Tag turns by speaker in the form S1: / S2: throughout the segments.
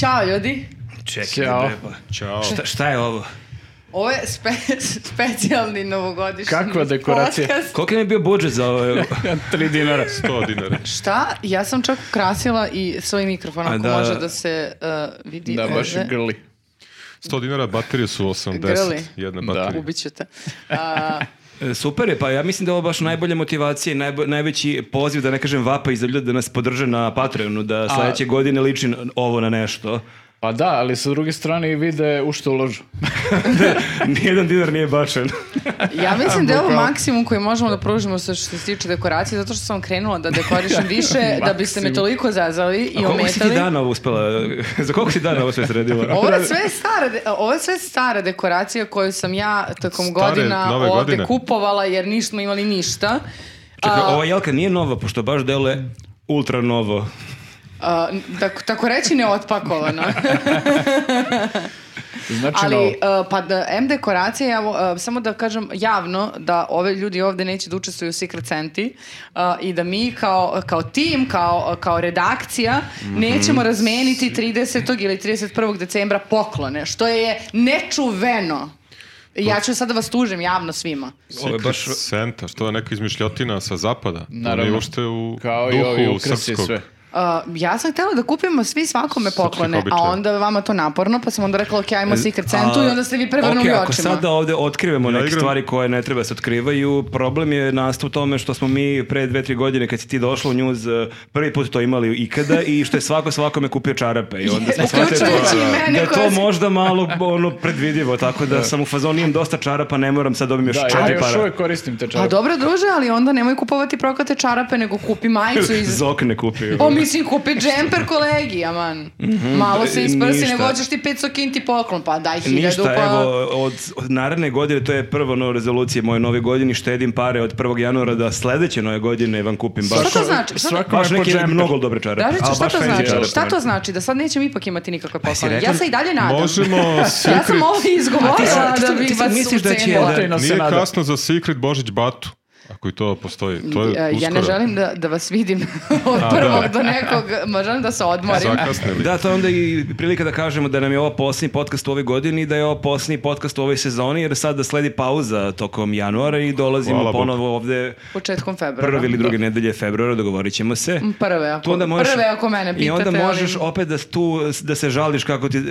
S1: Ćao ljudi.
S2: Čekaj,
S3: Ćao.
S2: bre, pa.
S4: Ćao.
S2: Šta, šta je ovo?
S1: Ovo je spe- specijalni novogodišnji
S3: Kakva dekoracija?
S1: podcast.
S2: Koliko nam je bio budžet za ovaj- ovo?
S3: 3 dinara.
S4: 100 dinara.
S1: Šta? Ja sam čak ukrasila i svoj mikrofon
S2: A
S1: ako
S2: da-
S1: može da se uh, vidi.
S3: Da, baš
S1: ovde.
S3: grli.
S4: 100 dinara, baterije su 80.
S1: Grli.
S4: Jedna
S3: Da.
S4: baterija.
S1: Ubit ćete. A,
S2: E, Super je, pa ja mislim da je ovo baš najbolja motivacija i najbo- najveći poziv, da ne kažem vapa i za ljude da nas podrže na Patreonu, da sledeće godine liči na- ovo na nešto.
S3: Pa da, ali sa druge strane i vide u što uložu.
S2: Nijedan dinar nije bačen.
S1: ja mislim da je ovo maksimum koji možemo da pružimo sa što se tiče dekoracije, zato što sam krenula da dekorišem više, da biste me
S3: Maksimum.
S1: toliko zazali i
S2: A koliko si ti
S1: ometali.
S2: dana ovo uspela? za koliko si dana ovo sve sredila?
S1: Ovo je sve stara, de- ovo je sve stara dekoracija koju sam ja tokom
S4: Stare,
S1: godina
S4: nove
S1: ovde
S4: godine.
S1: kupovala jer nismo imali ništa.
S2: Čekaj,
S1: A-
S2: ova jelka nije nova, pošto baš deluje ultra novo.
S1: A, Uh, tako, tako reći neotpakovano.
S3: Znači, novo.
S1: Ali, a, pa da, M dekoracije, ja, a, samo da kažem javno da ove ljudi ovde neće da učestvuju u Secret Senti a, i da mi kao, kao tim, kao, kao redakcija nećemo razmeniti 30. ili 31. decembra poklone, što je nečuveno. Ja ću sad da vas tužim javno svima.
S2: Ovo je baš...
S4: Secret Santa, što je neka izmišljotina sa zapada.
S3: Naravno.
S4: Naravno. Ono je uopšte u
S3: Kao i
S4: duhu
S3: ovi ukrasi i
S4: srpskog.
S3: sve.
S1: A, Uh, ja sam htjela da kupimo svi svakome poklone, a
S4: običaja.
S1: onda je vama to naporno, pa sam onda rekla, ok, ajmo Secret Sentu i onda ste vi prevrnuli
S2: Ok,
S1: očima.
S2: ako sada ovde otkrivemo
S4: Ja
S2: neke
S4: igram-
S2: stvari koje ne treba da se otkrivaju, problem je nastao u tome što smo mi pre dve, tri godine kad si ti došla u njuz eh, prvi put to imali ikada i što je svako svakome kupio čarape i onda smo shvatili
S1: Uključujući i
S2: da,
S1: mene
S2: da je
S1: koja
S2: to
S1: sam-
S2: možda malo ono predvidivo, tako da sam u fazonu imam dosta čarapa, ne moram sad dobim još
S3: Da, ja
S2: četiri
S3: još
S2: para.
S3: uvek koristim te čarape.
S1: Pa dobro, druže, ali onda nemoj kupovati prokate čarape, nego kupi majicu iz...
S2: Zok ne kupio.
S1: O, mislim, kupi džemper kolegi, aman. Malo se isprsi,
S2: Mhm. ništa.
S1: nego hoćeš ti 500 kinti poklon, pa daj hiljadu,
S2: Ništa,
S1: pa...
S2: evo, od, od naredne godine, to je prvo nova rezolucija moje nove godine, štedim pare od 1. januara da sledeće nove godine vam kupim baš...
S1: Šta to znači? Šta to-
S3: Svakome
S2: Baš
S3: po
S2: neke
S3: džemper.
S2: mnogo dobre čarape.
S1: Dražiću,
S2: A,
S1: šta
S2: baš
S1: to
S2: fancy
S1: znači?
S2: čarape.
S1: Šta to znači? Da sad nećemo ipak imati nikakve poklone.
S2: Pa rekla-
S1: Ja se i dalje nadam.
S4: Možemo
S1: Ja
S4: Secret...
S1: sam ovo
S2: A ti
S1: izgovorila
S2: sad-
S1: da
S2: ti
S1: bih
S2: sad
S1: vas
S2: misliš da će-
S1: ucenila.
S2: da-
S3: Potajno se
S4: Nije
S3: nadam.
S4: kasno za Secret Božić Batu. Ako i to postoji. To je
S1: E,
S4: uskoro.
S1: Ja ne želim da, da vas vidim od
S4: A,
S1: prvog
S4: da.
S1: do nekog, ma želim da se odmorim.
S4: Zakasnili.
S2: Da, to je onda i prilika da kažemo da nam je ovo posljednji podcast u ovoj godini i da je ovo posljednji podcast u ovoj sezoni jer sada sledi pauza tokom januara i dolazimo
S4: Hvala Bogu.
S2: ponovo ovde
S1: Početkom februara. Mm,
S2: prve ili druge nedelje februara, dogovorit ćemo se.
S1: Prve, ako,
S2: Tu onda možeš,
S1: prve ako mene pitate.
S2: I onda
S1: ali-
S2: možeš opet da, tu, da se žališ kako ti e,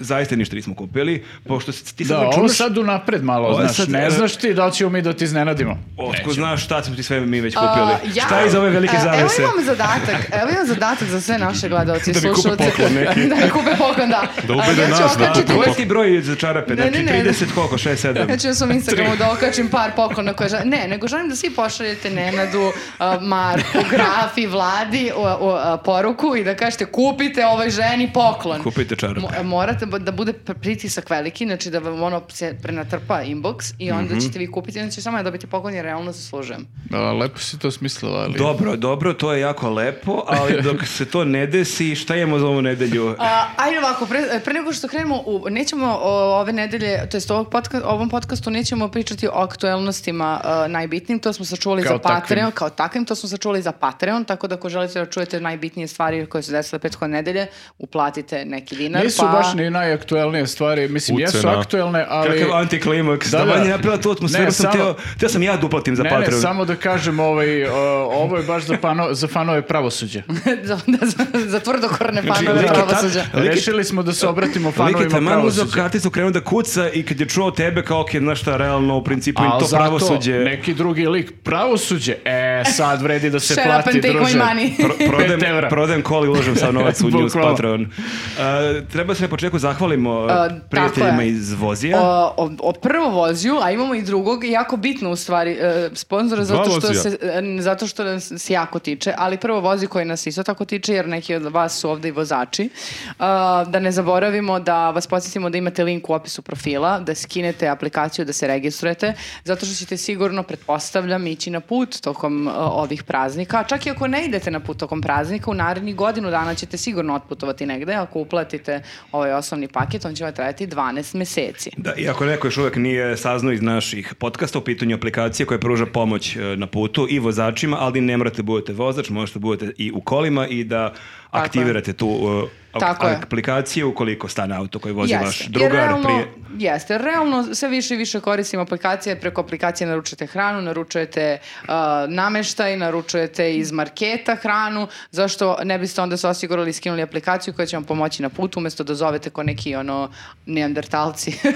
S2: zaista ništa nismo kupili, pošto si- ti sad
S3: Da,
S2: da,
S3: ovo sad unapred malo,
S2: Ovo je
S3: znaš,
S2: sad, e,
S3: ne znaš ti da li ćemo mi da ti iznenadimo.
S2: Otko znaš šta smo ti sve mi već
S1: A,
S2: kupili? šta je iz ove velike
S1: e,
S2: zavese?
S1: Evo imam zadatak, evo imam zadatak za sve naše gledalce i
S2: Da mi kupe
S1: slušalce.
S2: poklon neki.
S1: da mi kupe poklon, da.
S4: Da ubede
S1: A, ja ću
S4: nas da
S1: okačiti-
S4: kupe
S2: Koji ti broj za čarape?
S1: Ne, Znači, ne,
S2: znači
S1: ne, ne.
S2: 30 koliko? 6, 7?
S1: Ja ću na svom Instagramu da okačim par poklona koje želim. Ne, nego želim da svi pošaljete Nenadu, a, Marku, Grafi, Vladi o, o, a, poruku i da kažete kupite ovoj ženi poklon.
S2: Kupite čarape.
S1: Mo- morate ba- da bude pr- pritisak veliki, znači da vam ono se prenatrpa inbox i onda ćete vi kupiti, onda ćete samo ja dobiti poklon jer realno zaslužujem.
S3: A, lepo si to smislila, ali...
S2: Dobro, dobro, to je jako lepo, ali dok se to ne desi, šta imamo za ovu nedelju?
S1: A, ajde ovako, pre, pre nego što krenemo, u, nećemo o, ove nedelje, to jest ovog podka, ovom podcastu nećemo pričati o aktuelnostima a, najbitnijim, to smo sačuvali
S3: Kao
S1: za Patreon,
S3: takvim.
S1: kao takvim, to smo sačuvali za Patreon, tako da ako želite da čujete najbitnije stvari koje su desile prethodne nedelje, uplatite neki dinar.
S3: Nisu
S1: pa...
S3: baš ni najaktuelnije stvari, mislim, jesu
S4: Ucena.
S3: aktuelne, ali...
S2: Kakav antiklimaks, da,
S3: Da,
S2: da,
S3: da.
S2: da. napravila tu atmosferu,
S3: Ne,
S2: sam
S3: samo-
S2: teo, teo sam ja da uplatim za
S3: Ne, ne,
S2: Patreon.
S3: samo da kažem, ovaj, o, ovo je baš za, pano, za fanove pravosuđa.
S1: za, da, za, za tvrdokorne
S2: Znači,
S1: fanove
S2: lik je tad-
S1: pravosuđa.
S2: Lik je-
S3: Rešili smo da se obratimo
S2: Lik je
S3: fanovima
S2: taman uzeo
S3: pravosuđa.
S2: karticu, krenuo da kuca i kad je čuo tebe, kao ok, znaš šta, realno, u principu im
S3: Al
S2: to
S3: zato
S2: pravosuđe...
S3: neki drugi lik, pravosuđe, e, sad vredi da se
S1: Shut up
S3: plati,
S1: and take
S3: druže.
S1: my money.
S2: Pro- prodajem,
S3: Pet evra.
S2: prodajem kol i uložem sav novac u News
S3: Bukvalno.
S2: Patreon. Uh, treba se na početku zahvalimo uh,
S1: tako je.
S2: prijateljima iz Vozija.
S1: O, o, o prvo voziju, a imamo i drugog, jako bitno u stvari, e, sponzora, zato što,
S4: vozija.
S1: se, e, zato što nas se jako tiče, ali prvo vozi koji nas isto tako tiče, jer neki od vas su ovde i vozači. A, da ne zaboravimo da vas podsjetimo da imate link u opisu profila, da skinete aplikaciju, da se registrujete, zato što ćete sigurno, pretpostavljam, ići na put tokom e, ovih praznika. Čak i ako ne idete na put tokom praznika, u narednih godinu dana ćete sigurno otputovati negde. Ako uplatite ovaj osnovni paket, on će vam trajati 12 meseci.
S2: Da, i ako neko još uvek nije saznao iz naših podcasta u pitanju aplikacije koja pruža pomoć e, na putu i vozačima, ali ne morate da budete vozač, možete da budete i u kolima i da
S1: je.
S2: aktivirate tu e,
S1: Tako je.
S2: aplikacije ukoliko stane auto koji vozi
S1: Jeste.
S2: vaš
S1: Jer
S2: drugar
S1: realno,
S2: prije...
S1: Jeste, jer realno sve više i više koristim aplikacije, preko aplikacije naručujete hranu, naručujete uh, nameštaj, naručujete iz marketa hranu, zašto ne biste onda se osigurali i skinuli aplikaciju koja će vam pomoći na putu, umjesto da zovete ko neki ono neandertalci.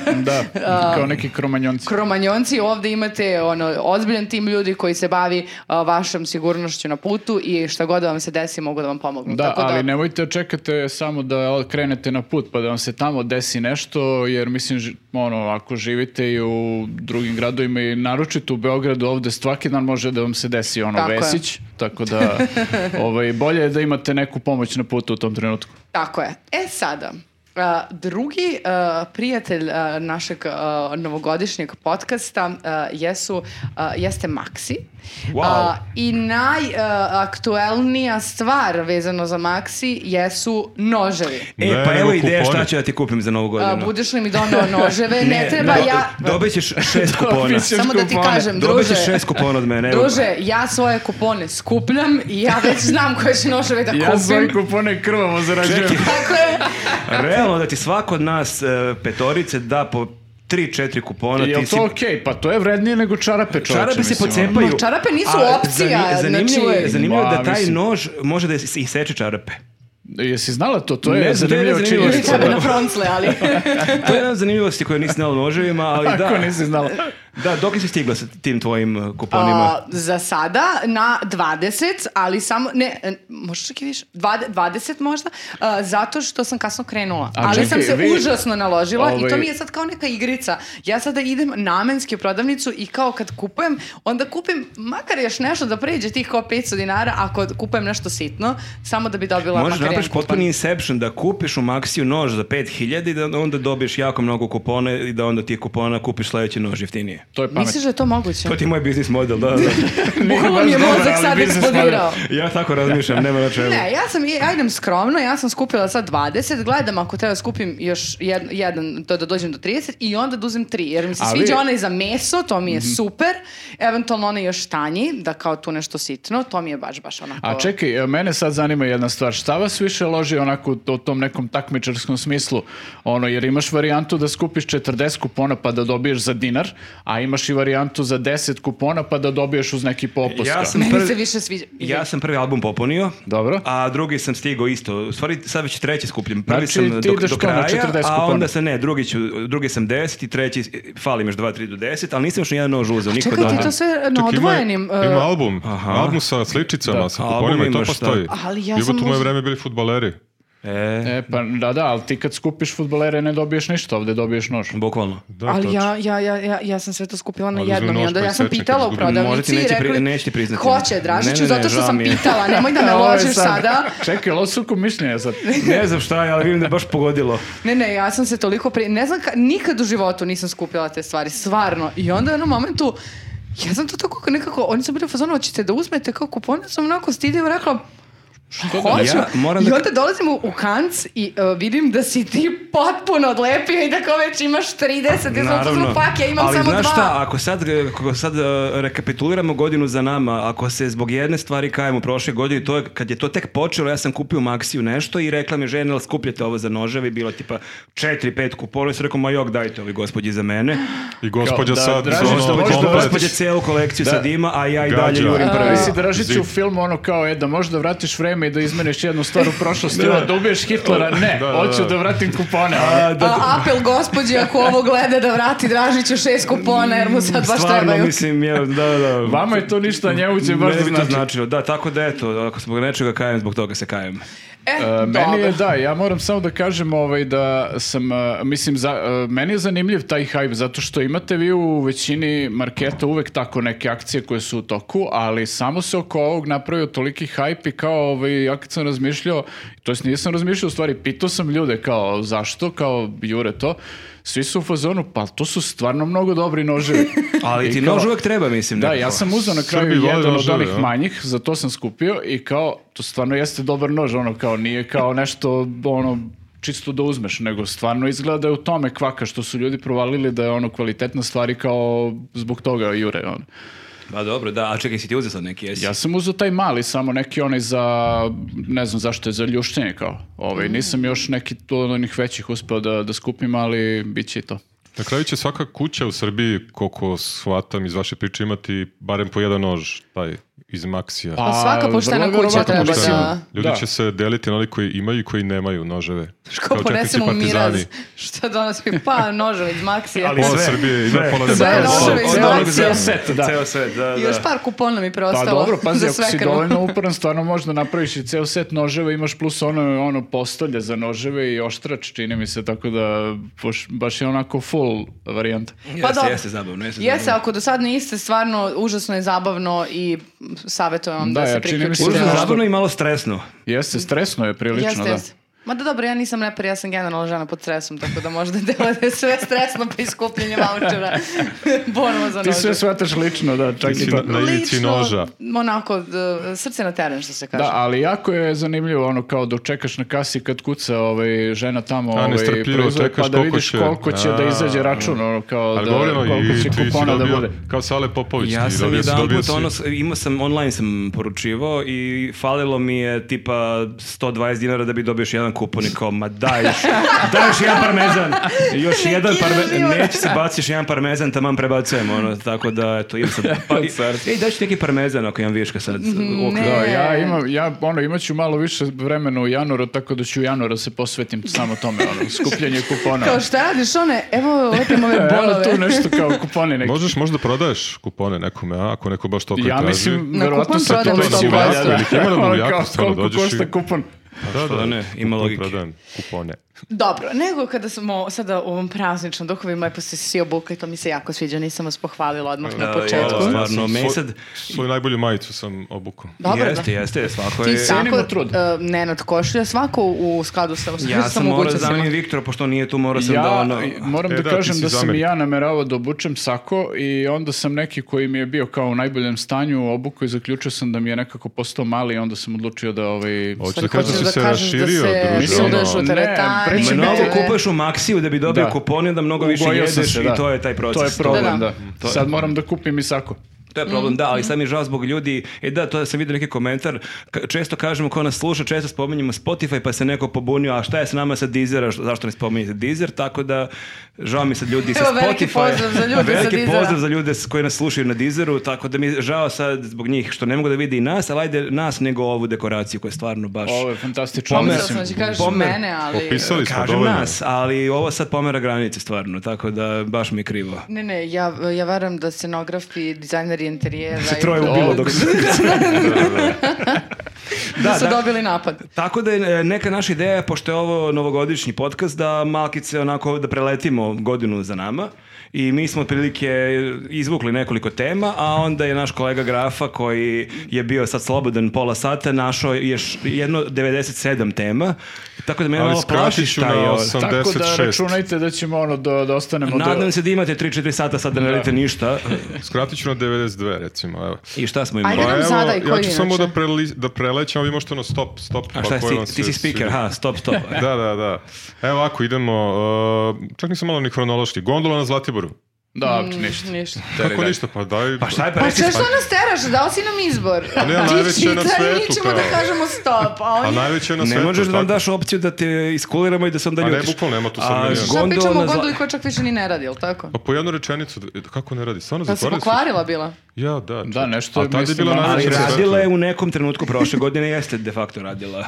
S3: Da, kao neki kromanjonci.
S1: Kromanjonci, ovdje imate ono, ozbiljan tim ljudi koji se bavi uh, vašom sigurnošću na putu i šta god da vam se desi mogu da vam pomognu.
S3: Da,
S1: Tako
S3: ali nemojte čekate samo da krenete na put pa da vam se tamo desi nešto, jer mislim, ži- ono, ako živite i u drugim gradovima i naročito u Beogradu ovde svaki dan može da vam se desi ono
S1: Tako je.
S3: vesić, tako da ovaj, bolje je da imate neku pomoć na putu u tom trenutku.
S1: Tako je. E sada, a, drugi a, prijatelj a, našeg a, novogodišnjeg podcasta a, jesu, a, jeste Maxi.
S2: Wow.
S1: A, I najaktuelnija stvar vezano za Maxi jesu noževi.
S2: E,
S4: Ne,
S2: pa
S4: nego
S2: evo ideja
S4: kupone.
S2: šta ću ja ti kupim za novu
S1: A,
S2: godinu.
S1: budeš li mi donao noževe? ne, treba
S2: do-
S1: ja...
S2: Dobit ćeš šest kupona.
S3: ćeš
S1: Samo da ti
S3: kupone.
S1: kažem,
S2: Dobit
S1: druže,
S2: ćeš šest kupona od mene. evo.
S1: druže, ja svoje kupone skupljam i ja već znam koje ću noževe da
S3: Ja svoj
S1: kupim.
S3: kupone krvavo zarađujem.
S1: Tako je.
S2: Realno da ti svako od nas e, petorice da po tri, četiri kupona.
S3: Jel
S2: ti si-
S3: to okej? Pa to je vrednije nego čarape čoveče.
S2: Čarape se
S3: mislim, ono.
S2: pocepaju.
S1: Ma, čarape nisu
S2: a
S1: opcija,
S2: zanimljivo
S1: znači-
S2: je, zanimljivo je
S3: Ma,
S2: da taj
S3: mislim.
S2: nož može da is- iseče čarape.
S3: ono. Jesi znala to? To
S2: Ne
S3: je
S2: znam, to je
S3: zanimljiva
S2: zanimljiva
S1: Ili
S3: činjenica.
S1: tebe
S3: da.
S1: na froncle, ali...
S2: To je jedna od zanimljivosti koju nisi znala o noževima, ali da.
S3: Ako nisi znala.
S2: Da, dok si stigla sa tim tvojim e, kuponima?
S1: A, za sada na 20, ali samo, ne, e, možda čak i više, Dvade- 20 možda, a, zato što sam kasno krenula. ali sam
S3: čekaj,
S1: se
S3: vi-
S1: užasno naložila i to
S3: Ovaj-
S1: mi je sad kao neka igrica. Ja sada idem namenski u prodavnicu i kao kad kupujem, onda kupim makar još nešto da pređe tih kao 500 dinara ako kupujem nešto sitno, samo da bi dobila
S2: Možeš
S1: makar
S2: napraviš
S1: jedan kupon.
S2: potpuni inception da kupiš u Maxiju nož za 5000 i da onda dobiješ jako mnogo kupona i da onda ti kupona kupiš sledeći nož jeftinije.
S3: To je pamet.
S1: Misliš da je to moguće?
S2: To ti je moj biznis model, da, da.
S1: Bukvalno mi je
S3: baš dobro,
S1: mozak
S3: ali
S1: sad
S3: biznis model.
S1: eksplodirao.
S2: Ja tako razmišljam, nema na čemu.
S1: Ne, ja sam, ja idem skromno, ja sam skupila sad 20, gledam ako treba skupim još jed, jedan, to da dođem do 30 i onda da uzem tri, jer mi se
S3: Ali-
S1: sviđa onaj za meso, to mi je
S2: Mhm.
S1: super, eventualno onaj još tanji, da kao tu nešto sitno, to mi je baš, baš onako...
S3: A čekaj, e, mene sad zanima jedna stvar. Šta vas više loži onako u to- u tom nekom takmičarskom smislu? Ono, jer imaš varijantu da skupiš 40 kupona pa da dobiješ za dinar, a imaš i varijantu za 10 kupona pa da dobiješ uz neki popust.
S2: Ja
S3: kao.
S2: sam-
S1: Meni
S2: prvi-
S1: se više sviđa.
S2: Ja sam prvi album popunio.
S3: Dobro.
S2: A drugi sam stigao isto. U stvari sad već treći skupljam. Prvi
S3: Znači,
S2: sam
S3: ti
S2: do,
S3: ideš
S2: do
S3: to na
S2: kraja,
S3: 40
S2: a
S3: kupona.
S2: onda sam ne, drugi, ću, drugi sam 10 i treći, e, falim još 2, 3 do 10, ali nisam još nijedan nož uzeo. Niko
S1: Čekaj, ti
S2: dodan.
S1: to sve na
S4: Čak, ima-
S1: odvojenim...
S4: Ima,
S1: e,
S4: album.
S2: Aha.
S4: Album sa sličicama,
S3: Da.
S4: sa
S2: Album
S4: kuponima i to
S2: imaš, da.
S4: postoji.
S1: Ali ja
S4: Jebote,
S1: sam
S4: u moje
S1: uz-
S4: vreme bili futbaleri.
S2: E,
S3: E, pa da, da, ali ti kad skupiš futbolere ne dobiješ ništa, ovde dobiješ nož.
S2: bukvalno.
S4: Da,
S1: ali
S4: tačno.
S1: ja, ja, ja, ja, ja sam sve to skupila na
S4: Ali uzmi
S1: jednom i
S4: nož
S1: onda
S4: pa
S1: ja sam
S4: iseči,
S1: pitala
S4: kad
S1: u
S4: izgubi.
S1: prodavnici
S2: Možda ti
S1: i
S2: neće
S1: rekli-
S2: pri- neće ti priznati.
S1: Hoće, Dražiću,
S2: Ne, ne, ne,
S1: zato što
S2: žao
S1: sam
S2: mi je.
S1: pitala, nemoj da me
S3: Ovo je
S1: ložiš
S3: sad-
S1: sada.
S3: Čekaj, ovo su mišljenja sad.
S2: Ne znam šta, je, ali vidim da je baš pogodilo.
S1: Ne, ne, ja sam se toliko pri... Ne znam, ka... nikad u životu nisam skupila te stvari, stvarno. I onda u jednom momentu, ja sam to tako nekako, oni su bili u fazonu, hoćete da uzmete kao kupone, sam onako stidio i rekla, Što
S2: da-
S1: hoću?
S2: Ja
S1: I
S2: moram da-
S1: onda dolazim u, u kanc i uh, vidim da si ti potpuno odlepio i da kao već imaš 30, ja sam u fazonu, fuck, ja imam
S2: ali
S1: samo dva.
S2: znaš šta, ako sad, e, ako sad e, rekapituliramo godinu za nama, ako se zbog jedne stvari kajemo prošle godine, to je, kad je to tek počelo, ja sam kupio Maxiju nešto i rekla mi žena, jel skupljate ovo za noževe, I bilo je tipa 4-5 kupona, i sam rekao, ma jok, dajte ovi gospodji za mene.
S4: I gospođa
S3: da,
S4: sad...
S3: Dražić,
S4: ono,
S3: da možeš da
S4: komplet.
S3: vratiš-
S2: Gospodje cijelu kolekciju
S3: Da.
S2: sad ima, a ja i
S4: Gađa.
S2: dalje jurim prvi.
S3: Ti si Dražić
S4: Zid.
S3: u filmu ono kao, e, da možeš da vratiš vreme i da izmeniš jednu stvar u prošlosti, da, da ubiješ Hitlera, ne,
S4: Da, da,
S3: hoću
S4: da.
S3: da vratim kupone.
S2: A, da,
S1: A, apel gospođi ako ovo gleda da vrati Dražiću šest kupona jer mu sad baš
S2: stvarno,
S1: trebaju.
S2: mislim, je, da, da.
S3: Vama je to ništa, njemu će baš
S2: Meni
S3: da
S2: bi to
S3: znači.
S2: značilo. Da, tako da eto, ako smo nečega kajem, zbog toga se kajem.
S1: E,
S3: E,
S1: dobro.
S3: meni je, da, ja moram samo da kažem ovaj, da sam, e, mislim, za, e, meni je zanimljiv taj hype, zato što imate vi u većini marketa uvek tako neke akcije koje su u toku, ali samo se oko ovog napravio toliki hype i kao, ovaj, ja kad sam razmišljao, to jest nisam razmišljao, u stvari, pitao sam ljude kao, zašto, kao, jure to, svi su u fazonu, pa to su stvarno mnogo dobri noževi.
S2: Ali
S3: I
S2: ti
S3: kao-
S2: nož uvek treba, mislim.
S3: Da,
S2: nekako.
S3: ja sam uzeo na kraju
S4: Srbi vole
S3: jedan od
S4: noževe,
S3: onih
S4: a?
S3: manjih, za to sam skupio i kao, to stvarno jeste dobar nož, ono kao nije kao nešto, ono, čisto da uzmeš, nego stvarno izgleda da je u tome kvaka što su ljudi provalili da je ono kvalitetna stvar i kao zbog toga jure, ono.
S2: Pa dobro, da, a čekaj, si ti uzeo sad neki, jesi?
S3: Ja sam uzeo taj mali, samo neki onaj za, ne znam zašto je, za ljuštenje kao.
S1: Mm.
S3: Ovaj, Nisam još neki to od onih većih uspeo da, da skupim, ali bit će i to.
S4: Na kraju će svaka kuća u Srbiji, koliko shvatam iz vaše priče, imati barem po jedan nož, taj iz Maxija.
S1: Pa svaka
S3: A,
S1: poštena
S3: vrlo
S1: kuća
S3: verovatno
S1: treba
S4: Šta
S3: mislim,
S4: je?
S1: pa da-
S4: Ljudi
S3: da.
S4: će se deliti na oni koji imaju i koji nemaju noževe.
S1: Ko
S4: Kao četnici
S1: ponesemo miraz?
S4: partizani.
S1: Šta donosi? Pa, nožem iz Maxija.
S2: Ali
S4: Pola
S2: sve.
S4: Srbije
S1: E,
S4: ima
S2: Sve.
S4: pola nema.
S1: Sve
S4: Pola-
S1: noževe
S4: pola-
S1: iz
S4: pola-
S1: Maxija. Ceo
S4: pola-
S3: set, da.
S2: Ceo set, da, da.
S1: I još par kupona mi
S3: Pa
S1: preostalo.
S3: dobro, pazi,
S1: za
S3: ako si
S1: svekranu.
S3: dovoljno uporan, stvarno možda napraviš i ceo set noževa, imaš plus ono, ono postolje za noževe i oštrač, čini mi se, tako da baš, baš je onako full varijanta.
S1: Pa
S2: Jeste,
S1: dobro.
S2: jeste zabavno, jeste
S1: Jeste,
S2: zabavno.
S1: ako do sad niste, stvarno užasno je zabavno i mm, savjetujem vam da,
S3: Da,
S1: se
S3: ja čini mi se
S1: priključite.
S2: Užasno
S3: Da.
S2: zabavno i malo stresno.
S3: Jeste, stresno je prilično,
S1: Jeste,
S3: da.
S1: jeste. Ma da dobro, ja nisam repar, ja sam generalno žena pod stresom, tako da možda delo da je sve stresno pa iskupljenje vouchera. Borba za
S3: Ti sve
S1: nože.
S3: shvatiš lično, da, čak
S4: Ti
S3: i
S4: si
S3: to.
S4: na ivici
S1: Lično,
S4: noža.
S1: Onako, d- srce na teren, što se kaže.
S3: Da, ali jako je zanimljivo ono kao dok čekaš na kasi kad kuca ovaj, žena tamo
S4: A,
S3: ovaj,
S4: nestrpljivo
S3: proizvod,
S4: čekaš
S3: pa da
S4: koliko
S3: vidiš
S4: će.
S3: koliko će da
S4: A,
S3: izađe račun, ono kao
S4: Ali
S3: da,
S4: govorimo
S3: koliko
S4: i
S3: će
S4: ti si
S3: kupona da
S4: dobio,
S3: bude.
S4: kao Sale Popović.
S2: Ja
S4: ti
S2: sam
S4: dobio si-
S2: jedan
S4: dobio
S2: put,
S4: si.
S2: ono, s- imao sam, online sam poručivao i falilo mi je tipa 120 dinara da bi dobio još jedan kupon i kao, ma daj još, daj još jedan parmezan, još jedan
S1: ide
S2: parmezan,
S1: život.
S2: neće se baci još jedan parmezan, taman prebacujem, ono, tako da, eto, imam sam, pa, i, ej, daj ću neki parmezan ako imam viška sad. u okviru.
S1: Mhm. ne.
S3: Da,
S2: E.
S3: ja imam, ja ono, imat ću malo više vremena u januaru, tako da ću u januaru se posvetim samo tome, ono, skupljanje kupona.
S1: Kao šta radiš one, evo lepim ove
S3: Evo
S1: bolove.
S3: tu nešto kao kuponi neki.
S4: Možeš možda prodaješ kupone nekome, a? ako neko baš toliko
S3: Ja
S4: traži.
S3: mislim,
S1: Na
S3: verovatno
S1: kupon
S3: se to
S1: prodajem
S3: već
S1: što
S3: i
S1: valja,
S3: valja,
S1: da.
S4: Ili ima na
S3: Ono
S4: Buljaku,
S3: kao,
S4: stvarno,
S3: Koliko
S4: dođeš i-
S3: košta kupon?
S2: Pa što da ne, ima
S4: kupon
S2: logike.
S4: Prodajem kupone.
S1: Dobro, nego kada smo sada u ovom prazničnom duhu, vi lepo ste se svi obukli, to mi se jako sviđa, nisam vas pohvalila odmah na
S2: Da,
S1: početku.
S2: jel,
S4: Ja
S2: Stvarno,
S4: sam
S2: meni
S4: svoj-
S2: sad-
S4: Svoju najbolju majicu sam obukao.
S1: Dobro, da.
S2: jeste, jeste, svako
S1: Ti
S2: je...
S1: svako,
S3: Cenimo trud.
S1: e, Nenad Košulja, svako u skladu sa, sa
S2: Ja sam morao da
S1: mogućnostima.
S2: zamenim Viktora, pošto on nije tu, morao sam
S3: Ja
S2: da ono...
S3: moram
S4: E,
S3: da,
S4: da, ti
S3: kažem
S4: si
S3: da sam i
S4: zamenik.
S3: ja nameravao da obučem sako i onda sam neki koji mi je bio kao u najboljem stanju obuku i zaključio sam da mi je nekako postao mali i onda sam odlučio da ovaj...
S4: Hoćeš
S1: Sad
S4: da kažeš
S1: Pa hoćeš
S4: da
S1: da
S4: si se
S1: kažeš da
S4: raširio,
S1: se
S4: druže,
S1: sudeš
S4: ono.
S1: u teretani,
S3: Ne, preći
S1: ne,
S2: Mnogo
S1: ne.
S2: kupuješ u Maksiju da bi dobio
S3: Da.
S2: kupone, da mnogo više
S3: Ugojio sam
S2: jedeš
S3: se,
S2: i
S3: da.
S2: to je taj proces.
S3: To je problem,
S1: Da,
S3: da.
S1: da.
S2: To je-
S3: Sad moram da kupim i sako.
S2: To je problem,
S1: Mm.
S2: da, ali sad mi je žao zbog ljudi. E da, to sam vidio neki komentar. K- često kažemo ko nas sluša, često spominjemo Spotify pa se neko pobunio, a šta je s nama sa Deezera, Š- zašto ne spominjete Deezer, tako da žao mi sad ljudi sa
S1: Evo,
S2: Spotify.
S1: veliki pozdrav za ljude sa
S2: Veliki
S1: Deezera.
S2: pozdrav za ljude s- koji nas slušaju na Deezeru, tako da mi je žao sad zbog njih što ne mogu da vidi i nas, ali ajde nas nego ovu dekoraciju koja je stvarno baš...
S3: Ovo je fantastično.
S2: Pomer-
S1: Mislila
S3: mislim.
S1: sam da će kažeš
S2: Pomer.
S1: mene, ali...
S4: Opisali smo
S2: Kažem
S4: dovoljno.
S2: nas, ali ovo sad pomera granice stvarno, tako da baš mi je krivo.
S1: Ne, ne, ja, ja verujem da scenografi, dizajneri interijera... i-
S2: Troje ubilo dok se...
S1: da, su dobili napad.
S2: Tako da je e, neka naša ideja, pošto je ovo novogodišnji podcast, da malkice onako da preletimo godinu za nama i mi smo otprilike izvukli nekoliko tema, a onda je naš kolega Grafa koji je bio sad slobodan pola sata našao je š- jedno 97 tema, tako da me
S4: Ali
S2: malo
S4: skratit
S2: plašiš
S4: ću
S2: taj... ovaj-
S4: na
S2: o-
S4: 86.
S3: Tako da računajte da ćemo ono da, da ostanemo do...
S2: Nadam se da imate 3-4 sata sad da ne radite ništa.
S4: Skratit ću na 92, recimo. Evo.
S2: I šta smo imali?
S1: Ajde. nam sada i
S4: ja
S1: koji
S4: ću samo da,
S1: inače?
S4: preli, da prelećem, a vi možete ono stop, stop.
S2: A šta
S4: pa koji
S2: je,
S4: vam
S2: ti, ti
S4: se
S2: si speaker,
S4: svidi.
S2: ha, stop, stop.
S4: Da, da, da. Evo ako idemo, uh, čak nisam malo ni hronološki. Gondola na Zlatiboru.
S3: Da,
S1: Mm,
S3: ništa.
S1: Ništa.
S4: Kako ništa, pa daj.
S2: Pa šta je pa
S1: Pa
S2: reci
S1: što što nas teraš? Dao si nam izbor.
S4: ne, najveće na svetu,
S1: mi ćemo
S4: kao.
S1: da kažemo stop, a
S4: A
S1: oni...
S4: najveće je na
S2: Ne
S4: svetu.
S2: možeš da nam
S4: tako?
S2: daš opciju da te iskuliramo i da se onda
S4: A ne,
S2: ljutiš.
S4: bukvalno, nema tu sad
S2: A,
S4: meni ništa.
S1: Šta
S2: gondola
S1: pričamo o
S2: na zla-
S1: gondoli koja čak više ni ne radi, jel tako?
S4: Pa po jednu rečenicu, d- kako ne radi? Stvarno
S1: Da se
S4: zatvorili su?
S1: pokvarila bila.
S4: Ja, da. čekaj.
S3: Da, nešto
S4: A
S3: je,
S4: tad je
S3: mislim,
S4: bila
S3: malo-
S2: Ali
S4: najveća na
S2: radila je
S4: svetu.
S2: u nekom trenutku prošle godine, jeste de facto radila.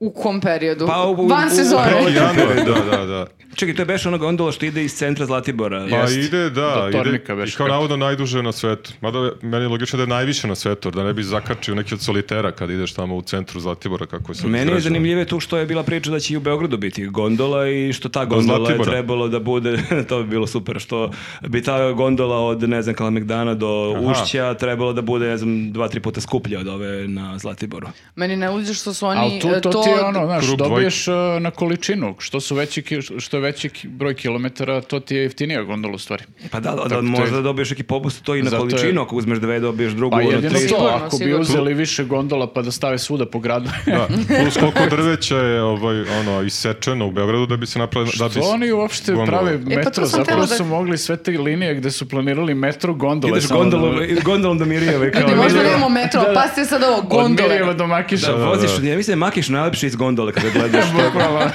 S1: U kom periodu?
S2: Pa u- u-
S1: Van
S2: u-
S1: sezone.
S2: u-
S4: Januar, da, da, da.
S2: Čekaj, to je beš ona gondola što ide iz centra Zlatibora.
S4: Pa
S3: Jeste.
S4: ide, da,
S3: Do
S4: ide,
S3: Tornika već
S4: i kao
S3: kako.
S4: navodno najduže na svetu. Mada je- meni je logično da je najviše na svetu, da ne bi zakačio neki od solitera kad ideš tamo u centru Zlatibora, kako se
S2: Meni je
S4: izražava.
S2: zanimljivije tu što je bila priča da će i u Beogradu biti gondola i što ta gondola je
S4: Zlatibora.
S2: trebalo da bude, to bi bilo super, što bi ta gondola od, ne znam, Kalamegdana do
S4: Aha.
S2: Ušća trebalo da bude, ne znam, dva, tri puta skuplja od ove na Zlatiboru.
S1: Meni ne uđe što su
S3: Ali
S1: oni
S3: tu,
S1: e,
S3: to
S1: to,
S3: ti ti ono, znaš,
S4: Krug
S3: dobiješ uh, na količinu. Što, su veći, ki- što je veći ki- broj kilometara, to ti je jeftinija gondola u stvari.
S2: Pa da, da,
S3: to
S2: da
S3: je-
S2: možda dobiješ neki popust, to i na
S3: Zato je-
S2: količinu, ako uzmeš dve, dobiješ drugu.
S3: Pa
S2: ono,
S3: jedino
S2: tri.
S3: to,
S1: Sigurno,
S3: ako bi
S1: sigurno.
S3: uzeli više gondola pa da stave svuda po gradu.
S4: Da, plus koliko drveća je ovaj, ono, isečeno u Beogradu da bi se napravili... Da bi
S3: To
S4: se-
S3: oni uopšte
S4: gondola.
S3: prave
S1: E, pa to
S3: metro,
S1: sam
S3: zapravo
S1: htela da-
S3: su mogli sve te linije gde su planirali metro gondole.
S2: Ideš
S3: samo da-
S2: gondolom, gondolom do Mirjeve. Kao,
S1: Ne, možda
S3: Mirjeva-
S1: nemamo metro,
S3: da, da.
S1: pa ste sad ovo,
S3: Od
S1: gondole.
S3: Mirjeva do Makiša.
S2: Da,
S4: da, da.
S2: voziš, ja mislim da je Makiš najlepši iz gondole kada gledaš.
S3: Bukvalno.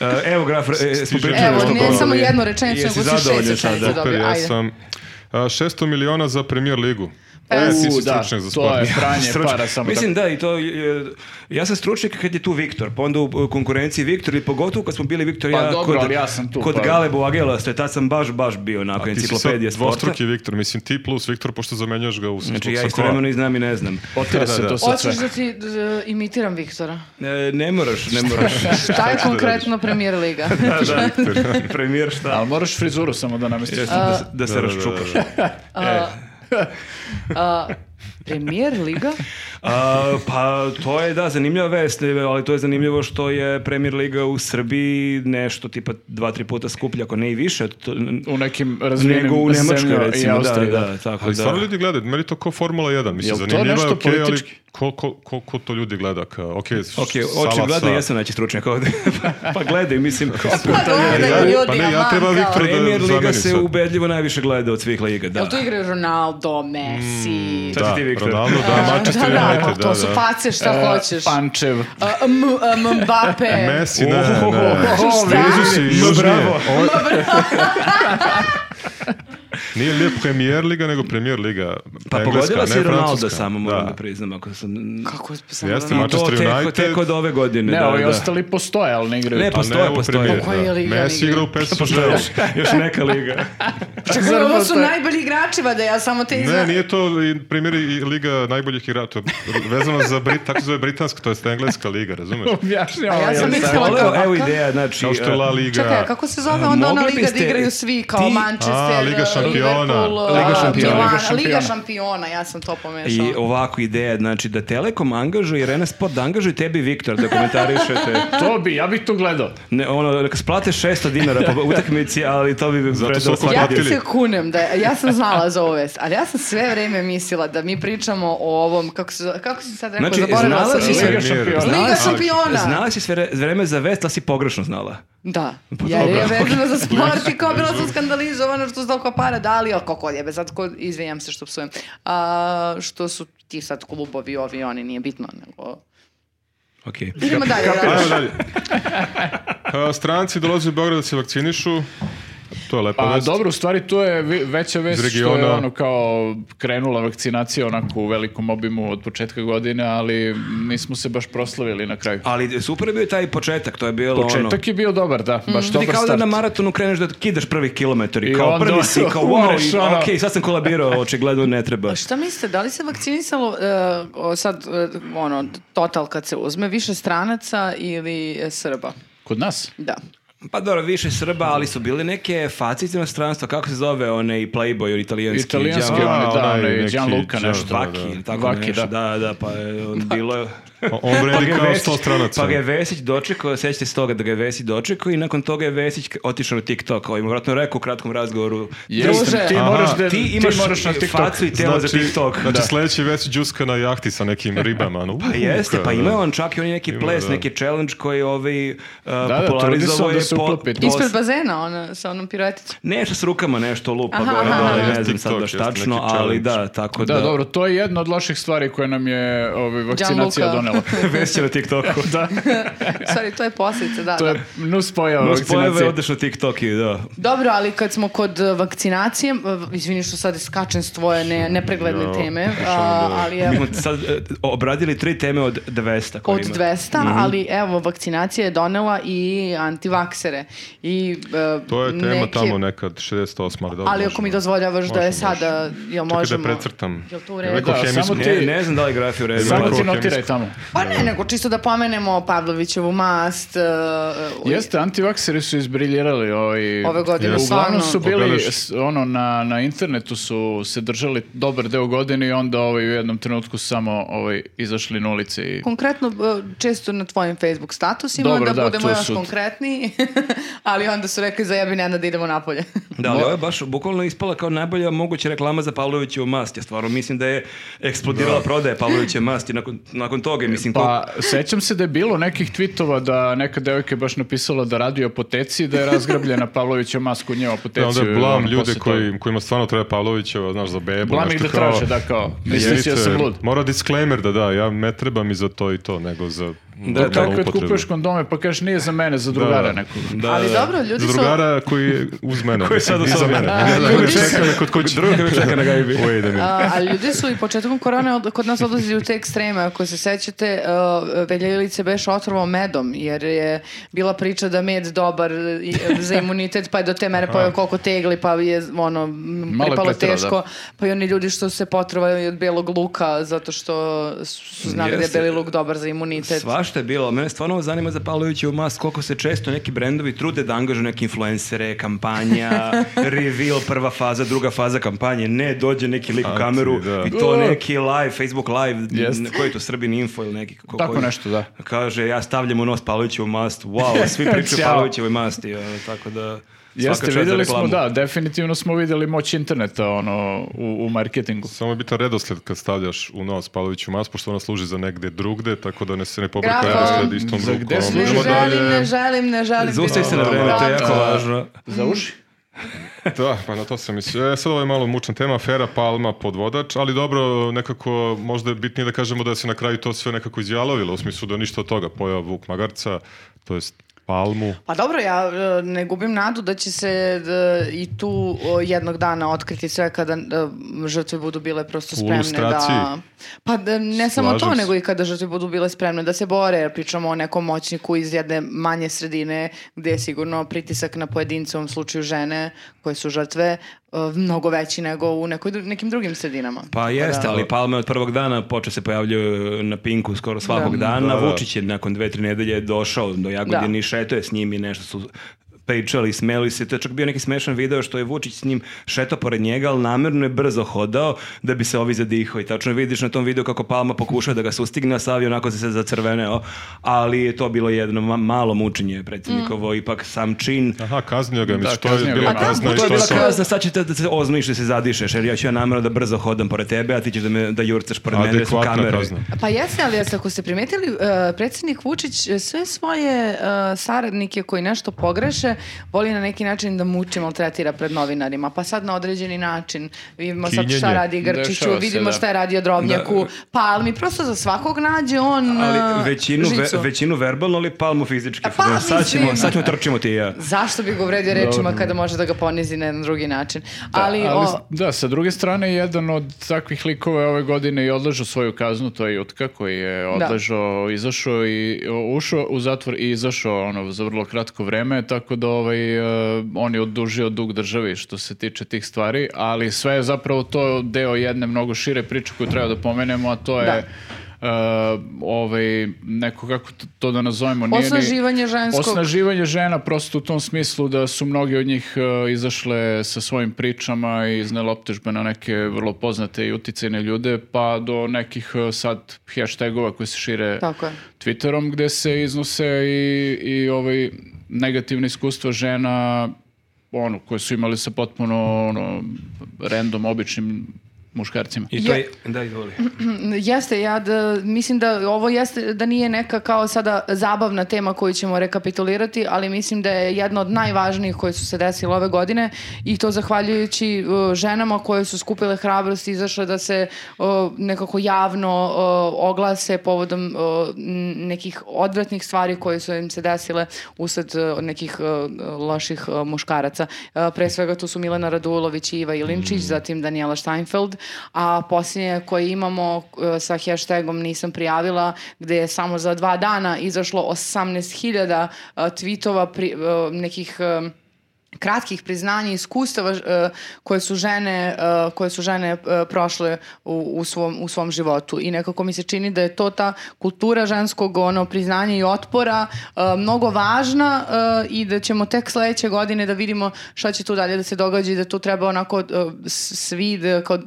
S2: E, Evo, graf, e, smo pričali
S1: Evo,
S2: nešto o
S1: ne
S2: gondoli.
S1: samo jednu rečenicu,
S2: Jesi
S1: nego si šest
S2: zadovoljan sad,
S1: rečenica
S2: da?
S4: Super,
S1: dobio.
S4: ja
S1: Ajde.
S4: sam... A, 600 miliona za premier ligu.
S1: Pa ja
S4: E,
S1: sam-
S4: ti si
S3: U, da,
S4: stručnjak za
S3: to je
S4: sport.
S3: pranje
S2: Stručnjak.
S3: para samo
S2: Mislim da i to e, ja sam stručnjak kad je tu Viktor, pa onda u e, konkurenciji Viktor i pogotovo kad smo bili Viktor i
S3: Pa
S2: ja
S3: dobro,
S2: kod
S3: ali ja sam tu,
S2: kod
S3: pa-
S2: Galebo Agela, ste tad sam baš baš bio onako
S4: Ti si sad
S2: enciklopedija sporta.
S4: dvostruki Viktor, mislim ti plus Viktor, pošto zamenjaš ga u
S2: Znači
S4: zbog
S2: ja
S4: Sakoa.
S2: istovremeno i znam i ne znam.
S3: tako. Otire se
S4: da.
S3: to sad sve.
S1: Hoćeš da ti d- imitiram Viktora?
S2: E, ne moraš, ne moraš.
S1: Šta je konkretno premijer liga?
S2: da, da, premijer šta?
S3: Ali moraš frizuru samo da namestiš.
S2: Jeste, da, se- da se
S4: Da, da, da,
S2: raščupaš.
S4: da.
S1: A, premijer liga?
S2: A, pa to je da zanimljiva vest, ali to je zanimljivo što je Premier Liga u Srbiji nešto tipa dva, tri puta skuplja, ako ne i više. To,
S3: U nekim razvijenim
S2: nego u Nemačkoj
S3: zemljama i
S2: recimo, da,
S3: Austriji,
S2: da,
S3: da.
S2: tako
S4: Ali stvarno
S2: da.
S4: ljudi gledaju, meni to kao Formula 1, mislim,
S3: Jel to
S4: zanimljivo je
S3: nešto
S4: okej, ali
S3: politički?
S4: koliko, koliko to ljudi gleda? Kao, ok,
S2: Ok, očigledno jesam naći stručnjak ovde. pa gledaj, mislim,
S1: Gledaju ljudi,
S4: Pa ne, ja
S1: aman,
S4: treba
S1: kao.
S4: Viktor da
S2: Premier Liga
S4: zameni
S2: se
S4: sad.
S2: ubedljivo najviše gleda od svih liga, da.
S1: Jel tu igraju Ronaldo,
S4: Hmm.
S1: Messi?
S2: Šta si ti, Viktor?
S4: Ronaldo, da, Manchester
S1: da, da,
S4: United, da,
S1: to su
S4: da.
S1: face, šta
S2: E,
S1: hoćeš.
S3: E,
S2: pa-
S3: Pančev.
S1: A, M- M- Mbappe.
S4: Messi, ne, ne.
S2: Ohohoho.
S1: Šta?
S4: Blizu si
S2: Ma,
S4: južnije.
S2: bravo.
S4: Ovo- Nije li premier liga, nego premier liga.
S2: Pa
S4: Engleska,
S2: pogodila
S4: ne
S2: si Ronaldo
S4: Francuska.
S2: samo, moram da, priznam, ako sam...
S1: Kako sam Ronaldo?
S4: Jeste, Manchester
S2: To teko,
S4: United.
S2: teko od ove godine,
S3: Ne,
S2: da,
S3: ovi
S2: da.
S3: ostali postoje, ali ne igraju.
S2: Ne,
S4: Pa
S2: postoje,
S4: ne, u
S2: postoje.
S4: premier,
S1: Pa koja
S4: da.
S1: je liga,
S4: Messi
S1: ne
S4: igra u PSG.
S2: Još, još neka liga.
S1: Čekaj, ovo su najbolji igrači, vada ja samo te izna...
S4: Ne, nije to i primjer i liga najboljih igrača. Vezano za Brit, tako se zove britanska, to jest engleska liga, razumeš?
S3: pa- Objašnjava.
S1: A ja
S3: jel
S1: sam
S3: da?
S1: mislila-
S2: Evo, evo ideja, znači...
S4: Kao što je La Liga.
S1: Čekaj, a kako se zove onda ona
S2: Mm, Mogli
S1: liga da
S2: biste-
S1: igraju svi kao
S2: ti-
S1: Manchester, uh,
S4: A, Liga šampiona.
S1: Liverpool,
S2: Liga
S1: a,
S2: šampiona,
S1: Milan,
S3: Liga šampiona.
S1: Liga šampiona, ja sam to pomešala.
S2: I ovako ideja, znači da Telekom angažuje, Rene Sport da angažuje tebi, Viktor, da komentarišete.
S3: To bi, ja bih to gledao.
S2: Ne, ono, neka splate 600 dinara po utakmici, ali to bi
S4: Zato
S2: predao
S4: su oko
S2: svaki
S1: Ja ti
S4: platili.
S2: dinar.
S1: se kunem, da, ja sam znala za ovu vest, ali ja sam sve vreme mislila da mi pričamo o ovom, kako, se, kako si sad rekao,
S2: Znači,
S1: zaboravila sam.
S2: znala si-
S1: Liga-
S3: Liga
S4: Premier.
S3: šampiona.
S1: Liga šampiona!
S2: Znala si sve vre- vreme za vest, ali si pogrešno znala.
S1: Da,
S3: Pa
S1: jer je vezano za sport i kao bilo sam skandalizovana što su toliko para dali, ali kako jebe, sad ko, izvinjam se što psujem, a, što su ti sad klubovi ovi i oni, nije bitno, nego...
S2: Okej.
S1: Idemo dalje, da.
S4: Ajmo dalje. A, Stranci dolaze u Beograd da se vakcinišu. To je lepa
S3: Pa
S4: vest.
S3: dobro, u stvari to je vi- veća vest
S4: Iz
S3: što je
S4: regiona.
S3: ono kao krenula vakcinacija onako u velikom obimu od početka godine, ali nismo se baš proslavili na kraju.
S2: Ali super je bio taj početak, to je bilo ono...
S3: Početak je bio dobar, da, baš
S1: Mm.
S2: Ti
S3: dobar
S2: kao da
S3: start.
S2: na maratonu kreneš da kidaš prvi kilometar i
S3: I
S2: kao
S3: onda
S2: prvi si, kao
S3: umreš,
S2: wow, i,
S3: ono.
S2: ok, sad sam kolabirao, očigledno ne treba.
S1: A Šta mislite, da li se vakcinisalo e, o, sad, e, ono, total kad se uzme, više stranaca ili e, Srba?
S3: Kod nas?
S1: Da.
S2: Pa dobro, više Srba, ali su bile neke facice na stranstvo, kako se zove one i Playboy, italijanski.
S3: Italijanski,
S2: đavo-
S4: đavo-
S3: oni, da,
S4: onaj
S3: onaj
S4: neki
S3: Gianluca
S4: đavo-
S3: nešto.
S2: Vaki,
S4: da.
S2: ili tako
S3: Vaki,
S2: nešto,
S3: da.
S2: da. da, pa je, on bilo je...
S4: O- On vredi
S2: Pa je
S4: kao
S2: Vesić-
S4: 100 stranaca.
S2: Pa ga je Vesić dočekao, sećate se toga da ga je Vesić dočekao i nakon toga je Vesić k- otišao na TikTok, ovaj mu vratno rekao u kratkom razgovoru.
S3: Jeste,
S1: Druže.
S3: ti,
S1: Aha,
S3: moraš da,
S2: ti imaš
S3: moraš na TikTok.
S2: facu i telo za TikTok.
S4: Znači,
S2: Da.
S4: sledeći već džuska na jahti sa nekim ribama. ono, uh, No,
S2: Pa jeste, pa ima on čak i on neki
S4: Ima,
S2: ples,
S4: da.
S2: neki challenge koji je ovaj uh,
S3: da,
S2: popularizovao
S3: trudi
S2: je
S3: se on da se uklopi.
S2: pos-
S1: Ispred bazena, ona, sa onom piroeticom.
S2: Nešto s rukama nešto lupa
S1: Aha,
S2: gore,
S1: aha,
S2: dole,
S4: aha.
S2: ne znam sad
S4: TikTok,
S2: baš
S4: jeste neki
S2: tačno, ali
S4: challenge.
S2: da, tako da.
S3: Da, dobro, to je jedna od loših stvari koje nam je ovaj, vakcinacija
S1: Gianluca.
S3: donela.
S2: Vesić je na TikToku. da.
S1: Sorry, to je posljedica, da,
S3: To
S1: da.
S3: je nus pojava
S2: Kroz pojave
S3: vakcinacije.
S2: odeš na TikTok i da.
S1: Dobro, ali kad smo kod e, vakcinacije, e, izvini što sad skačem s tvoje ne, nepregledne
S4: Ja,
S1: teme,
S4: što
S1: a,
S4: da-
S1: ali
S2: Mi
S1: evo,
S2: smo sad e, obradili tri teme od 200 koje
S1: od
S2: ima.
S4: Mhm.
S1: 200, ali evo, vakcinacija je donela i antivaks miksere i e,
S4: To je tema
S1: neke-
S4: tamo nekad, 68. Ali, dobro,
S1: Ali ako
S4: možemo.
S1: mi dozvoljavaš da je
S4: Možemo,
S1: sada, jel
S4: Čekaj
S1: možemo...
S4: da precrtam.
S1: Jel to u
S4: Jel
S1: redu?
S4: neko
S3: Da,
S4: hemijsku-
S3: samo
S2: Ne,
S3: ti-
S2: ne znam da li grafiju redu.
S4: Samo
S3: Samo ti
S4: Hemijsku.
S3: notiraj tamo.
S1: Pa ne, nego čisto da pomenemo Pavlovićevu mast. e, e,
S3: Jeste, antivakseri su izbriljirali ovaj...
S1: Ove godine,
S4: Jeste.
S1: stvarno.
S3: Uglavnom su bili,
S4: Pogledaš-
S3: s- ono, na, na internetu su se držali dobar deo godine i onda ovaj, u jednom trenutku samo ovaj, izašli na ulice i...
S1: Konkretno, e, često na tvojim Facebook statusima,
S3: Dobro,
S1: da,
S3: da,
S1: budemo
S3: to
S1: još
S3: su-
S1: konkretniji, ali onda su rekli za jebi Nenad da idemo napolje.
S4: E,
S2: Da, ali ovo je baš bukvalno ispala kao najbolja moguća reklama za Pavlovićevu mast. Ja stvarno mislim da je eksplodirala prodaja Pavlovićeve masti nakon, nakon toga. i Mislim, koliko-
S3: Pa, sećam se da je bilo nekih tvitova da neka devojka je baš napisala da radi o apoteciji, da je razgrabljena Pavlovića masku u njoj apoteciju.
S4: Da, onda
S3: i
S4: blam
S3: ono,
S4: ljude
S3: posle toga.
S4: koji, kojima stvarno treba Pavlovićeva, znaš, za bebu.
S3: Blam
S4: nešto
S3: ih da
S4: kao,
S3: traže, da, kao, misliš ja
S4: "Jeste,
S3: sam lud.
S4: Mora disclaimer da da, ja ne trebam i za to i to, nego za
S3: Da,
S4: normalnu
S3: tako kad
S4: upotrebu.
S3: kupuješ kondome, pa kažeš nije za mene, za drugara
S4: da.
S3: nekog.
S2: da,
S1: ali
S2: da.
S1: dobro, ljudi
S4: Za
S1: su...
S4: drugara koji je uz mene. koji je
S2: sad u
S4: Iza
S2: sobi.
S4: mene.
S2: A,
S4: Ne, da,
S1: ljudi
S4: koji
S1: su-
S4: čeka me kod kuće.
S2: Drugo kad me čeka na gajbi.
S4: Wait a minute.
S1: A, ali ljudi su i početkom korone od- kod nas odlazili u te ekstreme. Ako se sećate, uh, Veljilice beš otrovao medom, jer je bila priča da med dobar i- za imunitet, pa je do te mere pojao koliko tegli, pa je ono, m,
S3: Malo je
S1: pripalo
S3: preterao,
S1: teško. Pa i oni ljudi što su se potrovali od belog luka, zato što su znali da
S2: Jeste.
S1: je beli luk dobar za imunitet.
S2: Svašta je bilo, ali mene stvarno ovo zanima za Pavlovićevu mast, koliko se često neki brendovi trude da angažu neke influencere, kampanja, reveal, prva faza, druga faza kampanje, ne, dođe neki lik u
S4: Anti,
S2: kameru
S4: da.
S2: i to neki live, Facebook live,
S3: Jeste.
S2: koji je to Srbin Info ili neki? Ko,
S3: Tako
S2: koji-
S3: nešto, da.
S2: Kaže, ja stavljam u nos Pavlovićevu mast, wow, svi pričaju o
S3: Ćao.
S2: Pavlovićevoj masti, ono, tako da... svaka
S3: Jeste,
S2: čast za
S3: videli smo,
S2: reklamu.
S3: da, definitivno smo videli moć interneta ono, u, u marketingu.
S4: Samo je bitan redosled kad stavljaš u nos Pavloviću mas, pošto ona služi za negde drugde, tako da ne se ne pobrka
S1: Grafom.
S4: redosled istom
S3: Za
S4: rukom.
S3: gde
S1: Ne
S3: služi?
S4: Idemo
S1: želim,
S4: dalje.
S1: ne želim, ne želim.
S2: Zaustavi
S1: biti
S2: se na
S1: u
S2: vreme, to je jako
S1: ratu.
S2: važno.
S3: Za uši?
S4: Da, pa na to sam mislio. E, sad ovo je malo mučna tema, Fera Palma, podvodač, ali dobro, nekako možda je bitnije da kažemo da se na kraju to sve nekako izjalovilo, u smislu da ništa od toga pojao Vuk Magarca, to jest Palmu.
S1: Pa dobro, ja e, ne gubim nadu da će se e, i tu o, jednog dana otkriti sve kada e, žrtve budu bile prosto
S4: U
S1: spremne
S4: lustraciji.
S1: da... Pa da, ne samo
S4: Slažem
S1: to,
S4: se.
S1: nego i kada žrtve budu bile spremne da se bore, jer pričamo o nekom moćniku iz jedne manje sredine gdje je sigurno pritisak na pojedince, u ovom slučaju žene koje su žrtve, e, mnogo veći nego u nekoj, dru- nekim drugim sredinama.
S2: Pa jeste, ali Palme od prvog dana počeo se pojavljaju na Pinku skoro svakog
S1: Da.
S2: dana.
S4: Da, da.
S2: Vučić je nakon dve, tri nedelje došao do Jagodine
S1: Da.
S2: i šetao je s njim i nešto su pričali, smeli se. To je čak bio neki smešan video što je Vučić s njim šetao pored njega, ali namjerno je brzo hodao da bi se ovi zadihao. I tačno vidiš na tom videu kako Palma pokušao da ga sustigne, a Savi onako se zacrveneo. Ali je to bilo jedno ma- malo mučenje
S1: Mm.
S2: predsjednikovo. Ipak sam čin
S4: Aha, kaznio ga, mislim, to
S3: kaznio
S4: je
S3: ga.
S4: bila
S3: Pa da,
S4: kazna i
S2: to je
S4: to je
S2: bila
S4: to.
S2: kazna, sad će te da se oznojiš da se zadišeš, jer ja ću ja namjerno da brzo hodam pored tebe, a ti ćeš da, me, da jurcaš pored mene, jer su
S4: Adekvatna
S2: kamere.
S4: kazna.
S1: Pa jeste, ali jeste, ako ste primetili, e, predsjednik Vučić e, sve svoje e, saradnike koji nešto pogreše, voli na neki način da muči maltretira pred novinarima. Pa sad na određeni način vidimo sad šta
S4: Kinjenje.
S1: radi Grčiću,
S3: Dešava se,
S1: vidimo
S3: da.
S1: šta je radio Drobnjaku, Palmi, prosto za svakog nađe on
S2: Ali
S1: e,
S2: većinu, ve-
S1: žicu.
S2: većinu verbalno, ali palmu fizički.
S1: A pa,
S2: Fuzon, sad,
S1: mislim.
S2: ćemo, sad ćemo trčimo ti i ja.
S1: Zašto bi ga uvredio rečima kada može da ga ponizi na jedan drugi način? ali,
S3: Ali,
S1: o-
S3: da, sa druge strane, jedan od takvih likova je ove godine i odležao svoju kaznu, to je Jutka koji je odležao, izašao i o, ušao u zatvor i izašao ono, za vrlo kratko vreme, tako da ovaj, e, on je odužio dug državi što se tiče tih stvari, ali sve je zapravo to deo jedne mnogo šire priče koju treba da pomenemo, a to je e, ovaj, neko kako to- to da nazovemo nije ni-
S1: Osnaživanje ženskog-
S3: osnaživanje žena prosto u tom smislu da su mnogi od njih e, izašle sa svojim pričama i iznele optužbe na neke vrlo poznate i uticajne ljude pa do nekih e, sad hashtagova koji se šire
S1: Tako je.
S3: Twitterom gde se iznose i, i ovaj negativne iskustva žena ono, koje su imali sa potpuno ono, random, običnim muškarcima.
S2: I to
S1: Je-
S2: je, da, izvoli.
S1: Jeste, ja da, mislim da ovo jeste, da nije neka kao sada zabavna tema koju ćemo rekapitulirati, ali mislim da je jedna od najvažnijih koje su se desile ove godine i to zahvaljujući uh, ženama koje su skupile hrabrost i izašle da se uh, nekako javno uh, oglase povodom uh, n- nekih odvratnih stvari koje su im se desile usled uh, nekih uh, E, loših uh, muškaraca. Uh, pre svega tu su Milena Radulović i Iva Ilinčić, zatim Daniela Steinfeld, a posljednje koje imamo e, sa hashtagom nisam prijavila, gde je samo za dva dana izašlo 18.000 e, tweetova pri, e, nekih e, kratkih priznanja i iskustava ž- e, koje su žene e, koje su žene e, prošle u, u svom u svom životu i nekako mi se čini da je to ta kultura ženskog ono priznanja i otpora e, mnogo važna e, i da ćemo tek sledeće godine da vidimo šta će tu dalje da se događa i da tu treba onako e, s- svi da, kao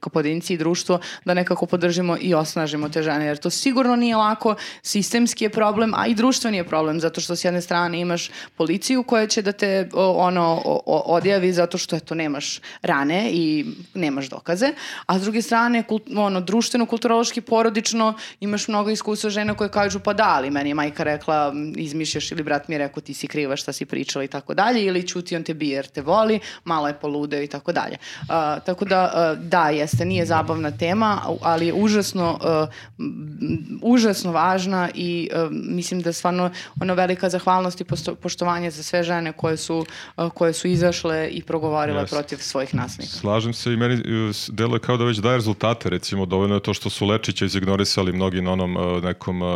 S1: kao pojedinci i društvo da nekako podržimo i osnažimo te žene jer to sigurno nije lako sistemski je problem a i društveni je problem zato što s jedne strane imaš policiju koja će da te o, ono o- o- odjavi zato što eto nemaš rane i nemaš dokaze a s druge strane kult- ono društveno kulturološki porodično imaš mnogo iskustva žena koje kažu pa da ali meni je majka rekla m, izmišljaš ili brat mi je rekao ti si kriva šta si pričala i tako dalje ili ćuti on te bije jer te voli malo je poludeo i tako dalje A, tako da a, da jeste nije zabavna tema a- ali je užasno a, m, m, užasno važna i a, mislim da je stvarno ono velika zahvalnost i posto- poštovanje za sve žene koje su a, koje su izašle i progovorile
S4: Jeste.
S1: protiv svojih nasmika
S4: Slažem se i meni e, s- deluje kao da već daje rezultate, recimo dovoljno je to što su Lečića izignorisali mnogi na onom e, nekom e,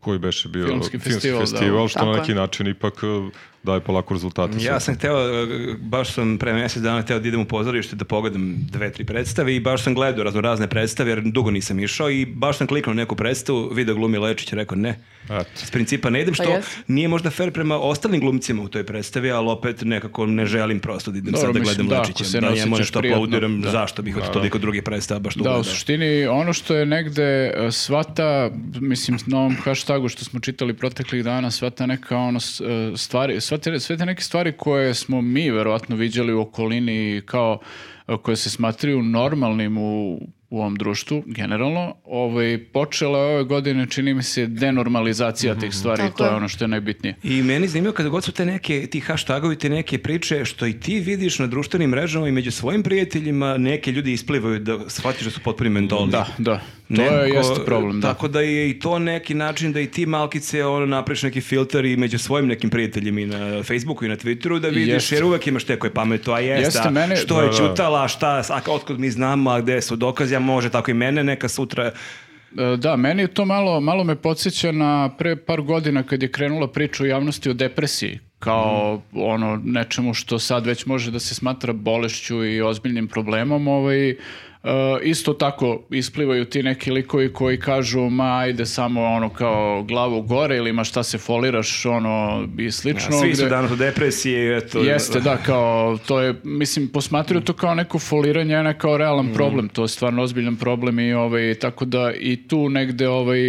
S4: koji beše bio
S3: Filmski festival, da.
S4: festival, što
S1: Tako
S4: na
S1: je.
S4: neki način ipak e, daje polako rezultate.
S2: Ja
S4: sad.
S2: sam hteo, e, baš sam pre mjesec dana hteo da idem u pozorište da pogledam dve, tri predstave i baš sam gledao razno razne predstave jer dugo nisam išao i baš sam kliknuo na neku predstavu, video glumi Lečić, rekao ne.
S4: Eto.
S2: S principa ne idem, što
S1: jes.
S2: nije možda fair prema ostalim glumcima u toj predstavi, ali opet nekako ne želim prosto da idem
S3: Dobro,
S2: sad da
S3: mislim,
S2: gledam
S3: da, ako
S2: Lečića. Da,
S3: se ne
S2: ja moram
S3: osjećaš
S2: što
S3: prijatno,
S2: aplaudiram,
S3: da.
S2: zašto bih od toliko drugih predstava baš tu
S3: Da,
S2: gledao.
S3: u suštini ono što je negde e, sva ta, mislim, na ovom hashtagu što smo čitali proteklih dana, sva ta neka ono s- e, stvari, sva te, sve te neke stvari koje smo mi verovatno viđali u okolini kao e, koje se smatraju normalnim u, u ovom društvu, generalno, ovaj, počela je ove godine, čini mi se, denormalizacija tih stvari i
S1: Tako
S3: to je
S1: je.
S3: ono što je najbitnije.
S2: I meni je zanimljivo kada god su te neke, ti hashtagovi, te neke priče, što i ti vidiš na društvenim mrežama i među svojim prijateljima, neke ljudi isplivaju da shvatiš da su potpuni mentoli.
S3: Da, da. To
S2: Nekako,
S3: je, jeste problem, da.
S2: Tako da je i to neki način da i ti malkice ono, napriš neki filter i među svojim nekim prijateljima i na Facebooku i na Twitteru da vidiš,
S3: Jeste.
S2: jer uvek imaš te koje pametu, a jeste,
S3: Jeste,
S2: a
S3: mene-
S2: što je
S4: Da, da.
S2: čutala, šta, a otkud mi znamo, a gde su dokazi, a može tako i mene neka sutra.
S3: E, Da, meni je to malo, malo me podsjeća na pre par godina kad je krenula priča u javnosti o depresiji kao
S2: Mm.
S3: ono nečemu što sad već može da se smatra bolešću i ozbiljnim problemom, ovaj, e, isto tako isplivaju ti neki likovi koji kažu ma ajde samo ono kao glavu gore ili ma šta se foliraš ono i
S2: A
S3: slično.
S2: svi su
S3: gde-
S2: danas u depresiji, eto.
S3: Jeste, da, kao, to je, mislim, posmatruju to kao neko foliranje, a ne kao
S4: Mhm.
S3: realan problem, to je stvarno ozbiljan problem i ovaj, tako da i tu negde ovaj,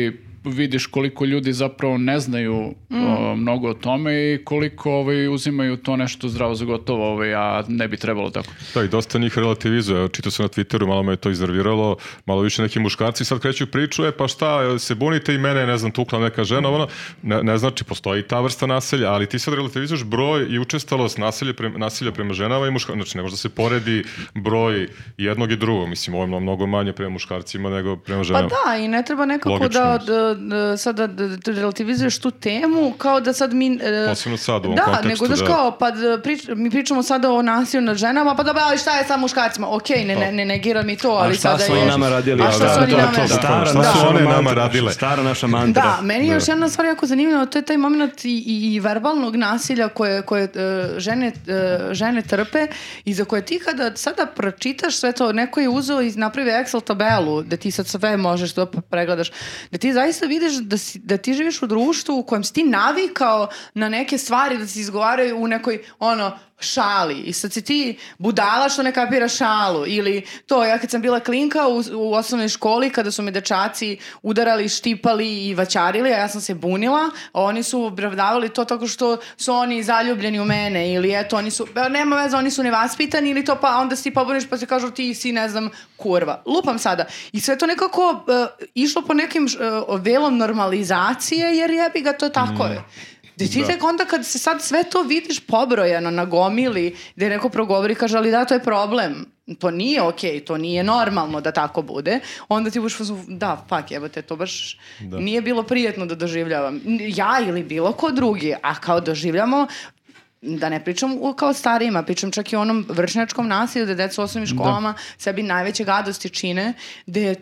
S3: vidiš koliko ljudi zapravo ne znaju
S4: Mhm.
S3: o, mnogo o tome i koliko ovaj, uzimaju to nešto zdravo za gotovo, ovaj, a ne bi trebalo tako.
S4: Da, i dosta njih relativizuje. Evo, Čitao sam na Twitteru, malo me je to iznerviralo, malo više neki muškarci sad kreću priču, e pa šta, jel se bunite i mene, je, ne znam, tukla neka žena, ono, ne, ne znači, postoji ta vrsta naselja, ali ti sad relativizuješ broj i učestalost naselja prema, nasilja prema ženama i muškarcima, znači ne može da se poredi broj jednog i drugog, mislim, ovo je mnogo manje prema muškarcima nego prema
S1: Pa
S4: ženama.
S1: da, i ne treba nekako
S4: Logično,
S1: da, da, da sada da, da relativizuješ tu temu kao da sad mi... e,
S4: Posebno sad u ovom
S1: da,
S4: kontekstu,
S1: nego znaš
S4: da.
S1: kao, pa da prič- mi pričamo sada o nasilju nad ženama, pa dobro, ali šta je sa muškarcima? Okej, ne,
S4: Pa.
S1: ne, ne negira mi to, ali
S2: a šta
S1: sada
S2: su
S1: je...
S2: oni nama radili?
S1: A šta
S4: da,
S1: su oni
S4: to je
S1: nama radili?
S4: to, da.
S2: Stara
S4: Šta su
S2: naša
S4: one nama
S2: mantra,
S4: radile?
S2: Stara naša mantra.
S1: Da, meni je još jedna stvar jako zanimljiva, to je taj moment i, i, i verbalnog nasilja koje, koje e, žene, e, žene trpe i za koje ti kada sada pročitaš sve to, neko je uzeo i napravio Excel tabelu da ti sad sve možeš da pregledaš, da ti zaista vidiš da, si, da ti živiš u društvu u kojem si ti navikao na neke stvari da se izgovaraju u nekoj ono šali i sad si ti budala što ne kapira šalu ili to ja kad sam bila klinka u, u osnovnoj školi kada su me dečaci udarali, štipali i vaćarili a ja sam se bunila a oni su opravdavali to tako što su oni zaljubljeni u mene ili eto oni su, e, nema veze oni su nevaspitani ili to pa onda si ti pobuniš pa se kažu ti si ne znam kurva, lupam sada i sve to nekako e, išlo po nekim š- e, velom normalizacije jer jebi ga to tako je Gde ti tek onda kad se sad sve to vidiš pobrojano na gomili, gde neko progovori i kaže, ali da, to je problem. To nije okej, to nije normalno da tako bude. Onda ti budeš, u fazonu, da, fuck, jebote, to baš nije bilo prijetno da doživljavam. N- Ja ili bilo ko drugi, a kao doživljamo da ne pričam u- kao starijima, pričam čak i o onom vršnjačkom nasilju da deca u osnovnim školama sebi najveće gadosti čine, da je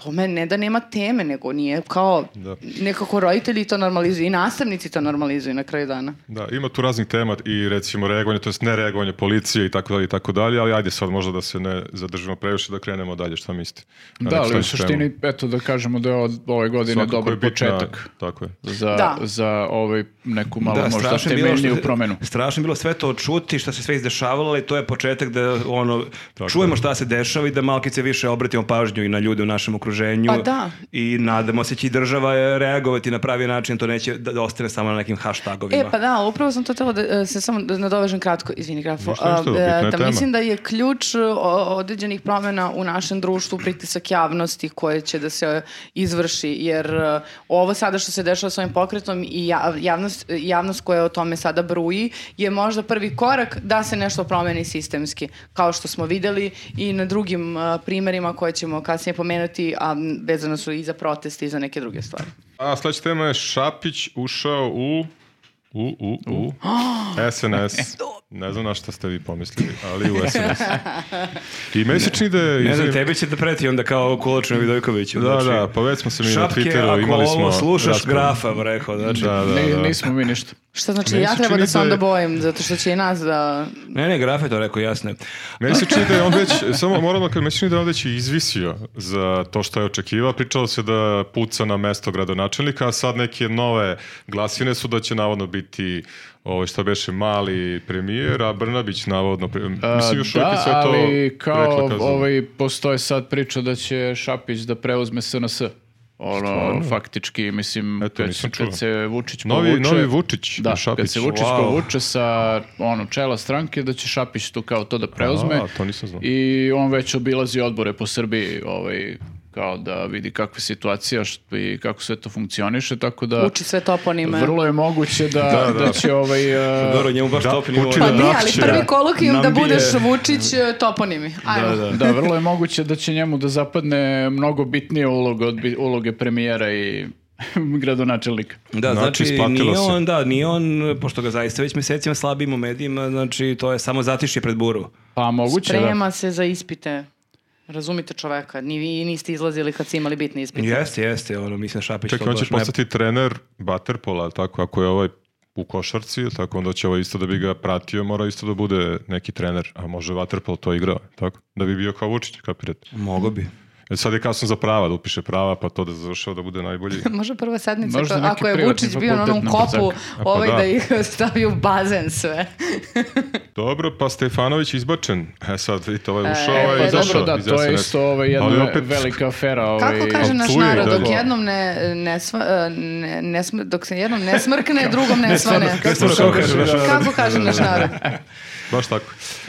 S1: tome ne da nema teme, nego nije kao
S4: Da.
S1: nekako roditelji to normalizuju i nastavnici to normalizuju na kraju dana.
S4: Da, ima tu raznih tema i recimo reagovanje, to jest nereagovanje policije i tako dalje i tako dalje, ali ajde sad možda da se ne zadržimo previše da krenemo dalje, šta mislite? Na
S3: Da,
S4: neku
S3: ali u
S4: sledeću temu.
S3: suštini, eto da kažemo da je od ove godine
S4: Svakako je
S3: dobar
S4: bitna-
S3: početak
S4: Tako je.
S3: za,
S1: Da.
S3: za ovaj neku malo možda
S2: strašno je bilo
S3: temeljniju
S2: što-
S3: promenu.
S2: Strašno je bilo sve to čuti, šta se sve izdešavalo i to je početak da ono, čujemo šta se dešava i da malkice više obratimo pažnju i na ljude u našem okruženju.
S1: Pa da.
S2: I nadamo se će i država e, reagovati na pravi način, to neće da, da ostane samo na nekim hashtagovima.
S1: E, pa da, upravo sam to tela da e, se samo da nadovežem kratko, izvini grafo,
S4: Ništa, ništa,
S1: A,
S4: bitna je
S1: da
S4: tema.
S1: mislim da je ključ e, o- određenih promjena u našem društvu pritisak javnosti koje će da se e, izvrši, jer e, ovo sada što se dešava s ovim pokretom i ja- javnost, javnost koja o tome sada bruji je možda prvi korak da se nešto promeni sistemski, kao što smo videli i na drugim e, primjerima koje ćemo kasnije pomenuti, a m, vezano su i za proteste i za neke druge stvari.
S4: A sledeća tema je Šapić ušao u u, u, u,
S3: E,
S4: SNS. Ne znam na šta ste vi pomislili, ali u SNS. I meni se čini da je...
S2: Ne znam,
S4: izjav-
S2: tebi će da preti onda kao Koločinu Vidojkoviću. znači
S4: Da, da, pa već smo se mi na
S2: šapke,
S4: Twitteru imali
S2: ako
S4: smo
S2: ovo slušaš,
S4: raspravu.
S2: grafa, bih rekao. Znači,
S4: Da, da,
S3: Ni-
S4: da.
S3: nismo mi ništa.
S1: Što znači,
S4: Meni
S1: ja
S4: se
S1: treba
S4: čini
S1: da se
S4: da je-
S1: onda bojim, zato što će i nas da...
S2: Ne, ne, graf je to rekao, jasno je.
S4: Meni se čini da je on već, samo moramo kad meni se čini da je on već i izvisio za to što je očekivao. Pričalo se da puca na mesto gradonačelnika, a sad neke nove glasine su da će navodno biti ovo što beše mali premijer, a Brnabić navodno pre... mislim još uvijek je
S3: da,
S4: sve to
S3: ali
S4: rekla
S3: kao
S4: kazala.
S3: ovaj, postoje sad priča da će Šapić da preuzme SNS. Ono, faktički, mislim,
S4: Eto,
S3: kad,
S4: nisam
S3: kad
S4: čuo.
S3: se Vučić
S4: Novi-
S3: povuče...
S4: novi Vučić,
S3: da,
S4: Šapić.
S3: kad se Vučić
S2: Wow.
S3: povuče sa ono, čela stranke, da će Šapić tu kao to da preuzme.
S4: A, to nisam znao.
S3: I on već obilazi odbore po Srbiji, ovaj, kao da vidi kakva je situacija št- i kako sve to funkcioniše, tako da...
S1: Uči sve toponime.
S3: Vrlo je moguće da, da, će ovaj... e,
S2: Pa Dobro, njemu baš
S4: Da,
S2: top nivo.
S4: uči
S1: Pa
S4: da
S1: nije, ali
S4: dakće.
S1: prvi kolokvijum
S3: Nam
S1: da
S3: bi je-
S1: budeš Vučić e, toponimi. Ajmo.
S3: Da, vrlo je moguće da će njemu da zapadne mnogo bitnije uloge od bi- uloge premijera i gradonačelnika.
S2: Da,
S4: Znači,
S2: znači,
S4: isplatilo
S2: nije
S4: se.
S2: on, da, nije on, pošto ga zaista već mesecima slabim u medijima, znači to je samo zatišje pred buru.
S3: Pa moguće da.
S1: Sprema se za ispite. Razumite čoveka, ni vi niste izlazili kad ste imali bitne ispite.
S2: Jeste, jeste, ono, mislim Šapić
S4: Čekaj,
S2: to
S4: on će
S2: baš ne-
S4: postati trener Waterpola, jel tako, ako je ovaj u košarci, jel tako, onda će ovaj isto da bi ga pratio, mora isto da bude neki trener, a može Waterpol to igrao, jel tako, da bi bio kao Vučić, kapirate.
S2: Mogo bi.
S4: E, Sad je kasno za prava, da upiše prava, pa to da završava da bude najbolji.
S1: Može prva sednica,
S3: Možda
S1: ako-
S3: neki
S1: ako je
S3: privatni
S1: Vučić bio na
S3: fakultet
S1: onom
S3: na
S1: kopu,
S4: pa
S1: ovaj
S4: da.
S1: da. ih stavi u bazen sve.
S4: Dobro, pa Stefanović izbačen. E sad, vidite, ovaj je ušao,
S1: e,
S4: ovaj
S1: pa
S4: je
S1: dobro,
S4: izašao
S3: da,
S4: iz
S3: to je
S4: SNS.
S3: isto ovaj, jedna
S4: Ali opet-
S3: velika afera. Ovaj,
S1: Kako kaže
S4: ali
S1: naš
S4: cuje i
S1: narod, dok
S4: dalje.
S1: jednom ne, ne, sva- e, ne- ne sm- dok se jednom ne smrkne, drugom ne svane.
S2: Stvarno, kako kaže naš narod?
S1: Kako kaže naš narod?
S4: Baš tako.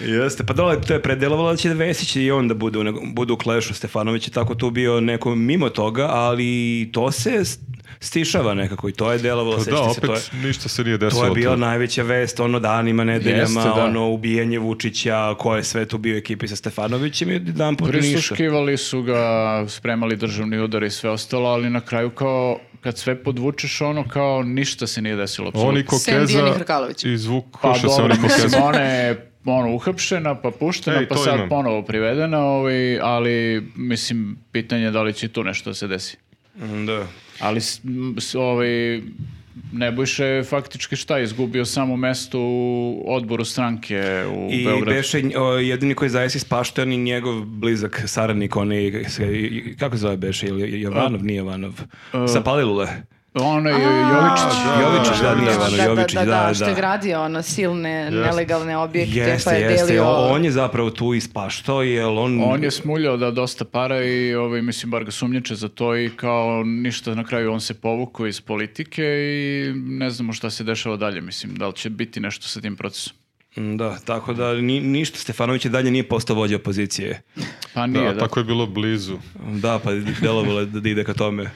S2: Jeste, pa dole to je predelovalo da će Vesić i on da bude u, nego- bude u klešu Stefanović je tako tu bio neko mimo toga, ali to se s- stišava nekako i to je delovalo,
S4: Pa da,
S2: sećate se,
S4: opet
S2: to je,
S4: ništa se nije
S2: to
S4: desilo.
S2: je bila
S4: tu.
S2: najveća vest, ono danima, nedeljama,
S3: Jeste, da.
S2: ono ubijanje Vučića, ko je sve tu bio u ekipi sa Stefanovićem i jedan put ništa.
S3: Prisluškivali su ga, spremali državni udar i sve ostalo, ali na kraju kao kad sve podvučeš ono kao ništa se nije desilo.
S4: Oni
S3: apsolutno.
S1: Sem Dijani
S4: kokeza
S1: Hrkalović.
S4: i zvuk
S3: Pa
S4: koša se
S3: dobro,
S4: oni kokeza.
S3: mislim, ona je ono, uhapšena, pa puštena,
S4: Ej,
S3: pa
S4: to
S3: sad
S4: imam.
S3: ponovo privedena, ovaj, ali mislim, pitanje je da li će tu nešto da se desi.
S2: Mm, Da.
S3: Ali s- m, s- ovaj, Nebojša je faktički šta, izgubio samo mesto u odboru stranke u
S2: I
S3: Beogradu.
S2: beše o, jedini koji je zaista ispašten i njegov blizak saradnik, onaj, s- i- kako se zove beše, ili Jovanov, nije Jovanov, sa Palilule.
S3: Ono je Jovičić.
S2: Jovičić, da, nije Jovanov, Jovičić, da, da.
S1: što je gradio ono silne, nelegalne objekte, pa
S2: Jeste,
S1: je
S2: jeste,
S1: delio...
S2: o- on je zapravo tu ispaštao, jer on...
S3: On je smuljao da dosta para i ovaj, mislim, bar ga sumnječe za to i kao ništa na kraju on se povukao iz politike i ne znamo šta se dešava dalje, mislim, da li će biti nešto sa tim procesom.
S2: Mm, Da, tako da ni, ništa, Stefanović je dalje nije postao vođa opozicije.
S3: Pa
S4: Da,
S3: nije, da.
S4: tako je bilo blizu.
S2: Da, pa delovalo je da ide ka tome.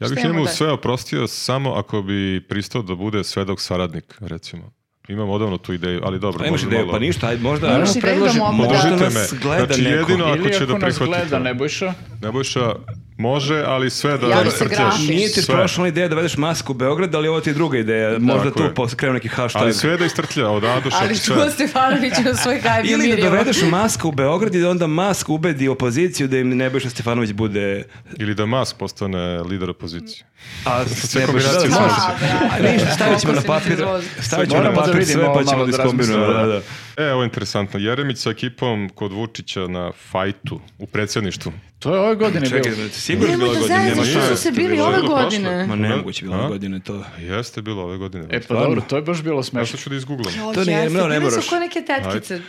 S4: Ja bih
S1: Šta imamo
S4: njemu
S1: dalje?
S4: sve oprostio samo ako bi pristao da bude svedok saradnik, recimo. Imam odavno tu ideju, ali dobro.
S2: Pa imaš
S4: možda
S2: ideju,
S4: malo-
S2: pa ništa, ajde, možda...
S1: Imaš ideju da ono, mu opravda?
S2: predloži- možda
S4: Podržite
S2: nas
S4: me.
S2: gleda
S4: Znači,
S2: neko.
S4: jedino-
S3: Ili
S4: ako će
S3: ako
S4: da
S3: nas
S4: prihvati
S3: gleda
S4: to.
S3: Nebojša,
S4: Nebojša, Može, ali sve da
S1: Javi se
S4: iscrcaš.
S1: grafis.
S2: Nije ti
S4: Sve.
S2: prošla ona ideja da vedeš masku u Beograd, ali ovo ti je druga ideja. Možda
S4: Tako
S2: tu
S4: je.
S2: pos- krenu neki hashtag.
S4: Ali sve da istrtlja od Aduša,
S1: Ali
S4: sve.
S1: čuo Stefanović u svoj hajb
S2: Ili da dovedeš masku u Beograd i da onda mask ubedi opoziciju da im Nebojša Stefanović bude...
S4: Ili da Musk postane lider opozicije.
S2: A
S4: sve kombinacije
S2: da,
S4: samo
S1: Pa,
S2: može.
S4: se-
S2: A ništa, stavit ćemo na papir, stavit ćemo na
S3: Moramo da
S2: papir
S3: vidimo
S2: sve pa ćemo
S3: malo
S2: da
S3: da razmislimo,
S2: iskombinujemo. Da,
S3: da.
S2: da.
S4: E, ovo je interesantno. Jeremić sa ekipom kod Vučića na fajtu u predsjedništvu.
S3: To je ove godine
S2: Čekaj,
S3: bilo.
S2: da, sigurno je
S1: Nemoj
S2: bila
S1: da
S2: godina, nema
S1: zajedno što
S2: šta.
S1: su
S4: šanse,
S1: se bili
S4: bilo je
S1: ove
S4: prošle.
S1: godine.
S2: Ma nemoguće bila
S4: A?
S2: godine to.
S4: Pa Jeste bilo ove godine.
S3: E pa
S2: Stvarno?
S3: dobro, to je baš bilo
S4: Pa
S3: smešno.
S4: što ću da izgooglam?
S2: To nije,
S1: Jeste,
S2: no, ne
S1: bili
S2: moraš.
S1: su ko neke tetkice. Da,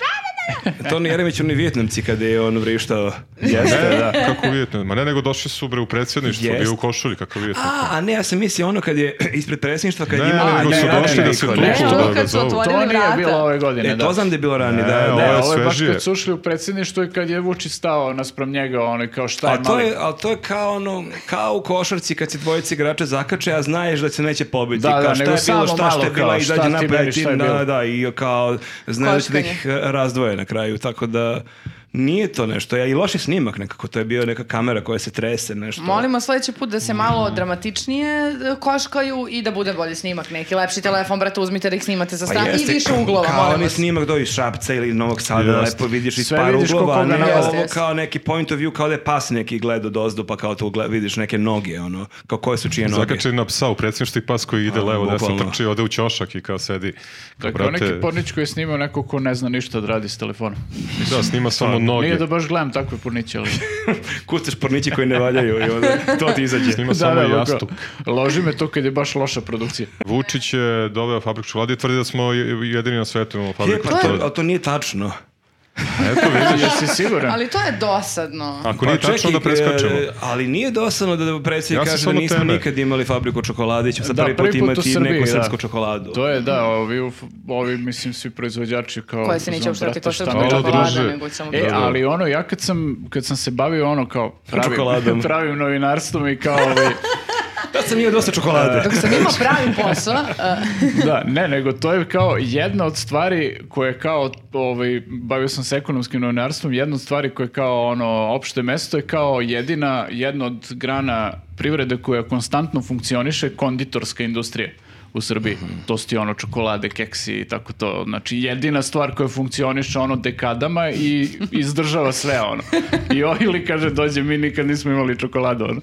S2: To ni Jeremić, ni Vjetnamci kada je on vrištao. Jeste,
S4: Ne,
S2: da.
S4: kako vidite. Ma ne, nego došli su bre u predsjedništvu,
S2: Jest.
S4: bio u košulji, kako vidite.
S2: A, a ne, ja sam mislio ono kad je ispred predsjedništva kad
S4: Ne,
S2: je imao...
S4: nego
S2: ne,
S4: su
S2: ne,
S4: došli
S2: ne,
S4: da se
S2: niko,
S4: tuku.
S2: ne.
S1: Ne,
S4: što
S1: ono
S4: da ga
S1: kad su
S4: zovu.
S1: otvorili
S3: To nije
S1: vrata.
S3: bilo ove godine,
S2: E,
S3: da.
S2: to znam da je bilo ranije, da,
S4: Ne,
S2: da.
S4: ovo je
S3: E,
S2: da.
S3: ovo je baš
S4: svežije.
S3: kad su ušli u predsjedništvo i kad je Vučić stao naspram njega, ono kao šta je
S2: A to
S3: mali.
S2: je, ali to je kao ono, kao u košarci kad se dvojice igrača zakače, a znaješ da se neće pobiti.
S3: Da,
S2: kao,
S3: da,
S2: šta
S3: nego
S2: je bilo,
S3: samo
S2: šta
S3: malo
S2: je
S3: kao,
S2: bila,
S3: šta
S2: izađe
S3: ti
S2: napred,
S3: meni,
S2: ti,
S3: šta je
S2: da,
S3: bilo.
S2: da, i kao, znaš da
S1: Kockanje.
S2: ih eh, razdvoje na kraju, tako da nije to nešto. Ja, I loši snimak nekako, to je bio neka kamera koja se trese, nešto.
S1: Molimo sledeći put da se malo dramatičnije e, koškaju i da bude bolji snimak neki. Lepši telefon, brate, uzmite da ih snimate sa strane i više uglova,
S2: Pa kao
S1: molim
S2: onaj
S1: vas.
S2: snimak do iz Šapca ili Novog Sada,
S4: Jeste.
S2: lepo vidiš iz
S3: Sve
S2: par
S3: vidiš ko
S2: uglova, a
S3: koga
S2: ne
S1: nalazi.
S2: ovo
S1: Jeste,
S2: kao neki point of view, kao da je pas neki gledao dozdu, pa kao tu gleda- vidiš neke noge, ono, kao koje su čije noge.
S4: Zakače na psa u predsjedništvu i pas koji ide
S2: A,
S4: levo, desno
S2: bukvalno.
S4: trči, ode u ćošak i kao sedi. Kao,
S3: Dakle, neki
S4: brate,
S3: pornić koji je snimao neko ko ne zna ništa da radi s telefonom.
S4: da, snima samo
S3: Pa, Nije
S4: noge.
S3: da baš gledam takve porniće, ali...
S2: kucaš pornići koji ne valjaju i onda to ti izađe.
S3: Da,
S4: Snima Pa samo
S3: da, bukvalno.
S4: jastuk.
S3: Loži me to kad je baš loša produkcija.
S4: Vučić je doveo fabriku čokolade i tvrdi da smo je- jedini na svetu imamo
S2: Je,
S4: fabriku
S2: pa
S4: čokolade.
S2: to, ali to nije tačno.
S4: Eto, vidiš.
S3: Jesi siguran?
S1: Ali to je dosadno.
S4: Ako nije
S2: Pa
S4: tačno,
S2: čekaj,
S4: onda preskačemo.
S2: e, Ali nije dosadno da predsjednik
S4: Ja sam
S2: kaže da
S4: samo
S2: nismo
S4: tebe.
S2: nikad imali fabriku čokolade i ćemo sad
S3: Da,
S2: prvi put
S3: prvi put u
S2: imati
S3: Srbiji,
S2: neku
S3: da.
S2: srpsku čokoladu.
S3: To je, da, ovi, uf- ovi mislim, svi proizvođači kao...
S1: Koje se neće
S3: znam,
S1: uštati
S3: brate,
S1: ko
S3: šta
S1: srpska
S3: mi
S4: Hvala,
S3: radimo?
S1: čokolada,
S4: druže.
S1: nego samo
S3: E,
S4: da.
S3: ali ono, ja kad sam, kad sam se bavio ono kao
S2: Čokoladom.
S3: pravim, pravim novinarstvom i kao ovi,
S2: Da sam nije dosta čokolade.
S1: Dok sam imao pravi posao, e,
S3: da, ne, nego to je kao jedna od stvari koje kao, ovaj, bavio sam se ekonomskim novinarstvom, jedna od stvari koje kao ono, opšte mesto je kao jedina, jedna od grana privrede koja konstantno funkcioniše, konditorska industrija u Srbiji.
S1: Mhm.
S3: To su ti ono čokolade, keksi i tako to. Znači jedina stvar koja funkcioniše ono dekadama i izdržava sve ono. I ovaj li kaže dođe mi nikad nismo imali čokoladu ono.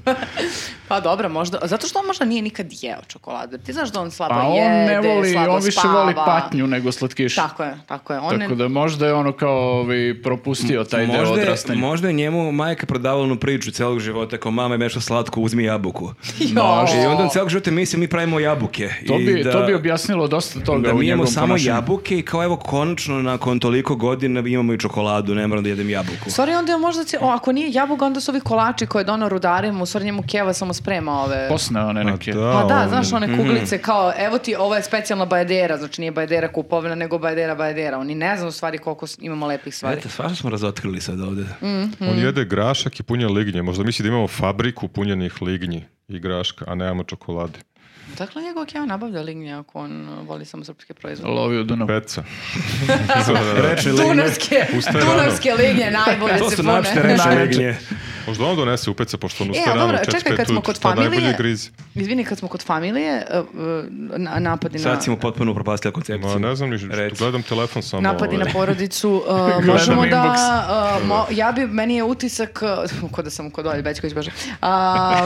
S1: pa dobro, možda, zato što on možda nije nikad jeo čokoladu. Ti znaš da on slabo
S3: Pa on
S1: jede,
S3: ne voli,
S1: slabo
S3: on više
S1: spava.
S3: voli patnju nego slatkiše.
S1: Tako je, tako je. On ne-
S3: Tako da možda je ono kao ovaj, propustio taj deo
S2: Možda je,
S3: odrastanja.
S2: možda je njemu majka prodavala onu priču celog života kao mama je mešla slatko, uzmi jabuku.
S1: Jo.
S2: I onda on celog života misli mi pravimo jabuke.
S3: To
S2: i
S3: bi,
S2: da-
S3: to bi objasnilo dosta toga
S2: da
S3: u
S2: mi imamo
S3: njegovom
S2: samo
S3: ponašanju.
S2: jabuke i kao evo konačno nakon toliko godina imamo i čokoladu, ne moram da jedem jabuku.
S1: U stvari onda je možda, cijel, o, ako nije jabuga, onda su ovi kolači koje dono rudarima, u stvari njemu keva samo sprema ove...
S3: Posne one neke.
S1: Pa da,
S4: on-
S1: znaš
S3: Mhm.
S1: one kuglice kao, evo ti, ovo je specijalna bajadera, znači nije bajadera kupovina, nego bajadera bajadera. Oni ne znaju u stvari koliko s- imamo lepih stvari.
S2: Eto, svašta smo razotkrili sad ovde.
S1: Mm. Hmm.
S4: On jede grašak i punja lignje. Možda misli da imamo fabriku punjenih lignji i graška, a nemamo čokolade.
S1: Dakle, njegov keva nabavlja lignje ako on uh, voli samo srpske proizvode.
S3: Lovi u Dunavu.
S4: Peca. Da, da, da.
S2: Rečni lignje.
S1: Dunavske,
S4: Ustaje rano.
S1: Dunavske lignje najbolje
S2: To
S1: se
S2: su
S1: pune.
S2: načne reče lignje.
S4: Možda on donese upeca, pošto on
S1: E,
S4: ustaje
S1: ali
S4: rano
S1: dobro,
S4: u četiri,
S1: čekaj,
S4: pet
S1: kad smo
S4: ujutru,
S1: kod
S4: pa najbolje
S1: familije-
S4: grizi.
S1: Izvini, kad smo kod familije, uh, uh, na- napadi na...
S2: Sad si mu potpuno upropastila koncepciju.
S4: Ma ne znam ništa,
S2: Reci.
S4: gledam telefon samo.
S1: napadi na
S4: ovaj.
S1: porodicu, uh, možemo
S3: Gledam
S1: da,
S3: inbox.
S1: uh, mo- ja bi, meni je utisak, uh, ko da sam kod Olje Bećković, bože, uh,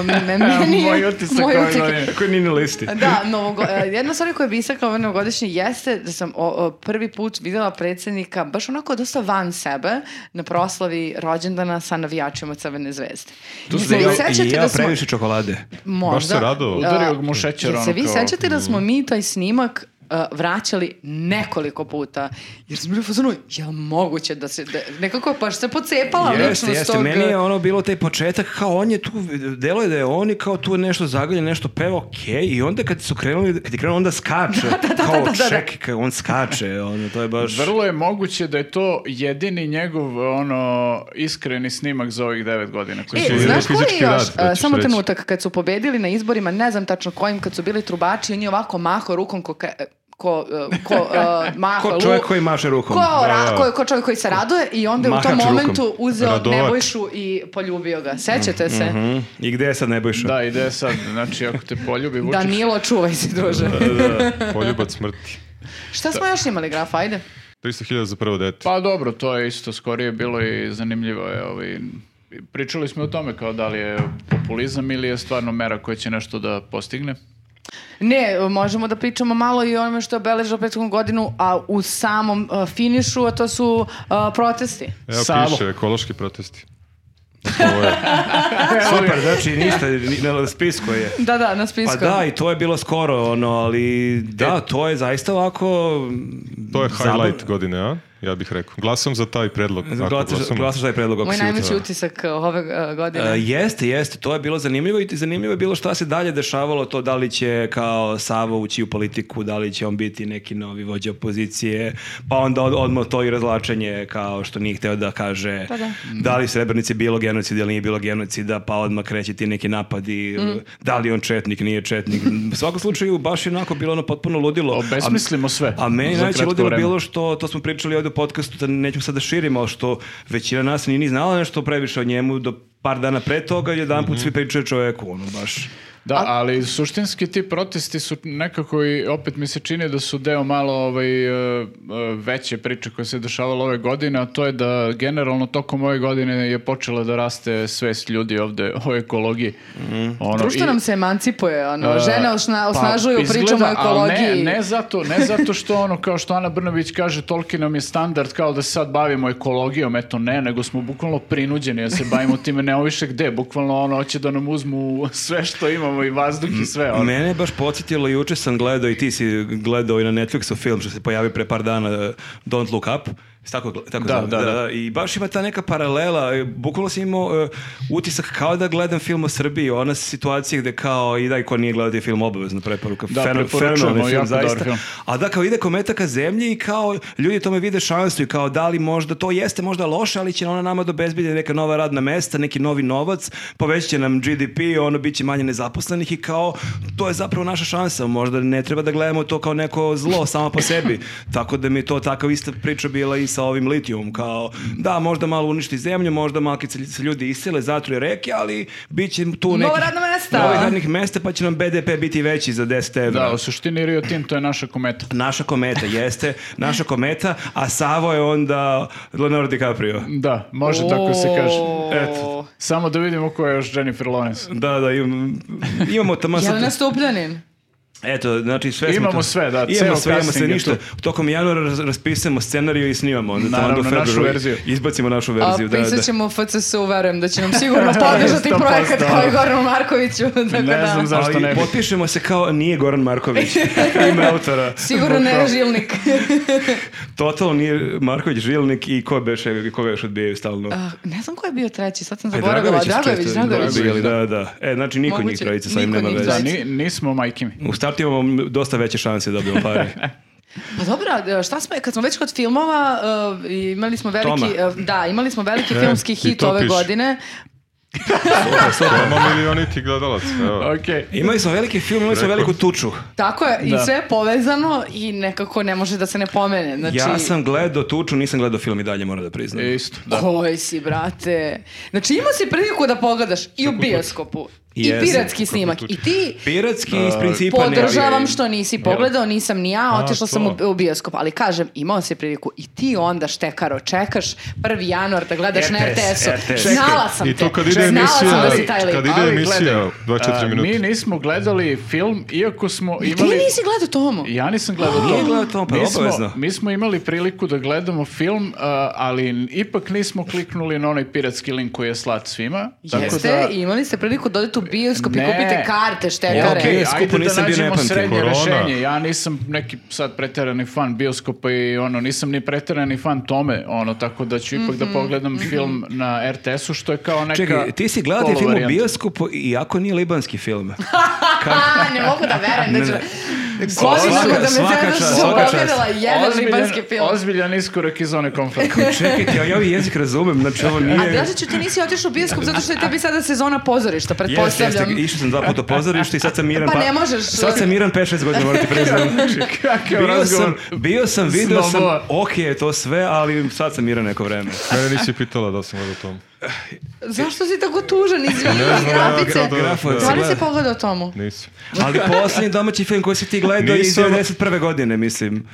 S1: me- meni je,
S3: Moj utisak
S1: moj
S3: ove
S1: utisak-
S3: godine.
S2: Kako nije na listi?
S1: Da, novogo, e, jedna stvar koja bi istakla ove novogodišnje jeste da sam o, o, prvi put videla predsjednika baš onako dosta van sebe na proslavi rođendana sa navijačima Crvene zvezde.
S3: Tu
S1: Jel
S3: su
S1: vi
S3: bili-
S1: sećate
S2: I
S1: da
S2: jeo
S1: smo-
S2: previše čokolade.
S1: Možda.
S4: Baš se radovao.
S1: A,
S3: Udario ga mu šećer,
S1: jel se
S3: ono
S1: vi
S3: kao-
S1: sećate da smo mi taj snimak a, vraćali nekoliko puta. Jer smo bili u fazonu, jel moguće da se, da, nekako je baš se pocepala
S2: Jeste,
S1: ličnost
S2: jeste.
S1: tog-
S2: Meni je ono bilo taj početak, kao on je tu, delo je da je on i kao tu nešto zagaljen, nešto peva, okej, i onda kad su krenuli, kad je krenuo, onda skače. kao,
S1: da, da, da.
S2: čekaj, kao on skače, ono, to je baš...
S3: Vrlo je moguće da je to jedini njegov ono iskreni snimak za ovih devet godina. Koji
S1: E,
S3: su
S4: Mislim,
S1: znaš
S4: je
S1: koji je
S4: fizički
S1: još,
S4: rad,
S1: e,
S4: hoćeš
S1: samo
S4: reći.
S1: trenutak, kad su pobedili na izborima, ne znam tačno kojim, kad su bili trubači, on je ovako mahao rukom ko, ka- ko, uh, ko uh, maha
S2: Ko čovjek koji maše rukom.
S1: Ko, ra,
S4: da.
S1: ko, ko čovjek koji se raduje i onda je u
S2: Mahač
S1: tom
S2: rukom.
S1: momentu uzeo
S4: Radovač.
S1: Nebojšu i poljubio ga. Sećate se?
S2: Mhm. I gde je sad Nebojša?
S3: Da, ide sad, znači ako te poljubi Vučić.
S1: Mhm. Danilo, čuvaj se, druže.
S4: Poljubac smrti.
S1: Šta smo još imali, graf? Ajde.
S4: 300.000 za prvo dete.
S3: Pa dobro, to je isto skorije bilo i zanimljivo je ovaj Pričali smo o tome kao da li je populizam ili je stvarno mera koja će nešto da postigne.
S1: Ne, možemo da pričamo malo i o onome što je obeležilo prethodnu godinu, a u samom uh, finišu, a to su uh, protesti.
S4: Evo
S3: Savo.
S4: piše, ekološki protesti. Znači, Ovo je.
S2: Super, znači ništa, ni- na spisku je.
S1: Da, da, na
S2: Pa
S1: spisku.
S2: da, i to je bilo skoro, ono, ali da, to je zaista ovako...
S4: To je
S2: zabav-
S4: highlight godine, a? Ja bih rekao. Glasam za taj predlog. Ako
S2: Glasaš,
S4: glasam-
S2: glasaš taj predlog ako
S1: Moj
S2: si u-
S1: najveći
S2: da.
S1: utisak uh, ove uh, godine.
S2: E, jeste, jeste, to je bilo zanimljivo i zanimljivo je bilo šta se dalje dešavalo, to da li će kao Savo ući u politiku, da li će on biti neki novi vođa opozicije, pa onda od, odmah to i razlačenje kao što nije hteo da kaže
S1: Pa da.
S2: li Srebrenici bilo genocida ili nije bilo genocida, pa odmah kreće ti neki napadi,
S1: Mhm.
S2: da li je on četnik, nije četnik. U svakom slučaju baš je onako bilo ono potpuno ludilo.
S3: Obesmislimo sve
S2: A meni
S3: za
S2: najveće
S3: kratko
S2: ludilo
S3: vreme.
S2: bilo što, to smo pričali ovdje u podcastu, da nećemo sad da širimo, ali što većina nas nije ni znala nešto previše o njemu do par dana pre toga i jedan
S3: Mhm.
S2: put svi pričaju o čoveku, ono baš.
S3: Da, ali suštinski ti protesti su nekako i opet mi se čini da su deo malo ovaj, e, e, veće priče koje se dešavalo ove godine, a to je da generalno tokom ove godine je počela da raste svest ljudi ovde o ekologiji. Ono,
S1: Društvo
S3: i-
S1: nam se emancipuje, ono,
S3: E,
S1: žene osna,
S3: pa,
S1: osnažuju pričom o
S3: izgleda, ali
S1: ekologiji.
S3: Ne, ne, zato, ne zato što ono, kao što Ana Brnović kaže, toliki nam je standard kao da se sad bavimo ekologijom, eto ne, nego smo bukvalno prinuđeni da se bavimo time, ne više gde, bukvalno ono, hoće da nam uzmu sve što imamo i vazduh i sve. Ono.
S2: Mene je baš podsjetilo, juče sam gledao i ti si gledao i na Netflixu film što se pojavio pre par dana, eh, Don't Look Up, Jesi tako, gl- tako
S3: Da,
S2: zove?
S3: da, da.
S2: I baš ima ta neka paralela, eh, bukvalno sam imao eh, utisak kao da gledam film o Srbiji, ona situacija gde kao i daj ko nije gledao taj film obavezno preporuka.
S3: Da,
S2: Feno-
S3: preporučujemo,
S2: fenomenalni
S3: jako dobar
S2: zaista.
S3: film.
S2: A da, kao ide kometa ka zemlji i kao ljudi tome vide šansu i kao da li možda to jeste možda loše, ali će ona nama dobezbiti neka nova radna mesta, neki novi novac, povećat će nam GDP, ono bit će manje nezaposlenih i kao to je zapravo naša šansa. Možda ne treba da gledamo to kao neko zlo samo po sebi. Tako da mi je to takav ista priča bila i sa ovim litijumom. Kao, da, možda malo uništi zemlju, možda malkice se ljudi isele, zatruje reke, ali bit će tu
S1: Nova
S2: nekih
S1: radna mesta.
S2: novih radnih mesta, pa će nam BDP biti veći za 10 evra.
S3: Da, u suštini Rio Tinto je naša kometa.
S2: Naša kometa, jeste, naša kometa, a Savo je onda Leonardo DiCaprio.
S3: Da, može tako se kaže.
S1: O.
S2: Eto.
S3: Samo da vidimo ko je još Jennifer Lawrence.
S2: Da, da, imam, imamo tamo sad-
S1: Jelena Stupljanin.
S2: Eto, znači sve smo
S3: Imamo
S2: tu-
S3: sve, da,
S2: imamo
S3: ceo
S2: sve, imamo sve
S3: casting je
S2: ništa. Tokom januara raz- raspisujemo scenariju i snimamo. Onda tamo
S3: Naravno,
S2: do
S3: našu
S2: februara
S3: verziju.
S2: Izbacimo našu
S1: A,
S2: verziju, da, da.
S1: pisat ćemo FCS-u, verujem da će nam sigurno podržati
S3: 100%.
S1: projekat kao i Goranu Markoviću. Tako
S3: Ne
S1: da,
S3: znam za- zašto
S2: Ali
S3: ne bi.
S2: potpišemo se kao nije Goran Marković, ime autora.
S1: Sigurno ne je žilnik.
S2: Totalno nije Marković Žilnik i ko beše, koga još odbijaju stalno.
S1: A, ne znam ko je bio treći, sad sam
S2: E,
S1: zaboravila.
S2: je
S1: Dragović,
S2: često-
S1: Dragović.
S2: Dragović, da, da. E, znači niko njih
S1: Moguće,
S2: trojica sa im
S1: niko
S2: nema
S1: njih
S2: veze.
S3: Da,
S1: Jeste.
S3: ni- nismo majkimi.
S2: U startu imamo dosta veće šanse da dobijemo pare.
S1: Pa dobro, a šta smo, kad smo već kod filmova, uh, imali smo veliki,
S2: Toma.
S1: uh, da, imali smo veliki
S4: E,
S1: filmski
S4: i
S1: hit
S4: to
S1: ove
S4: piše.
S1: godine.
S4: Imamo milioniti gledalac. Evo.
S3: Okej.
S2: Imali smo veliki film, imali smo
S4: Rekord.
S2: veliku tuču.
S1: Tako je, i
S3: Da.
S1: sve je povezano i nekako ne može da se ne pomene. Znači,
S2: Ja sam gledao tuču, nisam gledao film i dalje, moram da priznam.
S3: Isto, da.
S1: Koji Ovaj si, brate? Znači, imao si priliku da pogledaš i u bioskopu, i
S2: Jesam.
S1: piratski snimak, i ti
S2: Piratski iz principa ne
S1: podržavam
S2: vjerujem.
S1: što nisi pogledao, nisam ni ja,
S4: A,
S1: otišla
S4: to.
S1: sam u, u bioskop, ali kažem, imao si priliku i ti onda štekaro čekaš 1. januar da gledaš na
S2: RTS,
S1: RTS-u.
S2: RTS.
S1: Znala sam
S4: I
S1: te.
S4: to kad ide
S1: Znala sam
S4: emisija,
S1: da si taj lik.
S4: kad ide
S3: Ali
S4: emisija
S3: gledaj,
S4: 24
S3: a, Mi
S4: minuta.
S3: nismo gledali film, iako smo
S1: Ti
S3: imali...
S1: nisi gledao Tomu.
S3: Ja nisam gledao to.
S2: Nije gledao to, pa
S3: mi,
S2: obavezno.
S3: smo, mi smo imali priliku da gledamo film, uh, ali n- ipak nismo kliknuli na onaj piratski link koji je slat svima.
S1: Jeste,
S3: da,
S1: i imali ste priliku da odete u bioskop i
S3: Ne.
S1: kupite karte
S3: Ja,
S1: štekare.
S2: Ok,
S3: okej,
S2: skupo
S3: ajde da
S2: nisam bio, ne
S3: nađemo
S2: pamtim.
S3: srednje
S4: Korona.
S3: rešenje. Ja nisam neki sad preterani fan bioskopa i ono, nisam ni preterani fan tome, ono, tako da ću ipak da pogledam film na RTS-u, što je kao neka
S2: Čekaj, ti si gledao taj
S3: polu
S2: film u
S3: varijanta.
S2: bioskopu, iako nije libanski film.
S1: Pa, A, ne mogu da verujem da ću... Godinama da me
S2: Svaka
S1: Zena
S2: čast,
S1: što
S2: svaka čast.
S1: pogledala jedan ribanski film.
S3: ozbiljan iskorak iz zone komforta.
S2: Čekajte, ja, ja ovaj jezik razumem, znači ovo
S1: A
S2: nije...
S1: Dražiću, ti nisi otišao u bioskop zato što je tebi sada sezona pozorišta,
S2: Jeste, jeste,
S1: pretpostavljam.
S2: išao sam dva puta u pozorište i sad sam miran...
S1: Pa ne možeš.
S2: Sad sam miran 5-6 godina, moram ti priznam. Bio
S3: Kakav
S2: sam,
S3: razgovor?
S2: bio sam, video sam,
S3: Snobova.
S2: ok je to sve, ali sad sam miran neko vreme.
S4: Mene nisi pitala da sam gledao tom.
S1: Zašto si tako tužan, izvini,
S4: Ne znam,
S1: grafice.
S4: ja kao
S2: Grafo je
S1: Da li si
S2: Gledaj.
S1: pogledao tomu?
S4: Nisi.
S2: Ali posljednji domaći film koji si ti gledao je iz
S4: Nisam.
S2: 91. godine, mislim.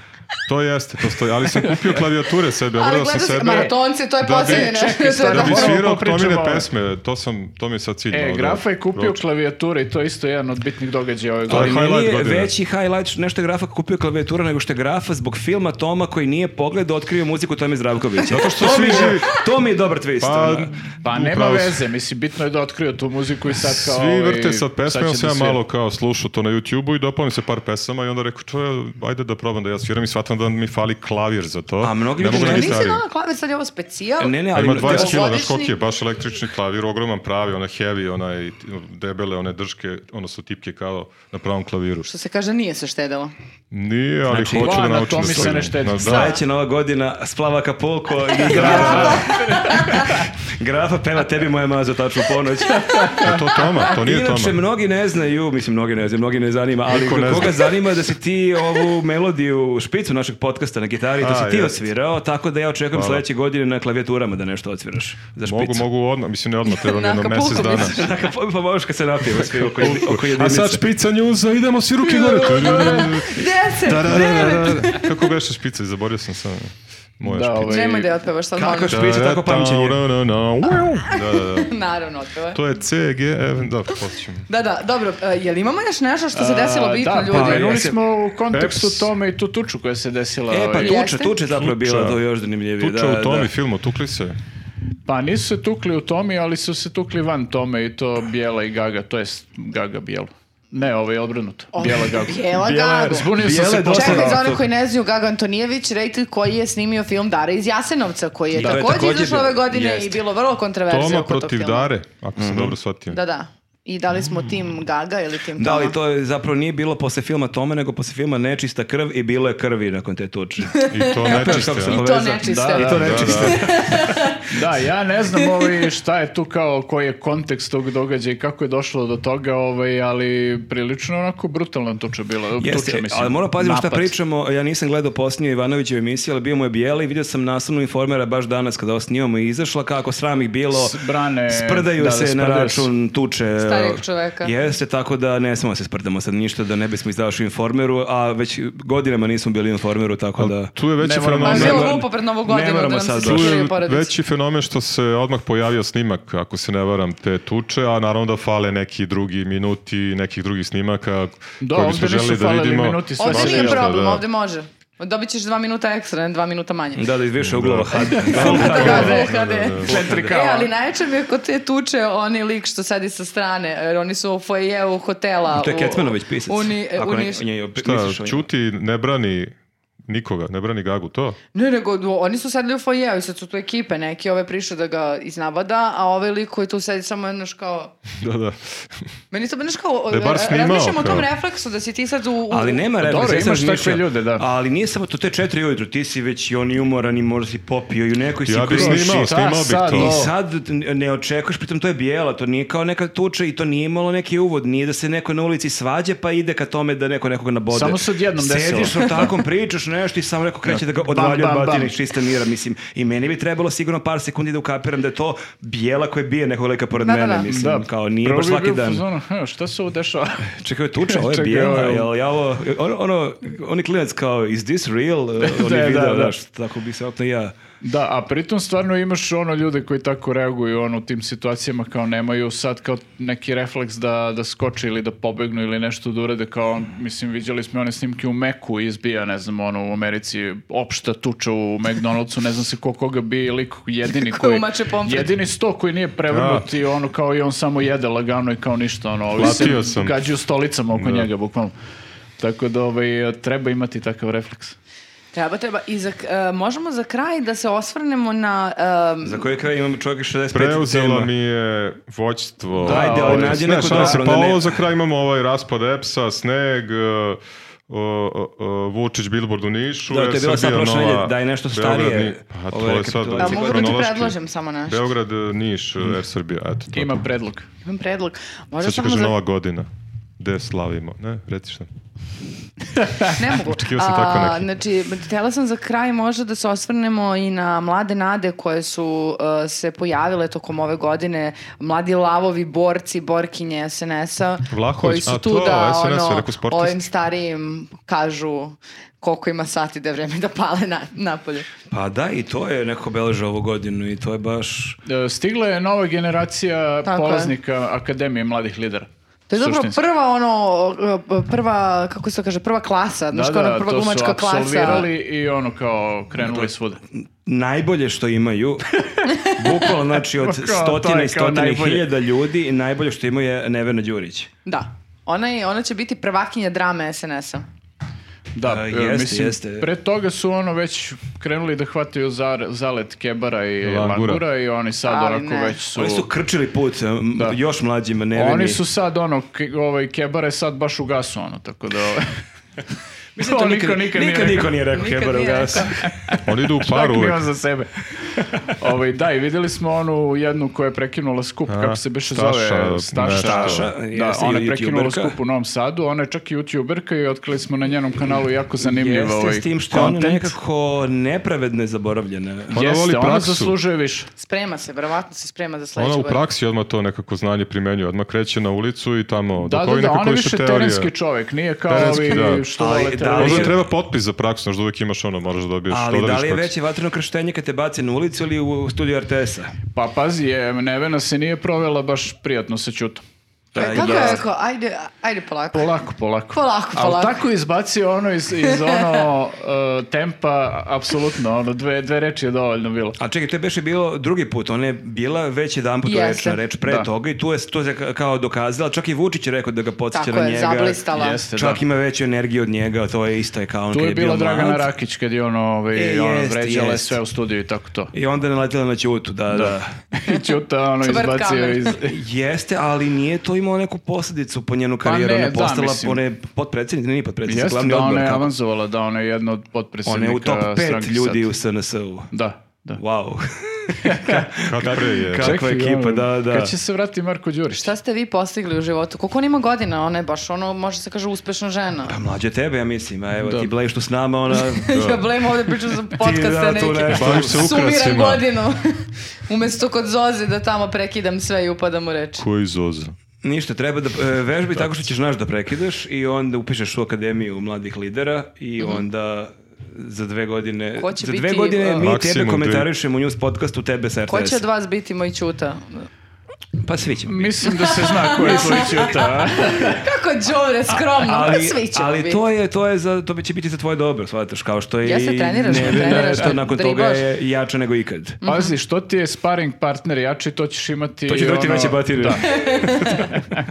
S4: To jeste, to stoji. Ali sam kupio klavijature sebi,
S1: Ali
S4: obrao
S1: gledao
S4: sam
S1: si
S4: sebe.
S1: maratonce, to je
S4: Da bi-
S1: posljednje nešto.
S3: stani,
S4: Da bi
S3: Moramo
S4: svirao
S3: popričamo
S4: Tomine
S3: ovo.
S4: pesme, to, sam, to mi je sad cilj.
S3: E,
S4: malo da-
S3: Grafa je kupio
S4: proču-
S3: klavijature i to je isto jedan od bitnih događaja ove
S4: To je
S3: godine.
S2: Ali meni je
S4: highlight godine.
S2: veći highlight što nešto je Grafa kupio klavijatura nego što je Grafa zbog filma Toma koji nije pogledao otkrio muziku Tome Zdravkovića. Zato
S4: što
S2: to mi,
S4: svi živi-
S2: je, to mi je dobar twist.
S4: Pa,
S2: ono.
S3: Pa nema
S4: upravo si.
S3: veze, mislim, bitno je da otkrio tu muziku i sad kao...
S4: Svi
S3: ovaj,
S4: vrte sad pesme,
S3: sad
S4: on
S3: će
S4: sam ja
S3: da svira.
S4: malo kao slušao to na YouTube-u i dopao mi se par pesama i onda rekao, čuje, ajde da probam da ja sviram i shvatam da mi fali klavir za to.
S2: A mnogi
S4: ne
S2: ljudi
S4: mogu
S1: Ja
S2: ne-
S4: na
S1: nisi
S4: gitari.
S1: dala klavir, sad je ovo specijal.
S2: Ne, ne,
S4: Ali
S2: ali
S4: ima 20 kila, znaš
S1: Ovogodišnji-
S4: koliki je, baš električni klavir, ogroman pravi, onaj heavy, onaj debele, one drške, odnosno tipke kao na pravom klaviru.
S1: Što se kaže, nije se štedelo.
S4: Nije, ali
S2: Znači,
S4: hoću
S3: va,
S4: da
S3: na
S4: naučim
S3: to
S4: da
S3: mi se
S4: sviram.
S3: ne štedi.
S4: Na- Da,
S2: Sledeća nova godina, splava Kapulko i Grafa. Grafa peva tebi moja mazo tačnu ponoć.
S4: je E, to Toma, to Pa nije Toma.
S2: Inače, mnogi ne znaju, mislim, mnogi ne znaju, mnogi ne zanima, ali
S4: Niko ne
S2: koga
S4: zna.
S2: zanima da si ti ovu melodiju, špicu našeg podcasta na gitari, to
S4: A,
S2: si ti
S4: jest.
S2: osvirao, tako da ja očekujem
S4: Hvala.
S2: sledeće godine na klavijaturama da nešto odsviraš za špicu.
S4: Mogu, mogu odmah, mislim ne odmah, treba mi
S1: Na
S4: jedno
S1: kapuku
S4: mesec dana.
S1: misliš?
S2: Dakle, pa- pa možeš kad se napijemo svi oko, jedi- oko
S4: A
S2: jedinice.
S4: sad špica njuza, idemo svi ruke gore.
S1: Deset,
S4: Da, da, da,
S1: devet.
S4: da, da. Kako beše špica, zaborio sam sam. Moja
S3: Da,
S4: špica.
S3: ovaj,
S1: Nemoj da je otpevaš sad,
S2: Kako
S1: molim.
S2: špica? tako pamćenje.
S4: Da, da, da, da.
S1: Naravno, otpevaj.
S4: To je C, G, F, da, posjećam.
S1: Da, da, dobro, e, je li imamo još nešto što se desilo
S3: A,
S1: bitno
S3: da,
S1: ljudi?
S2: pa,
S3: pomenuli
S2: jesi-
S3: smo u kontekstu
S4: Eps.
S3: tome i tu tuču koja se desila.
S2: E, pa
S3: ovaj,
S2: tuča,
S1: Jeste?
S2: tuča je zapravo bila
S4: Tuča.
S2: to još zanimljivije.
S4: Tuča
S2: da,
S4: u Tomi
S2: da.
S4: filmu, tukli se.
S3: Pa nisu se tukli u Tomi, ali su se tukli van Tome i to Bijela i Gaga, to jest Gaga Bijelu. Ne, ovo je obrnuto. Bijela Gaga.
S1: Ono, Bijela
S3: Bijela-
S1: Gaga.
S3: Zbunio sam
S2: Bijela
S3: se
S2: je
S3: posle.
S1: Čekaj,
S2: Dosta
S1: za one
S2: razlog.
S1: koji ne znaju, Gaga Antonijević, reditelj koji je snimio film Dara iz Jasenovca, koji je
S2: Da, to je
S1: također
S2: također
S1: izašao
S2: bio-
S1: ove godine i
S2: Jeste.
S1: bilo vrlo kontroverzije
S4: Toma
S1: oko tog
S4: protiv
S1: filma.
S4: Dare, ako
S2: Mhm.
S4: sam dobro shvatio.
S1: Da, da. I da li smo tim Gaga ili tim
S2: Da,
S1: Toma?
S2: ali to je zapravo nije bilo posle filma Tome, nego posle filma Nečista krv i bilo je krvi nakon te tuče.
S4: I to nečiste.
S2: Kako se
S1: I to
S2: poveza?
S1: nečiste.
S2: Da, i to nečiste.
S3: Da, ja ne znam ovaj, šta je tu kao, koji je kontekst tog događaja i kako je došlo do toga, ovaj, ali prilično onako brutalna tuča bila.
S2: Jeste,
S3: tuča, mislim.
S2: ali moramo paziti šta
S3: Napad.
S2: pričamo. Ja nisam gledao posljednju Ivanovićevu emisiju, ali bio mu je bijela i vidio sam naslovnu informera baš danas kada ovo snimamo i izašla kako sram ih bilo.
S3: S- brane,
S2: sprdaju
S3: da, da,
S2: se na
S3: sprdaju se.
S2: račun tuče.
S1: Starijeg čoveka.
S2: Jeste, tako da ne smemo se sprdamo sad ništa da ne bismo izdavaši informeru, a već godinama nismo bili u informeru, tako da...
S4: Tu je veći
S3: Ne moramo-
S1: Pa je
S4: fenomen.
S1: bilo
S2: Ne,
S1: glupo pred Novu
S2: ne
S1: godinu da
S2: moramo
S1: nam se
S2: sad
S4: Tu
S2: doći.
S1: sikiraju
S4: je
S1: porodice.
S4: veći fenomen što se odmah pojavio snimak, ako se ne varam, te tuče, a naravno da fale neki drugi minuti, nekih drugih snimaka
S3: Da,
S4: koje
S3: ovdje
S4: bismo
S3: nisu
S4: želeli da
S3: falili
S4: vidimo.
S3: minuti, sve
S1: Ovdje
S3: Baš
S1: nije
S3: jeste,
S1: problem,
S4: Da.
S1: ovdje može. Dobit ćeš dva minuta ekstra, ne dva minuta manje.
S2: Da, da iz više uglova HD.
S1: Da,
S2: Da,
S1: da, da.
S3: Četrikava.
S1: E,
S2: ono.
S1: ali najjače mi je kod te tuče onaj lik što sedi sa strane, jer oni su u foijeu hotela.
S2: To je
S1: u-
S2: Kecmanović pisac.
S1: u Ni-
S2: Ako
S1: u
S2: ne-
S1: Nišu.
S2: nje- misliš o
S4: Šta,
S2: njemu?
S4: Ćuti ne brani nikoga, ne brani Gagu, to?
S1: Ne, nego o, oni su sedeli u foijeu i sad su tu ekipe neke, ove prišle da ga iznabada, a ovaj lik koji tu sedi samo jedno kao...
S4: Da, da.
S1: Meni to znaš kao...
S4: Da je E, bar
S1: ra-
S4: snimao,
S1: razmišljam o tom
S4: kao.
S1: refleksu da si ti sad u... u-
S2: Ali nema
S3: Pa Dobro,
S2: replika. sad sam
S3: imaš takve
S2: razmišljao.
S3: ljude, da.
S2: Ali nije samo to, to je četiri ujutru, ti si već i on i umoran i možda si popio i u nekoj si
S4: Ja bih
S2: kroši.
S4: snimao,
S3: šta
S4: snimao bih
S3: sad,
S2: I
S4: to.
S3: ovo?
S2: sad ne očekuješ, pritom to je bijela, to nije kao neka tuča i to nije imalo neki uvod, nije da se neko na ulici svađa pa ide ka tome da neko nekoga nabode.
S3: Samo se odjednom desilo.
S2: Sediš u takvom, pričaš nešto i samo neko kreće da ga odvaljuje
S3: bam,
S2: od batine
S3: bam.
S2: iz čista mira, mislim. I meni bi trebalo sigurno par sekundi da ukapiram da je to bijela koja bije nekog leka pored
S1: Da, da,
S2: mene,
S1: da.
S2: mislim.
S3: Da,
S2: Kao nije
S3: prvo
S2: baš
S3: bi
S2: svaki
S3: bio u
S2: dan.
S3: fazonu, "Hm, šta se ovo dešava?
S2: Čekaj, ovo je tuča, ovo je
S3: Čekaj, ovo
S2: bijela,
S3: je-
S2: jel ja ovo, ono, ono, oni klinac kao, is this real? Eh, On
S3: Da,
S2: je video,
S3: da, da.
S2: znaš, tako bi se opno i ja.
S3: Da, a pritom stvarno imaš ono ljude koji tako reaguju ono, u tim situacijama kao nemaju sad kao neki refleks da, da skoče ili da pobegnu ili nešto da urade kao, mislim, viđali smo one snimke u Meku izbija, ne znam, ono u Americi opšta tuča u McDonald'su, ne znam se ko koga bi lik jedini
S1: Ko
S3: koji,
S1: umače pomfrit.
S3: jedini sto koji nije prevrnut i ono kao i on samo jede lagano i kao ništa, ono, ovi se
S4: Platio sam.
S3: gađaju stolicama oko
S4: Da.
S3: njega, bukvalno. Tako da ovaj, treba imati takav refleks.
S1: Treba, treba. I za, e, možemo za kraj da se osvrnemo na... e, em,
S2: Za koji kraj imam čovjek 65
S4: Preuzela
S2: tema.
S4: mi je Ovaj, vođstvo.
S2: Da,
S3: ajde, ali
S4: Ovo je-
S2: nađi
S4: ne,
S2: neko
S4: šanse,
S2: dobro,
S4: Pa
S2: onda ne-
S4: ovo za kraj imamo ovaj raspad EPS-a, sneg, e, o, o, o, Vučić Billboard u Nišu,
S2: Da, to je bila sad
S4: Srbija
S2: prošle
S4: nova,
S2: nedelje, daj nešto
S4: Beograd,
S2: starije,
S4: Ni- Pa
S2: ovo
S4: to je sad
S2: rekapitulacija.
S1: A mogu da ti
S4: kronološki.
S1: predlažem samo nešto?
S4: Beograd, Niš, Air Srbija, eto to.
S3: Ima predlog.
S1: Imam predlog. Možda
S4: Sad ću
S1: samo
S4: kažem
S1: za...
S4: nova godina. Gde slavimo? Ne, reci šta.
S1: Ne mogu.
S4: Očekivao sam tako neki.
S1: Znači, htjela sam za kraj možda da se osvrnemo i na mlade nade koje su uh, se pojavile tokom ove godine. Mladi lavovi, borci, borkinje SNS-a.
S4: Vlahović,
S1: koji su
S4: a
S1: tu
S4: to,
S1: da
S4: SNS, je
S1: ono,
S4: rekao sportist.
S1: ovim starijim kažu koliko ima sati da je vreme da pale na, napolje.
S2: Pa da, i to je neko beleže ovu godinu i to je baš...
S3: E, Stigla je nova generacija
S1: Tako je.
S3: polaznika Akademije mladih lidera.
S1: To je zapravo
S3: Suštinski.
S1: prva ono, uh, prva, kako se to kaže, prva klasa, znaš, kao ona prva
S3: to su
S1: glumačka klasa.
S3: apsolvirali i ono kao krenuli svuda.
S2: Najbolje što imaju, bukvalno znači od
S3: Pa Kao, to je
S2: stotina
S3: kao
S2: i stotina
S3: najbolje.
S2: hiljada ljudi, najbolje što imaju je Nevena Đurić.
S1: Da. Ona, je, ona će biti prvakinja drame SNS-a.
S3: Da,
S2: A,
S3: e,
S2: jeste,
S3: mislim,
S2: jeste.
S3: pre toga su ono već krenuli da hvataju za, zalet Kebara i Langura,
S4: Langura.
S3: i oni sad
S1: Ali
S3: onako
S1: ne.
S3: već su...
S2: Oni su krčili put eh, m,
S3: Da.
S2: još mlađima Neveni.
S3: Oni su sad ono, ke- ovaj, Kebara je sad baš u gasu ono, tako da...
S2: Mislim, to
S3: To
S2: nikad, nikad, niko nije rekao
S1: Nikad
S2: Hebera u
S1: nije
S2: gasu.
S1: rekao.
S4: Oni idu u
S3: Čak
S4: paru
S3: ni
S4: uvek.
S3: on za sebe. Ovaj, da, i vidjeli smo onu jednu koja je prekinula skup, kako se beše
S4: Staša,
S3: zove,
S4: nešto.
S3: Staša.
S2: Staša,
S3: Da,
S2: jeste,
S3: ona je
S2: i
S3: prekinula
S2: youtuberka.
S3: skup u Novom Sadu, ona je čak i youtuberka i otkrili smo na njenom kanalu jako zanimljiv
S2: Jeste
S3: ovaj
S2: s tim što je ona
S3: content.
S2: nekako nepravedno je zaboravljena.
S4: Pa Ona
S3: Jeste,
S4: voli
S3: ona
S4: praksu.
S3: zaslužuje više.
S1: Sprema se, verovatno se sprema za sledeću
S4: Ona Ono, u
S1: godinu.
S4: praksi odmah to nekako znanje primenjuje, odmah kreće na ulicu i tamo.
S3: Da,
S4: dok
S3: da,
S4: ovi
S3: da,
S4: nekako
S3: on je
S4: više
S3: više
S4: teorije.
S3: terenski čovjek, nije kao
S4: Terenski,
S3: ovi
S4: da.
S3: što
S2: Ali
S3: vole
S2: da
S3: teorije.
S2: li
S4: Možda
S2: je-
S4: treba potpis za praksu, znaš da uvijek imaš ono, moraš da dobiješ,
S2: Ali
S4: da
S2: da
S4: odradiš
S2: li je
S4: praksu.
S2: veće vatreno krštenje kad te bace na ulicu ili u studiju RTS-a?
S3: Pa pazi, je, Nevena se nije provela baš prijatno sa Ćutom.
S1: E, Kako je rekao? Ajde, ajde polako.
S3: Polako, polako.
S1: Polako, polako.
S3: Ali tako izbacio ono iz, iz ono e, tempa, apsolutno, ono, dve, dve reči je dovoljno bilo.
S2: A čekaj, to je beše bilo drugi put, ona je bila već jedan put
S1: Jeste.
S2: rečna reč pre
S3: Da.
S2: toga i tu je to se ka- kao dokazala, čak i Vučić je rekao da ga podsjeća
S1: Tako
S2: na
S1: je,
S2: njega.
S1: zablistala.
S3: Jeste,
S2: Čak
S3: da.
S2: ima veću energiju od njega, to je isto je kao on
S3: Tu
S2: kad
S3: je bila
S2: bio
S3: Dragana
S2: mlad.
S3: Rakić kad je ono, ovaj,
S2: E,
S3: ono
S2: jest,
S3: vređala
S2: jest.
S3: sve u studiju i tako to.
S2: I onda je naletela na Ćutu, da, da.
S3: I Ćuta ono
S1: Čvrt
S3: izbacio
S1: kamen.
S3: iz...
S2: Jeste, ali nije to imalo neku posljedicu po njenu karijeru.
S3: Pa ne,
S2: ona je
S3: da,
S2: postala
S3: mislim.
S2: one potpredsjednica, nije potpredsjednica,
S3: Jeste
S2: glavni
S3: da ona
S2: odbor.
S3: je
S2: kako?
S3: avanzovala, da ona je jedna od potpredsjednika
S2: Ona je u top 5
S3: stranke
S2: ljudi
S3: sad.
S2: u SNS-u.
S3: Da, da.
S2: Wow.
S4: Kad pre je.
S2: Kakva
S3: Čekaj,
S2: ekipa,
S3: ono,
S2: da, da.
S3: Kad će se vratiti Marko Đurić?
S1: Šta ste vi postigli u životu? Koliko on ima godina? Ona je baš ono, može se kaže, uspešna žena.
S2: Pa mlađe tebe, ja mislim. A evo,
S3: Da.
S2: ti blejiš tu s nama, ona...
S1: ja blem ovde pričam za podcaste
S2: Pa, da, tu
S1: neke.
S2: nešto.
S4: Baviš se
S1: Sumiram
S4: ukrasima.
S1: godinu. Umesto kod Zoze da tamo prekidam sve i upadam u reč.
S4: Koji zoza.
S2: Ništa, treba da e, vežbi tako što ćeš znaš da prekidaš i onda upišeš u Akademiju mladih lidera i onda za dve godine...
S1: Mhm. Ko će
S2: za dve
S1: biti,
S2: godine
S1: uh,
S2: mi
S4: Maksimum
S2: tebe
S4: tri.
S2: komentarišemo u news podcastu, tebe sa RTS.
S1: Ko će od vas biti moj čuta?
S2: Pa svi ćemo biti.
S3: Mislim da se zna ko je koji Ćuta. a?
S1: Kako Đore, skromno, svi ćemo
S2: ali
S1: biti.
S2: to je to je za to će biti za tvoje dobro, shvataš, kao što je
S1: Ja se
S2: i
S1: treniraš,
S2: Nevena,
S1: treniraš,
S2: što nakon toga
S1: driblaš.
S2: je jača nego ikad.
S3: Pazi, što ti je sparing partner jači, to ćeš imati...
S2: To će dobiti
S3: ono,
S2: veće baterije.
S3: Da.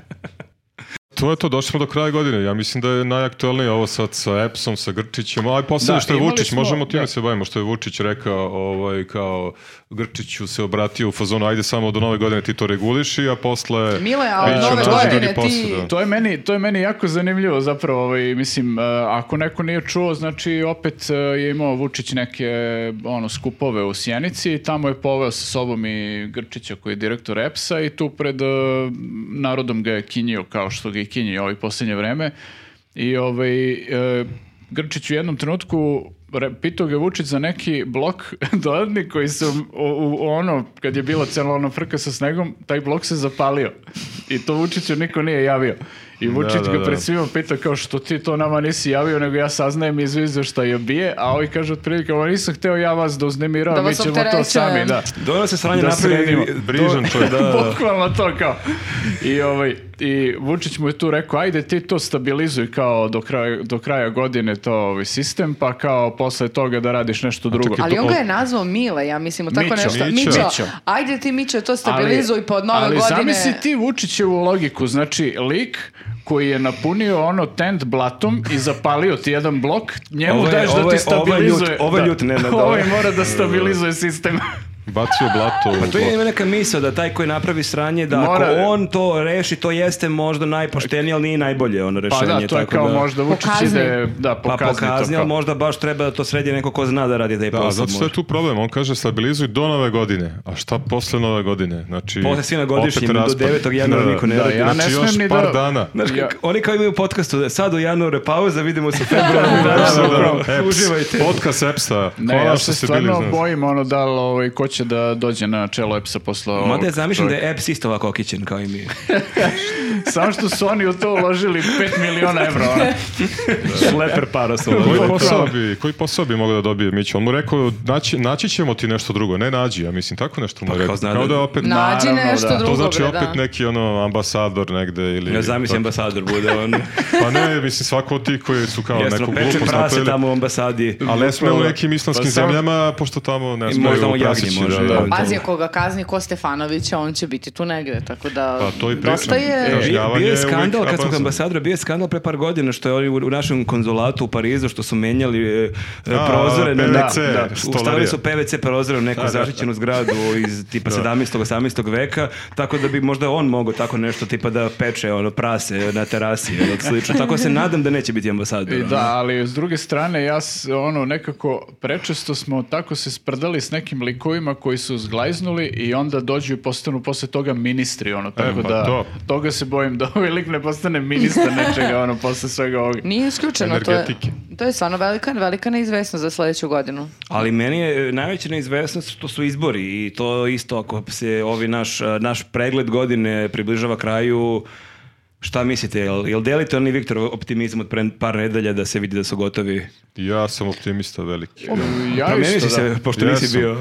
S4: To je to, došli smo do kraja godine. Ja mislim da je najaktuelnije ovo sad sa Epsom, sa Grčićem, a
S3: Da,
S4: posebno što je
S3: imali
S4: Vučić,
S3: smo-
S4: možemo time
S3: da.
S4: se bavimo, što je Vučić rekao, ovaj, kao Grčiću se obratio u fazonu, ajde samo do nove godine ti to reguliši, a posle...
S1: Mile, a od
S4: bit ću
S1: nove
S4: nađeni
S1: godine
S4: posle,
S1: ti-
S4: da.
S3: To je meni, to je meni jako zanimljivo zapravo, ovaj, mislim, e, ako neko nije čuo, znači opet e, je imao Vučić neke ono skupove u Sjenici i tamo je poveo sa sobom i Grčića koji je direktor EPS-a i tu pred e, narodom ga je kinjio kao što ga je kinjio ovaj posljednje vreme. I ovaj, e, Grčić u jednom trenutku re- pitao ga Vučić za neki blok dodatni koji su u, u- ono, kad je bila cela ona frka sa snegom, taj blok se zapalio. I to Vučiću niko nije javio. I Vučić
S4: da,
S3: ga
S4: da.
S3: pred svima pitao kao što ti to nama nisi javio, nego ja saznajem iz izveštaja je bije, a ovi kaže otprilike, ovo nisam hteo ja vas da uznemiravam,
S1: Da
S3: mi
S1: vas
S3: ćemo to
S1: opterećujem."
S3: sami, da.
S2: Dobro se sranje
S3: Da se
S2: napravi.
S3: redimo.
S4: Brižan čovjek.
S2: Da, da.
S3: Bukvalno to kao. I, ovaj, I Vučić mu je tu rekao, ajde ti to stabilizuj kao do kraja, do kraja godine to ovaj sistem, pa kao posle toga da radiš nešto drugo.
S4: čekaj,
S1: Ali
S4: to-
S1: on ga je nazvao Mile, ja mislim, u tako
S3: Mićo.
S1: nešto.
S4: Mićo.
S1: Mićo,
S3: Mićo.
S1: ajde ti Mićo, to stabilizuj pa od nove
S3: ali
S1: godine.
S3: zamisli ti Vučićevu logiku, znači lik koji je napunio ono tent blatom i zapalio ti jedan blok, njemu
S2: Ovo je-
S3: daješ da
S2: ovo
S3: ti
S2: je- ovo je ljut,
S3: stabilizuje.
S2: ovo je ljut, Nenad, ovo je-
S3: Ovaj mora da stabilizuje sistem.
S4: bacio blato u
S2: Pa tu je
S4: blok.
S2: ima neka misla da taj koji napravi sranje, da
S3: Mora-
S2: ako on to reši, to jeste možda najpoštenije, ali nije i najbolje ono
S3: Pa
S2: rešenje.
S3: da, to je
S2: tako
S3: kao
S2: da-
S3: možda Vučić
S1: Pokazni.
S3: ide da
S2: Pa
S3: pokazni,
S2: pokazni,
S3: to
S2: ali
S3: kao.
S2: možda baš treba da to sredi neko ko zna da radi taj posao.
S4: Da, zato što je
S2: možda.
S4: tu problem. On kaže stabilizuj do nove godine. A šta posle nove godine? Znači,
S2: Posle svi na godišnjem,
S4: opet
S2: do 9.
S4: raspad.
S2: januara
S4: Da,
S2: niko ne
S4: da.
S2: radi.
S3: Ja ne
S4: znači,
S3: smem
S4: još
S3: ni
S4: par
S3: da-
S4: dana.
S2: Znaš,
S3: Ja-
S2: kako- oni kao imaju u podcastu, da sad u januare pauza, vidimo se u februaru.
S4: Da, da,
S2: Upravo,
S4: da. Eps,
S2: Uživajte.
S4: Podcast Epsa.
S3: Ne,
S4: Hvala
S3: ja
S4: što
S3: se
S4: ste bili.
S3: stvarno
S4: uz nas.
S3: bojim ono da li ovaj, ko će da dođe na čelo EPS-a posle ovog.
S2: Mada ja zamišljam da
S3: čovjeka.
S2: je Eps isto ovako okićen kao i mi.
S3: Samo što su oni u to uložili 5 miliona evra. Ono.
S2: Šleper para su
S4: Koji
S2: ovo.
S4: posao bi, koji posao bi mogao da dobije Mićo? On mu rekao, naći, naći ćemo ti nešto drugo. Ne nađi, ja mislim, tako nešto mu je
S2: Pa kao
S4: rekao.
S2: zna
S4: Kao
S2: da-
S4: da je opet...
S1: Nađi
S3: Naravno,
S1: nešto
S3: da. To
S1: drugo,
S4: To znači
S1: bre,
S4: opet
S1: da.
S4: neki ono ambasador negde ili...
S2: Ja zamislim ambasador bude on.
S4: Pa ne, mislim, svako od tih koji su kao
S2: Jesno,
S4: neku
S2: peče
S4: glupost
S2: prase
S4: napravili.
S2: tamo u ambasadi.
S4: Ali ne sme u nekim
S3: Pa
S4: islamskim
S3: sam-
S4: zemljama, pošto tamo ne
S2: I možda
S4: smeju
S2: mu jagnje
S4: prasići.
S2: može,
S4: Da,
S2: da.
S4: da.
S2: Pa,
S1: Pazi, ako ga kazni ko Stefanovića, on će biti tu negde, tako da...
S4: Pa to i pričam.
S1: Dosta je... e,
S4: Kaže,
S2: Bio, bio
S4: Kažnjavanje je
S2: je
S4: uvijek
S2: skandal, kad smo
S4: avanzan.
S2: kod ambasadora, bio je skandal pre par godina što je oni u, u našem konzulatu u Parizu što su menjali e, e,
S4: A,
S2: prozore. na-
S4: PVC,
S2: da, Ustavili
S4: stolarija.
S2: su PVC prozore u neku zaštićenu zgradu iz tipa 17. 18. veka, tako da bi možda on mogao tako nešto tipa da peče ono prase na terasi ili slično. Tako se nadam da neće biti ambasador.
S3: I
S2: ono.
S3: da, ali s druge strane, ja s- ono nekako prečesto smo tako se sprdali s nekim likovima koji su zglajznuli i onda dođu i postanu posle toga ministri, ono, tako
S4: pa
S3: da
S4: to.
S3: toga se bojim da ovaj lik ne postane ministar nečega, ono, posle svega ovoga.
S1: Nije isključeno, to je,
S4: Energetike.
S1: to je stvarno velika, velika neizvesnost za sledeću godinu.
S2: Ali meni je e, najveća neizvesnost što su izbori i to isto ako se ovi naš, a, naš pregled godine približava kraju, šta mislite, jel, jel delite oni Viktor optimizam od pre par nedelja da se vidi da su gotovi?
S4: Ja sam optimista veliki.
S3: Ja
S2: Promijeni si
S3: isto, da.
S2: se, pošto nisi
S4: Jesam.
S2: bio.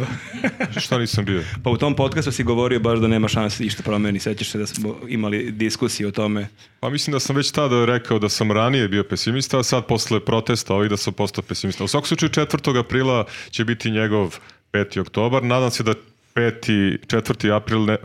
S4: Šta nisam bio?
S2: Pa u tom podcastu si govorio baš da nema šanse išta promeni, sećaš se da smo imali diskusiju o tome.
S4: Pa mislim da sam već tada rekao da sam ranije bio pesimista, a sad posle protesta ovih da sam postao pesimista. U svakom slučaju 4. aprila će biti njegov 5. oktobar. Nadam se da 5. 4. april ne,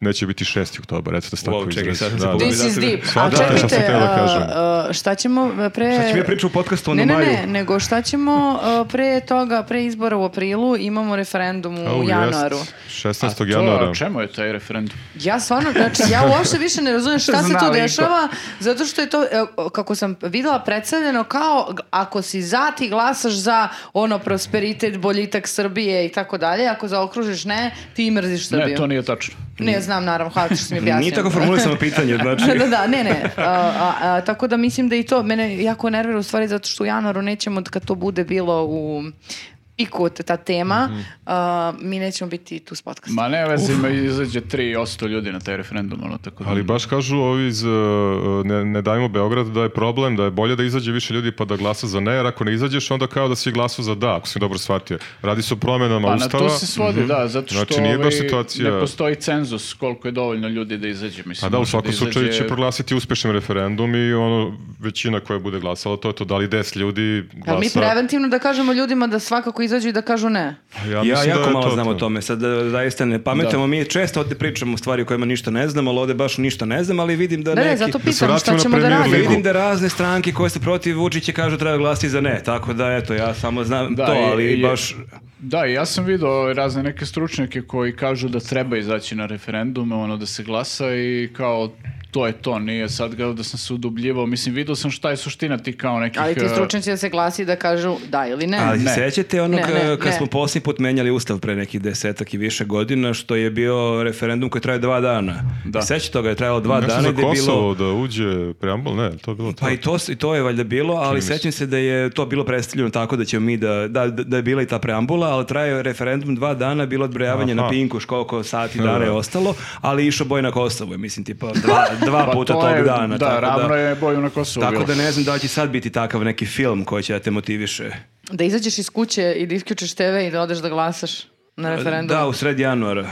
S4: neće biti 6. oktobar, eto da se tako
S2: Wow, čekaj,
S4: izrazim.
S2: sad sam se
S4: Da, da.
S2: pogubio.
S1: This is deep. A
S4: Shvatate šta
S1: čekajte,
S4: sam hteo da
S1: a,
S4: kažem.
S1: a, šta ćemo e, pre...
S2: Šta će mi ja pričati u podcastu o
S1: Ne, ne,
S2: Nomaju?
S1: ne, nego šta ćemo a, pre toga, pre izbora u aprilu, imamo referendum
S4: Au,
S1: u
S4: jest.
S1: januaru.
S4: 16.
S3: To,
S4: januara.
S3: čemu je taj referendum?
S1: Ja stvarno, znači, ja uopšte više ne razumijem šta se tu
S3: Znali
S1: dešava, zato što je to, e, kako sam videla, predstavljeno kao g- ako si za, ti glasaš za ono prosperitet, boljitak Srbije i tako dalje, ako zaokružiš ne, ti mrziš Srbiju.
S3: Ne, to nije tačno.
S1: Ne znam, naravno, hvala ti što si mi objasnio.
S2: Nije tako formulisano pitanje, znači...
S1: da, da, da, ne, ne. A, a, a, tako da mislim da i to mene jako nervira u stvari zato što u januaru nećemo kad to bude bilo u piku ta tema, a, mi nećemo biti tu s podcastom.
S3: Ma ne, vezi, ima izađe 3% ljudi na taj referendum, ono, tako da...
S4: Ali baš kažu ovi iz uh, ne, ne dajmo Beograd da je problem, da je bolje da izađe više ljudi pa da glasa za ne, jer ako ne izađeš onda kao da si glasao za da, ako sam dobro shvatio. Radi se o promjenama
S3: Pa na
S4: ustava.
S3: to se svodi, da, zato što
S4: Znači, nije baš
S3: ovaj,
S4: situacija-
S3: ne postoji cenzus koliko je dovoljno ljudi da izađe, mislim.
S4: A da, u
S3: može
S4: svakom slučaju
S3: izađe-
S4: će proglasiti uspešnim referendum i ono, većina koja bude glasala, to je to, da li 10 ljudi
S1: Jel
S4: glasa.
S1: mi preventivno da kažemo ljudima da svakako izađu i da kažu ne?
S4: Ja,
S2: Ja,
S4: mislim
S2: jako
S4: da je
S2: malo
S4: to
S2: znam
S4: to.
S2: o tome, sad da- zaista ne pametamo, mi često ovde pričamo stvari o kojima ništa ne znam, ali ovde baš ništa ne znam, ali vidim da,
S1: Da, ne,
S2: neki...
S1: zato
S4: se
S1: pitam šta
S4: vratimo na
S1: ćemo da
S4: Premier
S1: radimo.
S4: Ligu.
S2: Vidim da razne stranke koje su protiv Vučića kažu treba glasiti za ne, tako da eto, ja samo znam
S3: Da,
S2: to,
S3: i-
S2: ali
S3: i-
S2: baš...
S3: Da, i ja sam vidio razne neke stručnjake koji kažu da treba izaći na referendume, ono da se glasa i kao to je to, nije sad kao da sam se udubljivao. Mislim, vidio sam šta je suština ti kao nekih...
S1: Ali ti
S3: eh,
S1: stručnjaci da se glasi da kažu da ili ne.
S2: Ali
S3: ne.
S2: sećate ono
S1: Ne,
S2: ka-
S1: ne, ne.
S2: kad smo posljednji put menjali ustav pre nekih desetak i više godina, što je bio referendum koji traje dva dana.
S3: Da.
S2: Sećate toga, je trajalo dva
S4: Nešto
S2: dana
S4: Znači, za
S2: gde je bilo...
S4: Kosovo da uđe preambul, ne, to je bilo to.
S2: Pa i to, i to je valjda bilo, ali
S4: se.
S2: sećam se da je to bilo predstavljeno tako da ćemo mi da, da, da je bila i ta preambula, ali traje referendum dva dana, bilo odbrojavanje
S4: Aha.
S2: na Pinku, koliko sati dana je
S4: da.
S2: ostalo, ali išao boj na Kosovo, je, mislim, tipa dva, dva
S3: pa
S2: puta
S3: to
S2: tog
S3: je-
S2: dana.
S3: Da,
S2: tako
S3: ravno
S2: da,
S3: je boju na Kosovu
S2: Tako
S3: bilo.
S2: da ne znam da li će sad biti takav neki film koji će da te motiviše.
S1: Da izađeš iz kuće i da isključiš TV i da odeš da glasaš na referendum.
S2: Da, u sred januara.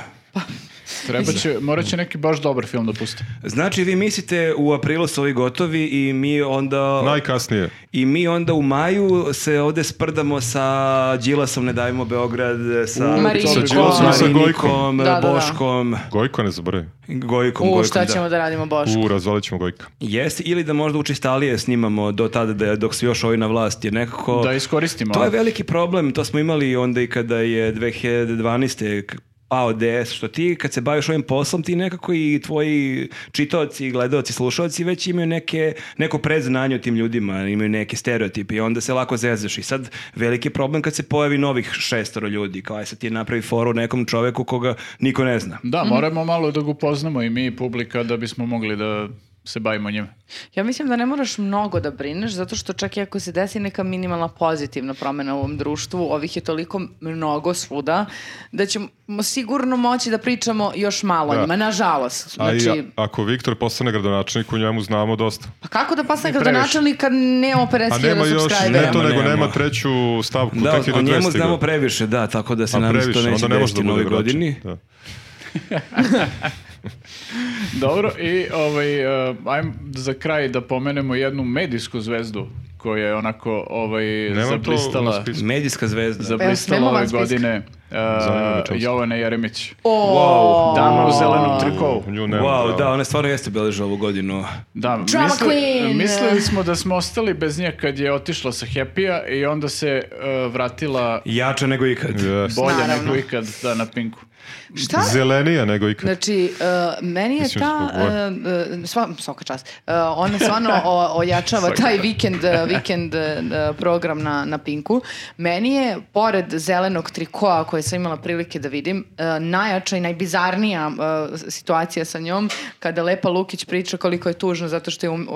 S3: Treba će, morat će neki baš dobar film da puste.
S2: Znači, vi mislite u aprilu su ovi gotovi i mi onda...
S4: Najkasnije.
S2: I mi onda u maju se ovde sprdamo sa Đilasom, ne dajmo Beograd, sa,
S1: U, Marinikom.
S2: sa
S1: sa Đilasom,
S4: sa
S2: Marinikom,
S1: Gojkom. Da, da, da.
S2: Boškom,
S4: Gojko ne zaboravi.
S2: Gojkom,
S1: U,
S2: Gojkom,
S1: šta
S2: da.
S1: ćemo da radimo, Boško?
S4: U, razvalit ćemo Gojka.
S2: Jeste, ili da možda učestalije snimamo do tada da, dok su još ovi na vlasti, jer nekako...
S3: Da iskoristimo.
S2: To je
S3: ali-
S2: veliki problem, to smo imali onda i kada je 2012. k- AODS, što ti kad se baviš ovim poslom, ti nekako i tvoji čitaoci, gledaoci, slušaoci već imaju neke, neko predznanje o tim ljudima, imaju neke stereotipe i onda se lako zezaš. I sad veliki je problem kad se pojavi novih šestoro ljudi, kao aj sad ti napravi foru nekom čoveku koga niko ne zna.
S3: Da,
S1: Mhm.
S3: moramo malo da ga upoznamo i mi i publika da bismo mogli da se bavimo njima.
S1: Ja mislim da ne moraš mnogo da brineš, zato što čak i ako se desi neka minimalna pozitivna promjena u ovom društvu, ovih je toliko mnogo svuda, da ćemo sigurno moći da pričamo još malo o
S4: Da.
S1: njima, nažalost.
S4: A i
S1: Znači,
S4: a- ako Viktor postane gradonačelnik, u njemu znamo dosta.
S1: pa kako da postane
S3: I previše.
S1: gradonačelnik kad nema
S4: A
S1: 50.000
S4: Pa nema još,
S1: subscribera?
S4: ne to,
S2: Nema,
S4: nego
S2: nema.
S4: nema treću stavku,
S2: Da,
S4: tek je
S2: o
S4: do 200.
S2: njemu znamo previše, da, tako da se
S4: A
S2: nam to
S4: previše,
S2: neće
S4: onda ne može
S2: desiti
S4: da
S2: u
S4: bude
S2: novoj
S4: gradonačelnik.
S2: godini.
S4: Da.
S3: Dobro, i ovaj, uh, ajmo za kraj da pomenemo jednu medijsku zvezdu koja je onako ovaj,
S4: Nemam to na
S3: zablistala,
S4: spisku.
S2: Medijska zvezda.
S1: Evo,
S3: zablistala
S1: nema
S3: ove
S1: van spiska.
S3: godine
S4: Zanima me
S3: uh,
S4: čast.
S3: Jovana Jeremić.
S1: O,
S3: Dama u zelenom trikovu.
S4: Nju nema,
S2: Wow,
S4: bravo.
S2: da, ona stvarno jeste beležila ovu godinu.
S3: Da,
S1: Drama queen.
S3: mislili smo da smo ostali bez nje kad je otišla sa Happy-a i onda se uh, vratila
S2: Jača nego ikad.
S4: Yes.
S3: bolje
S1: Naravno.
S3: nego ikad da, na Pinku.
S1: šta
S4: Zelenija nego ikad.
S1: Znači, e, meni je
S4: Mislim,
S1: ta,
S4: zbog
S1: uh, sva, svaka čast, E, ona stvarno o- ojačava taj vikend, e, vikend e, program na, na Pinku. Meni je, pored zelenog trikoa koje sam imala prilike da vidim, e, najjača i najbizarnija e, situacija sa njom, kada Lepa Lukić priča koliko je tužno zato što je um- e,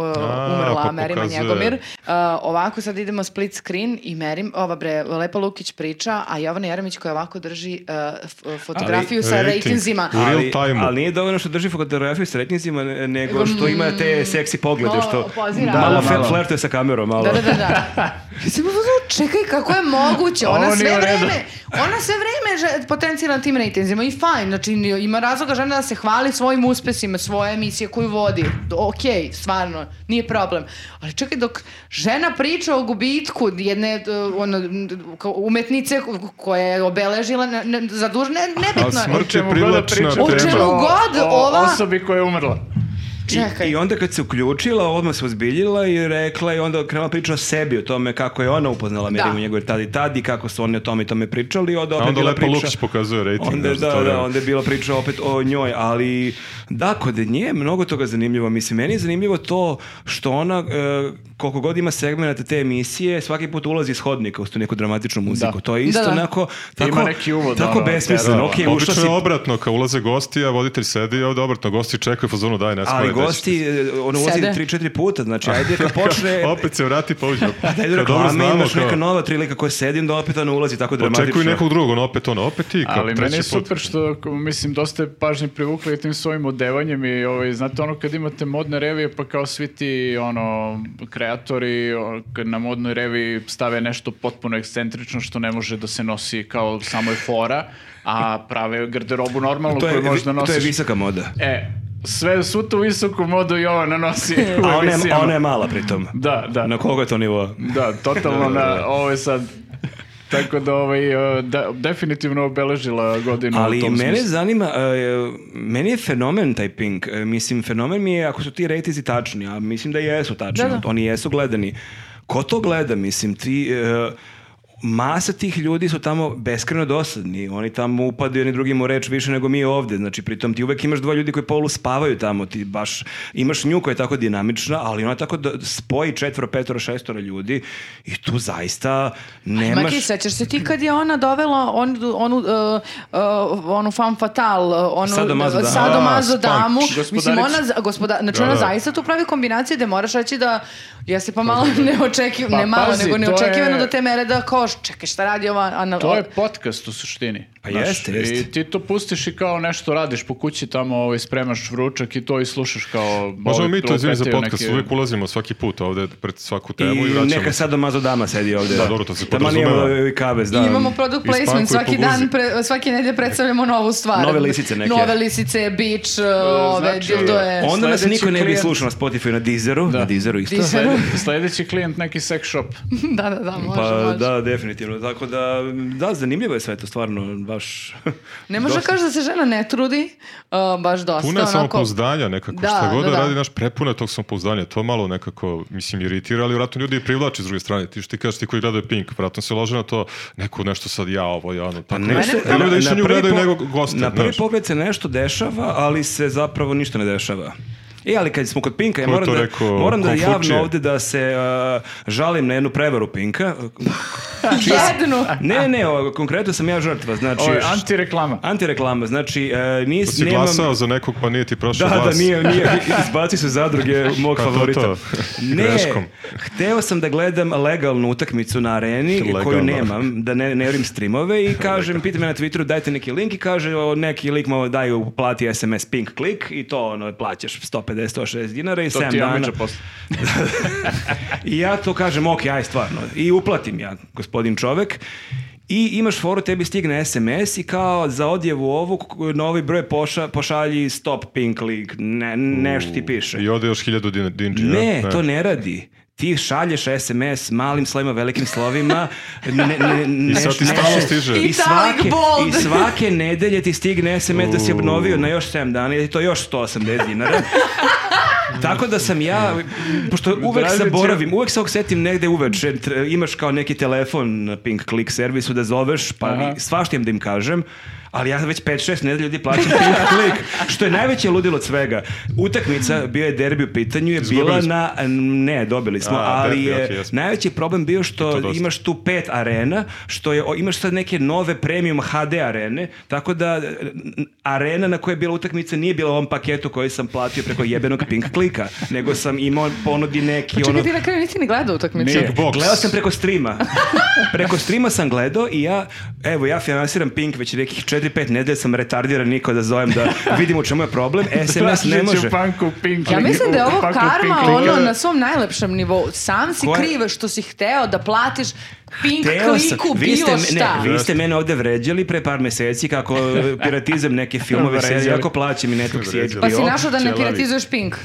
S1: umrla
S4: pa
S1: Merima
S4: pokazuje.
S1: Njegomir. Uh, ovako sad idemo split screen i Merim, ova bre, Lepa Lukić priča, a Jovana Jeremić koja ovako drži uh, f- fotografiju sa
S4: rating.
S1: rejtinzima.
S4: U real
S2: Ali,
S4: time-u.
S2: ali nije dovoljno što drži fotografiju s retnjizima, ne- nego što ima te seksi poglede,
S1: Malo
S2: što
S1: pozira.
S2: malo,
S3: Da, da,
S2: fe-
S3: malo.
S2: flertuje sa kamerom, malo.
S1: Da, da, da, da. Ja sam bila u fazonu, čekaj, kako je moguće? Ona
S3: Ovo
S1: sve
S3: nije u redu.
S1: vreme, ona sve vreme že, potencira na tim rejtenzima i fajn, znači ni- ima razloga žena da se hvali svojim uspesima, svoje emisije koju vodi. Ok, stvarno, nije problem. Ali čekaj, dok žena priča o gubitku jedne e, ono, m, kao umetnice ko- koja je obeležila, ne, ne, za duž- ne,
S4: A
S1: nebitno je.
S4: smrt je
S3: Čemu god da
S4: privlačna
S3: pričamo.
S1: O čemu
S4: tema.
S1: god ova-
S3: Osobi koja je umrla.
S1: Čekaj.
S2: I, I onda kad se uključila, odmah se uzbiljila i rekla i onda krenula priča o sebi, o tome kako je ona upoznala Mirimu Njegove tad i tad i kako su oni o tome i tome pričali. Onda
S4: A
S2: opet
S4: onda
S2: bila
S4: Lepa
S2: priča...
S4: Lukić pokazuje rating.
S2: Onda,
S4: za
S2: da,
S4: to
S2: da,
S4: vreme.
S2: onda je bila priča opet o njoj, ali da, kod nje je mnogo toga zanimljivo. Mislim, meni je zanimljivo to što ona, e, koliko god ima segmenta te emisije, svaki put ulazi iz hodnika uz tu neku dramatičnu muziku.
S3: Da.
S2: To je isto
S1: Da, da.
S2: onako, tako,
S3: Ima neki uvod,
S2: tako
S3: ono,
S2: besmisleno.
S3: teror.
S2: Ok, ušla
S4: Obično
S2: si
S4: je obratno, kao ulaze gosti, a voditelj sedi, a ovde obratno, gosti čekaju fazonu, daj, ne
S2: Ali
S4: skore,
S2: gosti, e, ono ulazi
S1: Sede.
S2: 3-4 puta, znači ajde kad počne...
S4: Opet se vrati pa uđe.
S2: Ajde
S4: Kao,
S2: reklame,
S4: znamo,
S2: imaš neka
S4: kao,
S2: nova trilika koja sedi, onda opet ona ulazi tako dramatično.
S4: Očekuju nekog drugog, ono opet ono, opet ti, kao
S3: Ali meni je
S4: treći put.
S3: super što, ko- mislim, dosta je pažnje privukla i tim svojim odevanjem i, ovaj, znate, ono kad imate modne revije, pa kao svi ti, ono, kreatori o, kad na modnoj reviji stave nešto potpuno ekscentrično što ne može da se nosi kao samo je fora, a prave garderobu normalnu
S2: To je,
S3: koju možda
S2: to
S3: nosiš.
S2: je visoka moda.
S3: E, sve, svu tu visoku modu i ona nosi u
S2: A ona je,
S3: emisijama.
S2: ona je mala pritom.
S3: Da, da.
S2: Na koga je to nivoa?
S3: Da, totalno na ovo je sad. Tako da ovaj e, da, definitivno obeležila godinu u
S2: Ali
S3: tom
S2: mene
S3: smislu.
S2: zanima, e, meni je fenomen taj Pink. E, mislim, fenomen mi je ako su ti rejtizi tačni, a mislim da jesu tačni.
S1: Da, da.
S2: Oni jesu gledani. Ko to gleda, mislim, ti... e, masa tih ljudi su tamo beskreno dosadni. Oni tamo upadaju jedni drugim u reč više nego mi ovde. Znači, pritom ti uvek imaš dva ljudi koji polu spavaju tamo. Ti baš imaš nju koja je tako dinamična, ali ona tako da spoji četvoro, petoro, šestoro ljudi i tu zaista nemaš...
S1: Maki, sećaš se ti kad je ona dovela on, onu, uh, uh, onu fan fatal, uh, onu
S2: Sadomazo damu.
S1: sadomazo
S4: A, Spunk,
S1: damu. Mislim,
S3: gospodaricu.
S1: ona, za- gospoda, znači
S4: Da,
S1: ona
S4: da.
S1: zaista tu pravi kombinacije gde moraš reći da jesi pa malo neočekivano,
S3: Pa,
S1: ne malo,
S3: pazi,
S1: nego
S3: to je-
S1: neočekivano do te mere da kao, čekaj, šta radi ova anal...
S3: To je podcast u suštini.
S2: Pa
S3: Znaš,
S2: jeste, jeste.
S3: I ti to pustiš i kao nešto radiš po kući tamo, ovaj, spremaš vručak i to i slušaš kao...
S4: Možemo
S3: ovaj,
S4: mi to, izvini za
S3: lupetaju
S4: podcast,
S3: neke-
S4: uvijek ulazimo svaki put ovde pred svaku temu i,
S2: I
S4: vraćamo.
S2: neka sadomazo dama sedi ovde.
S4: Da, dobro, to se
S2: Taman
S4: podrazumeva.
S2: imamo i kavez, da.
S1: I imamo product
S4: Ispankuj
S1: placement, svaki
S4: po guzi.
S1: dan, pre- svake nedelje predstavljamo novu stvar.
S2: Nove lisice neke. e,
S1: Nove lisice, beach, e, ove,
S3: znači,
S1: dildoe.
S2: Onda nas
S3: Sledeći
S2: niko ne bi
S3: klijent-
S2: slušao na Spotify, na Deezeru, na Deezeru isto.
S1: Deezeru.
S3: Sljedeći klijent neki sex shop.
S1: da, da, da, može,
S2: Pa
S1: može.
S2: da, definitivno. Tako da, da, zanimljivo je sve to, stvarno, baš...
S1: Ne može da kaže da se žena ne trudi, uh, baš dosta.
S4: Puna je
S1: onako,
S4: samopouzdanja nekako,
S1: Da,
S4: šta god
S1: da,
S4: da,
S1: da.
S4: radi, naš prepuna je tog samopouzdanja, to malo nekako, mislim, iritira, ali vratno ljudi i privlači s druge strane, ti što ti kažeš, ti koji gledaju Pink, vratno se lože na to, neko nešto sad ja, ovo, ja, ono, tako,
S1: ne,
S4: nešto.
S1: ne,
S4: E, ljudi
S2: Pa na-
S4: više
S2: na
S4: nju
S2: prvi
S4: gledaju
S2: po-
S4: nego goste,
S2: Na prvi
S4: znaš.
S2: pogled se nešto dešava, ali se zapravo ništa ne dešava. E, ali kad smo kod Pinka, ja
S4: Ko je
S2: moram
S4: to
S2: da,
S4: rekao?
S2: moram da javno
S4: Konfučije.
S2: ovde da se uh, žalim na jednu prevaru Pinka. Znači,
S1: Jednu.
S2: Ne, ne, o, konkretno sam ja žrtva, znači...
S3: Ovo je antireklama.
S2: Antireklama, znači uh,
S4: Da
S2: nis,
S4: si
S2: nemam-
S4: glasao za nekog, pa nije ti prošao
S2: Da,
S4: glas.
S2: da, nije, nije, izbaci se zadruge mog
S4: Pa to,
S2: favorita.
S4: to.
S2: Ne,
S4: Greškom.
S2: hteo sam da gledam legalnu utakmicu na areni,
S4: Legalno.
S2: koju nemam, da ne, ne jurim streamove i kažem, pita me na Twitteru, dajte neki link i kaže, o, neki lik mu daju, plati SMS pink klik i to ono, plaćaš 150-160 dinara i
S3: To
S2: 7
S3: ti ja
S2: dana.
S3: međa posle.
S2: I ja to kažem, ok, aj stvarno. I uplatim ja, gospodin čovek. I imaš foru, tebi stigne SMS i kao za odjevu ovu, k- novi broj poša, pošalji stop pink link, ne, nešto ti piše.
S4: I ode još hiljadu din, dinđi,
S2: Ne, to ne radi. Ti šalješ SMS malim slovima, velikim slovima. Ne, ne, ne,
S4: I sad ti
S2: ne-
S4: stalno stiže.
S1: I
S2: I
S1: italic
S2: svake,
S1: bold.
S2: I svake nedelje ti stigne SMS da si obnovio na još 7 dana i to još 180 dinara. Tako da sam ja, pošto uvek
S3: Dražić je-
S2: zaboravim, uvek se oksetim negde uveče, tr- imaš kao neki telefon na Pink Click servisu da zoveš, pa
S3: Aha.
S2: svaštijem da im kažem, ali ja već 5-6 nedelja ljudi plaćam Pink Click, što je najveće ludilo od svega. Utakmica, bio je derbi u pitanju, je
S4: Izgubili
S2: bila
S4: smo.
S2: na... Ne, dobili smo,
S4: A,
S2: ali
S4: derbi,
S2: je
S4: okej, jesmo.
S2: najveći problem bio
S4: to
S2: što
S4: dosta.
S2: imaš tu pet arena, što je, o, imaš sad neke nove premium HD arene, tako da e, n- arena na kojoj je bila utakmica nije bila u ovom paketu koji sam platio preko jebenog pink klika, nego sam imao ponudi neki
S1: Čekaj,
S2: ono...
S1: ti na kraju nisi ni gledao utakmicu.
S3: Nije.
S4: Box.
S2: Gledao sam preko streama. Preko streama sam gledao i ja, evo, ja finansiram Pink već nekih 4-5 nedelja sam retardiran niko da zovem da vidim u čemu je problem. SMS ne
S3: Tražeći
S2: može.
S3: u
S4: pa-
S3: panku pink.
S1: Ja mislim da je
S3: u
S1: ovo
S3: paku
S1: karma
S3: pink linka.
S1: ono na svom najlepšem nivou. Sam si
S2: Koja-
S1: kriva što si hteo da platiš pink
S2: Hteo sam-
S1: kliku
S2: vi ste,
S1: bilo
S2: me-
S1: šta.
S2: Ne, vi ste mene ovde vređali pre par meseci kako e, piratizam neke filmove,
S3: Vređali.
S2: serije, ako plaćam i Netflix i HBO.
S4: Vređali.
S1: Pa si našao da ne
S4: ćelavi.
S1: piratizuješ pink.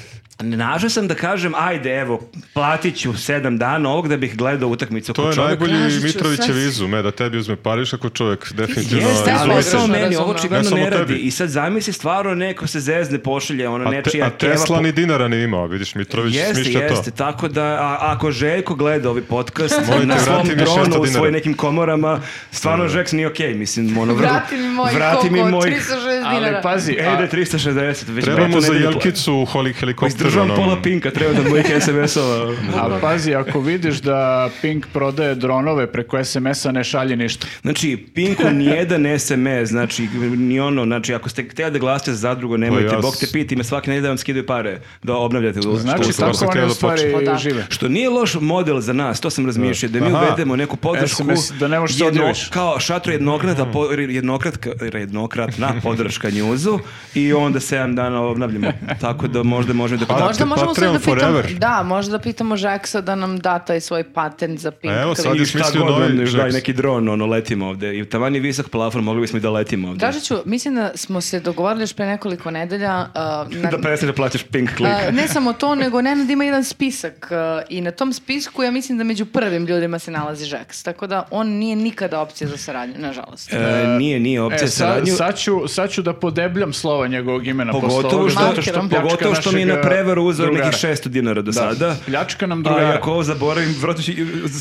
S2: Našao sam da kažem, ajde, evo, platit ću sedam dana ovog da bih gledao utakmicu
S4: To
S2: kod
S4: je
S2: čoveka.
S4: najbolji
S1: Tražit ću
S4: Mitrovićev
S1: sad-
S4: izum, e, da tebi uzme pariš ako čovjek definitivno...
S2: Jeste,
S1: Ja sam
S2: ali ne
S4: izumete.
S1: potpuno
S2: samo meni, ovo
S1: razumela.
S2: očigledno
S4: Ne samo
S2: ne radi.
S4: tebi.
S2: I sad zamisli stvarno neko se zezne, pošalje ono
S4: A, te-
S2: nečija
S4: a
S2: keva
S4: Tesla
S2: po-
S4: ni dinara nije imao, vidiš, Mitrović
S2: Jeste,
S4: smišlja to.
S2: jeste, tako da a, ako Željko gleda ovaj podcast
S4: Molim
S2: na
S4: te,
S2: svom
S4: vrati mi 600
S2: dronu u
S4: dinara.
S2: svojim nekim komorama, stvarno Žeks nije okej, mislim, ono vrlo-
S1: Vrati mi moj
S2: vrati mi pa-
S1: koliko,
S2: mojih-
S1: 360 dinara.
S3: Ali pazi,
S4: E,
S3: a-
S2: Ejde 360, već
S4: Trebamo
S2: petu
S4: za
S2: nedelju pla-
S4: Jelkicu u holi- helikopteru.
S2: Pa
S4: ono,
S2: Izdržavam
S4: onom.
S2: pola pinka, treba da mojih SMS-ova.
S3: A pazi, ako vidiš da Pink prodaje dronove preko SMS-a, ne šalje ništa.
S2: Znači, Pinku nijedan SMS, znači, ni ono, znači, ako ste htjeli da glasite za zadrugo, nemojte,
S4: Pa ja
S2: Bog
S4: s-
S2: te piti, me svaki nedelje da vam skidaju pare da obnavljate.
S3: Znači,
S4: sam
S3: tako
S4: htio
S3: oni
S4: da
S3: u stvari
S1: počnem. Pa da.
S3: žive.
S2: Što nije loš model za nas, to sam razmišljao, da mi
S4: Aha.
S2: uvedemo neku podršku.
S3: SMS da ne možeš da
S2: jedno-
S3: odjaviš.
S2: Kao šatro jednokratna, po, jednokratka, jednokratna podrška njuzu i onda 7 dana obnavljamo. Tako da možda možemo da...
S4: Pa-
S1: Možda možemo sad
S4: Patreon
S1: da pitamo,
S4: forever.
S1: da, možda da pitamo Žeksa da nam da taj svoj patent za pink
S4: A evo sad
S1: klip.
S4: je
S2: I šta
S4: smislio
S2: god
S4: novi
S2: nam još daj
S4: Jackson.
S2: neki dron, ono, letimo ovde. I taman je visok plafon, mogli bismo i da letimo ovde.
S1: Dražiću, mislim da smo se dogovorili još pre nekoliko nedelja. uh, na-
S2: da prestaneš da plaćaš pink klik.
S1: A, ne samo to, nego Nenad ima jedan spisak a, i na tom spisku ja mislim da među prvim ljudima se nalazi Žeks. Tako da on nije nikada opcija za saradnju, nažalost.
S2: E, nije, nije
S3: E,
S2: opcija
S3: sa-
S2: saradnju.
S3: sad, ću, sad ću da podebljam slova njegovog imena. posle
S2: Pogotovo
S3: ovoga,
S2: što,
S1: Markerom.
S3: zato što pljačka
S2: pogotovo što mi je na
S3: našeg, e,
S2: prevaru uzeo
S3: drugara.
S2: nekih 600 dinara do sada.
S3: Pljačka nam
S2: A
S3: drugara.
S2: ako ovo zaboravim, vratno ću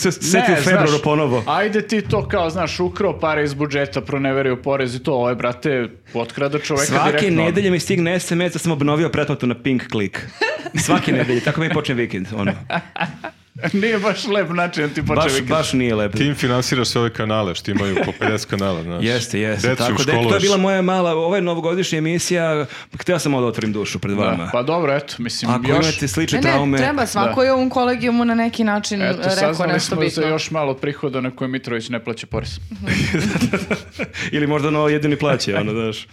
S2: se seti u
S3: Ne,
S2: februaru
S3: znaš,
S2: ponovo.
S3: Ajde ti to kao, znaš, ukrao pare iz budžeta, proneverio porez i to, ovo je, brate, potkrada čoveka
S2: Svake
S3: direktno.
S2: nedelje mi stigne SMS da sam obnovio pretplatu na Pink Click. Svake nedelje, tako mi počne vikend. Ono.
S3: Nije baš lep način da ti poče
S2: Baš,
S3: vikend.
S2: baš nije lepo.
S4: Tim finansira sve ove kanale, što imaju po 50 kanala, znaš.
S2: Jeste, jeste.
S4: Decu
S2: tako da eto, to je
S4: školuješ.
S2: bila moja mala, ova je novogodišnja emisija, hteo sam malo da otvorim dušu pred
S3: Da,
S2: vama.
S3: pa dobro, eto, mislim,
S2: ono. Ako
S3: još...
S2: imate slične
S1: Ne, ne,
S2: traume,
S1: treba, svako je u ovom kolegijumu na neki način e,
S3: Eto,
S1: rekao
S3: saznali
S1: nešto
S3: smo
S1: bitno.
S3: za još malo prihoda na koje Mitrović ne plaća porez.
S2: ili možda ono jedini plaće, ono, znaš.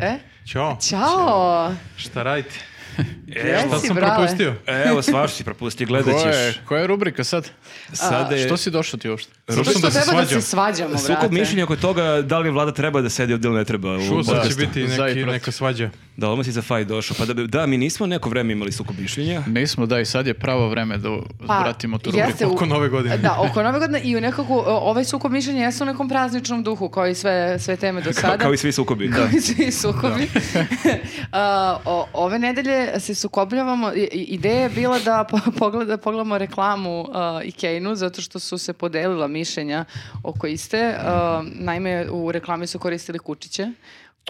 S1: E?
S5: Ćao,
S1: Ćao! E,
S5: šta radite?
S1: Jesi,
S4: Šta sam
S1: brale.
S4: propustio?
S2: Evo, svaš si propustio, gledat
S3: Koja
S2: ćeš.
S3: je, koja je rubrika sad?
S2: Sada je
S3: Što si došao ti uopšte?
S1: Zato
S4: Rušam
S1: što
S4: da se
S1: treba da
S4: svađam.
S1: se svađamo, brate.
S2: sukob mišljenja oko toga da li vlada treba da sedi ovdje ili ne treba. u
S5: Čuo sam da će
S2: podcastu.
S5: biti
S3: Za i
S5: neki,
S3: protiv.
S5: neka svađa.
S2: Da, odmah si za faj došao. Pa da, bi- da, mi nismo neko vreme imali sukob mišljenja.
S3: Nismo, da, i sad je pravo vreme da vratimo tu rubriku.
S1: Pa, jeste u-
S5: Oko nove godine.
S1: Da, oko nove godine i u nekako, o, ovaj sukob mišljenja jeste u nekom prazničnom duhu, kao i sve, sve teme do
S2: Kao,
S1: sada.
S2: kao i svi sukobi.
S1: Kao i svi sukobi. A, o- ove nedelje se sukobljavamo. I- i- Ideja je bila da po- pogleda, pogledamo reklamu a, Ikeinu, zato što su se podelila mišljenja oko iste. A, naime, u reklami su koristili kučiće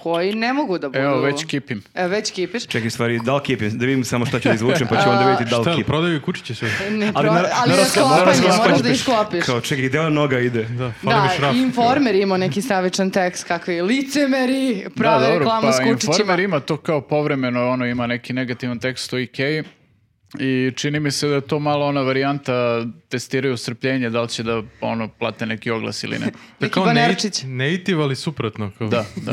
S1: koji ne mogu da budu...
S3: Evo, već kipim.
S1: E, već kipiš.
S2: Čekaj, stvari, da li kipim? Da vidim samo šta ću da izvučem, pa ću onda vidjeti da
S5: Šta,
S2: li
S5: jel
S2: kipim.
S5: prodaju kućiće sve?
S1: Ne,
S2: Ali
S1: pro-
S2: na-
S1: ali
S2: na
S1: na
S2: raskla-
S1: sklapanje,
S2: na
S1: moraš da
S2: rasklapanje.
S1: ih sklopiš.
S2: Kao, čekaj, gdje ova noga ide?
S5: Da, fali mi
S1: Da,
S5: šraf.
S1: informer ima neki stavičan tekst kakvi licemeri prave
S3: da,
S1: reklamu
S3: pa
S1: s kučićima.
S3: Informer ima to kao povremeno, ono ima neki negativan tekst o Ikeji i čini mi se da je to malo ona varijanta testiraju strpljenje, da li će da ono, plate neki oglas ili ne.
S5: Da
S1: Neki
S5: kao ne-
S1: Banerčić.
S5: native, ali suprotno. Kao,
S3: Da, da.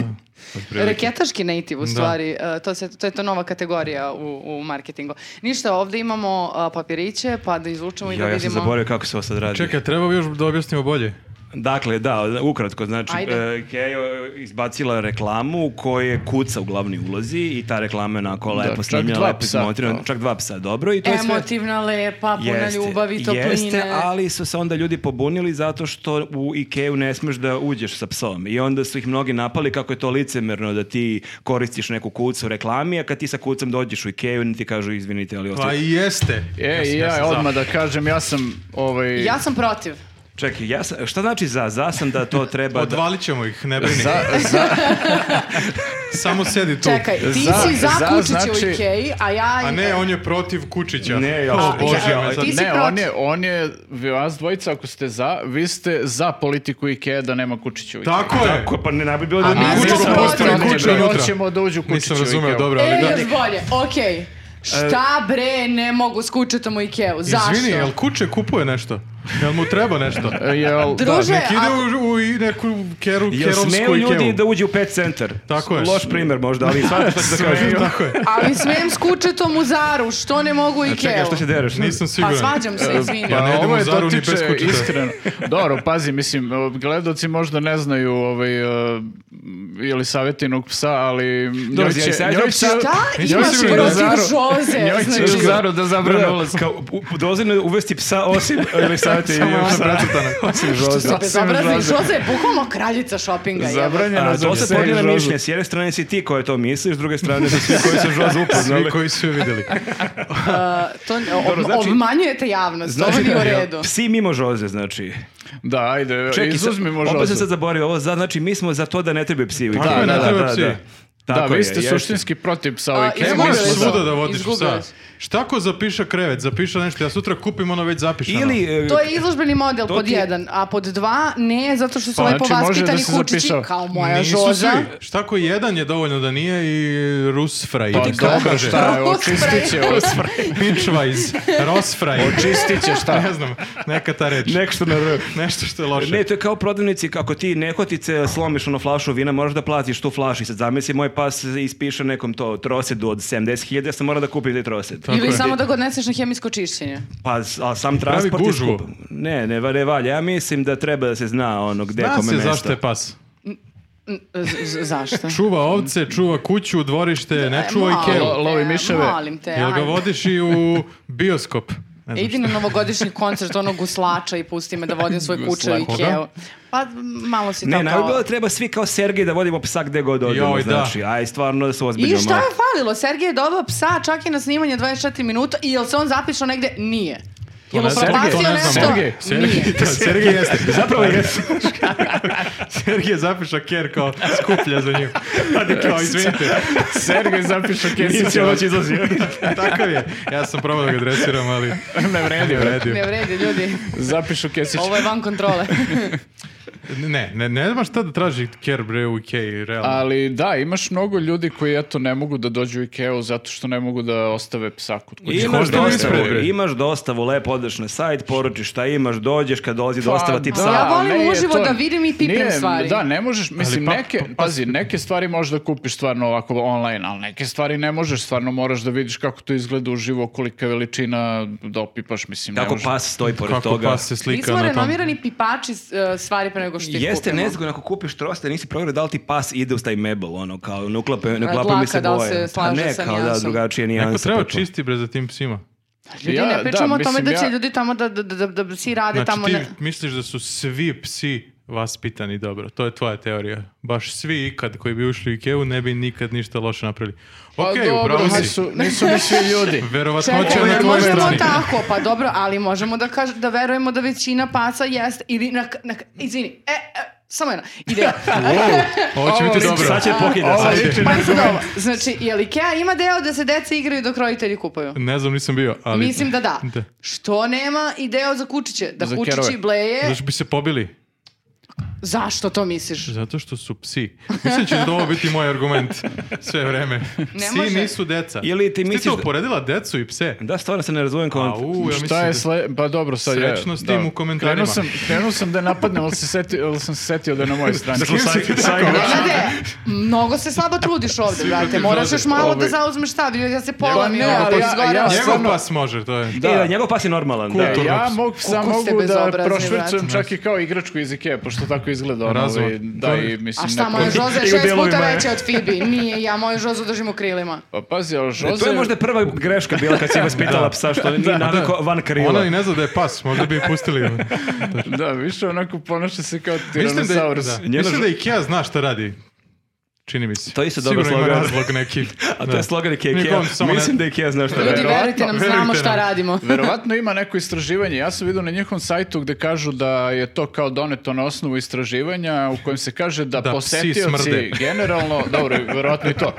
S5: otprilike.
S1: Reketaški native u stvari, e, to, se, to je to nova kategorija u, u marketingu. Ništa, ovdje imamo a, papiriće, pa da izvučemo i da
S2: Ja, ja sam
S1: vidimo.
S2: zaboravio kako se ovo sad radi.
S5: Čekaj, treba bi još da objasnimo bolje.
S2: Dakle, da, ukratko, znači,
S1: Ajde.
S2: e, Kejo je izbacila reklamu u kojoj je kuca u glavnoj ulozi i ta reklama je onako lepo
S3: čak
S2: snimljena,
S3: dva
S2: lepo
S3: psa,
S2: izmontirana,
S3: kao.
S2: čak dva psa, dobro,
S1: E,
S2: i to je sve...
S1: Emotivna, lepa, puna ljubavi, topline.
S2: Jeste, ali su se onda ljudi pobunili zato što u Ikeu ne smeš da uđeš sa psom. I onda su ih mnogi napali kako je to licemerno da ti koristiš neku kucu u reklami, a kad ti sa kucom dođeš u Ikeu, oni ti kažu izvinite, ali
S5: Pa
S2: ostaje.
S5: i jeste.
S3: E, i
S5: sam-
S3: ja,
S5: sam za.
S3: odmah da kažem, ja sam ovaj...
S1: Ja sam protiv.
S2: Čekaj, ja sam, šta znači za? Za sam da to treba... da-
S5: Odvalit ćemo ih, ne brini.
S3: Za, za,
S5: Samo sedi tu.
S1: Čekaj, ti
S3: Za-
S1: si za,
S3: za,
S1: kučiće
S3: znači-
S1: u Ikeji, a ja...
S5: A ne, on je protiv Kučića.
S2: Ne, ja-
S5: O Bože,
S1: Ja-
S5: me sad-
S1: Ti si
S3: ne,
S1: protiv.
S3: on je, on je, vi- vas dvojica ako ste za, vi ste za politiku Ikeja da nema kučića u Ikeji.
S5: Tako je.
S2: Tako, pa ne, ne bi bilo da...
S1: A mi
S2: ne-
S1: smo
S2: ne-
S1: protiv.
S2: postoji
S1: Protiv.
S2: kuća.
S5: Kuća unutra.
S3: hoćemo da uđu kučiće
S5: Nisam
S3: u
S5: razumeo,
S3: Ikeu.
S5: dobro,
S1: E,
S5: ali da.
S1: još bolje, okej. Šta bre ne mogu s kučetom u Ikeu? Zašto?
S5: Izvini, jel Kuče kupuje nešto? Jel mu treba nešto?
S3: E, Jel,
S1: Druže,
S5: Nek ide
S1: a-
S5: u, u i neku keru,
S2: Jel
S5: kerovsku
S2: smeju
S5: i
S2: ljudi
S5: kevu.
S2: da uđe u pet centar?
S5: Tako je.
S2: Loš primjer možda, ali shvatite što ću da kažem.
S5: Tako je.
S1: Ali smijem s kučetom u zaru, što ne mogu Ikeu?
S2: Čekaj, što se dereš?
S5: Nisam
S1: Pa
S5: siguran.
S1: svađam se, izvini.
S5: Ja ne idem
S3: pa ovo
S5: u
S3: je
S5: Zaru ni bez
S3: dotiče
S5: kućice.
S3: Iskreno. Dobro, pazi, mislim, gledoci možda ne znaju ovaj, uh, ili savjetinog psa, ali...
S2: Dobro, ja i savjetinog psa-
S1: Šta
S3: Ja
S1: imaš
S3: sigurno
S1: protiv
S3: Zaru.
S1: Jose?
S3: Njoj će
S1: Znači,
S3: u Zaru da zabrane
S2: Da,
S3: ulaz.
S2: Kao, u- u- dozvoljeno je uvesti psa osim ili savjeti i
S5: Samo
S2: psa.
S5: precrtano.
S2: Osim žoze.
S1: Što bezobrazni, Jose je bukvalno kraljica šopinga. jebote.
S3: Zabranjeno
S2: A,
S3: za
S2: to
S3: pse
S2: se
S3: i
S2: podijela
S3: žozu.
S2: mišljenja. S jedne strane si ti koja to misliš, s druge strane su svi koji su žozu upoznali.
S5: Svi koji su je vidjeli.
S1: To ob-
S2: znači-
S1: obmanjujete javnost, ovo nije u redu.
S2: Psi mimo žoze, znači.
S3: Da, ajde,
S2: Čekaj,
S3: izuzmimo
S2: sad- Opet sam
S3: žozu.
S2: sad zaboravio ovo, za- znači mi smo za to da ne trebaju psi. u Ikei.
S3: je, ne
S5: trebaju psi.
S3: Da,
S2: Tako
S3: vi
S2: je,
S3: ste
S2: jeste.
S3: suštinski protiv psa
S1: A,
S3: ovih
S5: E,
S1: Izgubili
S5: možeš
S1: smo.
S5: svuda da vodiš
S1: Izgubili
S5: psa.
S1: smo.
S5: Šta ako zapiše krevet, zapiše nešto, ja sutra kupim ono već zapišano.
S2: Ili... e,
S1: To je izložbeni model
S2: To
S1: pod
S2: ti je-
S1: jedan, a pod dva ne, zato što su lepo
S3: znači, može
S1: vaspitani
S3: da se
S1: kučići
S3: zapišava.
S1: kao moja
S5: Nisu
S1: žoza.
S5: svi. Šta ako jedan je dovoljno da nije i Rusfraj.
S3: Pa
S5: kako
S3: dobro,
S5: kaže?
S3: šta je,
S1: Rusfraj.
S3: očistit će,
S5: Pitchwise, Rosfraj.
S3: očistit će šta.
S5: Ne znam, neka ta reč.
S2: Nešto na R.
S5: Nešto što je loše.
S2: Ne, to je kao prodavnici, kako ti nehotice slomiš ono flašu vina, moraš da platiš tu flašu i sad zamisli moj pas ispiše nekom to trosedu od 70.000, ja sam mora da kupim taj trosed.
S1: Ili samo da ga odneseš na hemijsko čišćenje.
S2: Pa s- a sam transport je
S5: gužvu.
S2: skup. Ne, ne, va- ne valja. Ja mislim da treba da se zna ono gde
S5: Zna
S2: kome
S5: se
S2: mesto.
S5: zašto je pas.
S1: N- z- z- Zašto?
S5: Čuva ovce, čuva kuću, dvorište, ne čuva
S1: Molim
S5: Ikeu.
S1: te,
S3: lovi miševe.
S1: Molim te,
S5: Jel ga
S1: ajde.
S5: vodiš i u bioskop? Ne znam
S1: Idi na novogodišnji koncert onog guslača i pusti me da vodim svoj kuće u
S3: Guslač.
S1: Ikeu. Pa malo si
S2: Ne,
S1: to
S2: najbolje
S1: kao...
S2: da treba svi kao Sergej da vodimo psa gde god odemo,
S5: Joj, da.
S2: znači. Aj, stvarno da se ozbiljno
S1: I šta
S2: malo.
S1: je falilo? Sergej je doveo psa čak i na snimanje 24 minuta i jel se on zapišao negde? Nije. Jel
S5: ne znam,
S1: upropastio
S5: to ne
S1: nešto?
S5: znamo.
S3: Sergej,
S1: Nije.
S5: šta. Sergej jeste.
S2: Zapravo jesi.
S5: Sergej zapiša ker kao skuplja za njim. Adi kao, izvinite,
S3: Sergej zapiša
S2: Nisi
S3: Kesića.
S2: ovo će izlazio.
S5: takav je. Ja sam probao da ga dresiram, ali
S3: Ne vredi,
S5: ne
S3: bre.
S5: vredio.
S1: Ne vredi, ljudi.
S3: Zapišu Kesića.
S1: Ovo je van kontrole.
S5: Ne, ne, ne znam šta da traži Ker bre u Ikeji, realno.
S3: Ali da, imaš mnogo ljudi koji eto ne mogu da dođu u Ikeu zato što ne mogu da ostave psa kod kuće.
S2: Imaš
S5: košta
S2: dostavu,
S5: ispred, bre.
S2: imaš dostavu, lepo odeš na sajt, poručiš šta imaš, dođeš kad dolazi dostava ti
S3: Pa,
S2: psa.
S3: da,
S1: Ja volim
S3: ne, je
S1: uživo
S3: to-
S1: da vidim i pipim
S3: nije,
S1: stvari.
S3: Da, ne možeš, mislim,
S5: pa-
S3: neke,
S5: pa- pa-
S3: pazi, neke stvari možeš da kupiš stvarno ovako online, ali neke stvari ne možeš, stvarno moraš da vidiš kako to izgleda uživo, kolika je veličina da opipaš, mislim, ne
S2: Kako
S5: pa-
S3: možeš.
S2: pas stoji pored
S5: Kako
S2: toga.
S5: pas se
S1: Mi
S5: slika
S1: smo
S5: na tom.
S1: renomirani pipači e, stvari pre nego što ih
S2: Jeste ono-
S1: kupimo.
S2: nezgodno ako kupiš troste, nisi provjerio da li ti pas ide uz taj mebel, ono, kao ne uklape, ne
S1: A,
S2: uklapaju mi se
S1: dlaka, da li
S2: boje.
S1: se
S2: Pa
S1: slaže
S2: ne,
S1: sa
S2: kao da,
S1: nijansom?
S2: drugačije nijanse.
S5: Neko treba
S2: potpuno.
S5: čisti bre za tim psima.
S1: Ljudi,
S3: Ja,
S1: ne
S3: da,
S1: pričamo o tome
S3: mislim,
S1: da će
S3: ja-
S1: ljudi tamo da, da, da, da, da psi rade
S5: Znači
S1: tamo.
S5: ti
S1: ne-
S5: misliš da su svi psi vaspitani dobro. To je tvoja teorija. Baš svi ikad koji bi ušli u Ikeu ne bi nikad ništa loše napravili.
S3: Pa
S5: Ok,
S3: dobro,
S5: upravo si.
S3: nisu, nisu ni svi ljudi.
S5: Verovatno će
S1: Čekaj,
S5: na
S1: ne
S5: tvojoj
S1: možemo
S5: strani.
S1: tako, pa dobro, ali možemo da kaž, da verujemo da većina pasa jeste ili na, na izvini, e, e, samo jedna, ideja.
S5: Ovo će biti dobro. Ovaj-
S2: Sad će pokida,
S3: Ovaj,
S5: Ovo
S2: sad će.
S5: liči na-
S1: Pa sad ovo, znači, je li Ikea ima deo da se deca igraju dok roditelji kupaju?
S5: Ne znam, nisam bio, ali...
S1: Mislim da da.
S5: Da.
S1: Što nema i deo za kučiće? Da
S3: Za
S1: kučići
S3: kerove.
S1: bleje.
S5: Zašto bi se pobili?
S1: Zašto to misliš?
S5: Zato što su psi. Mislim će da ovo biti moj argument sve vreme. Psi
S1: može.
S5: nisu deca.
S2: Ili ti
S5: Ti
S2: misliš
S5: to
S2: da-
S5: uporedila decu i pse?
S2: Da, stvarno se ne razumijem kao...
S5: Au, ja
S3: Šta
S5: mislim
S3: je
S5: da-
S3: sle... Pa dobro, sad je...
S5: Srećno s tim u komentarima.
S3: Krenuo sam, krenuo sam da napadnem, ali, se setio, ali sam se setio da je na mojoj strani.
S1: Znate, mnogo se slabo trudiš ovde, brate.
S5: protiv
S1: Moraš
S5: roze.
S1: još malo da
S5: Ovaj.
S1: zauzmeš stav, ili ja ono, se polam i
S3: ne,
S1: ovo
S3: ali ja-
S1: izgorela.
S3: ja-
S5: Njegov
S3: Stvarno-
S5: pas može, to je.
S2: Da. E, da, njegov pas je normalan. Da. E,
S5: Kulturno.
S3: Ja
S5: Koliko
S3: mogu, sam
S1: ste
S3: mogu da
S1: bezobrazni,
S3: prošvercujem
S1: brate.
S3: čak i kao igračku iz Ikea, pošto tako izgleda ono,
S5: Razum.
S3: ovaj, da i mislim...
S1: A šta,
S3: neko-
S1: moja Žoza je
S5: I u
S1: šest puta
S5: delovima je.
S1: veća od Fibi. Nije, ja moju Žozu držim u krilima.
S3: Pa pazi, ali
S2: E,
S3: Žoze...
S2: To je možda prva greška bila kad si vas pitala psa što nije navikao van krila.
S5: Ona Ono i ne zna da je pas, možda bi je pustili.
S3: Da, više onako ponaša se kao
S5: Mislim da, je,
S3: Tyrannosaurus.
S5: da.
S2: Njeno
S5: Mislim
S2: žu-
S5: da Ikea zna šta radi. Čini mi se.
S2: To je isto
S5: Sigurno
S2: dobar
S5: ima
S2: slogan.
S5: razlog neki.
S2: A to
S5: Da.
S2: je slogan Ikea.
S5: Niko on samo ne-
S2: Mislim da Ikea znaš šta
S1: Ljudi,
S2: radi.
S1: verujte nam, znamo
S5: verujte
S1: šta
S5: nam.
S1: radimo.
S3: Verovatno ima neko istraživanje. Ja sam vidio na njihovom sajtu gde kažu da je to kao doneto na osnovu istraživanja u kojem se kaže da,
S5: Da psi
S3: posetioci
S5: smrde.
S3: generalno, dobro, verovatno i to,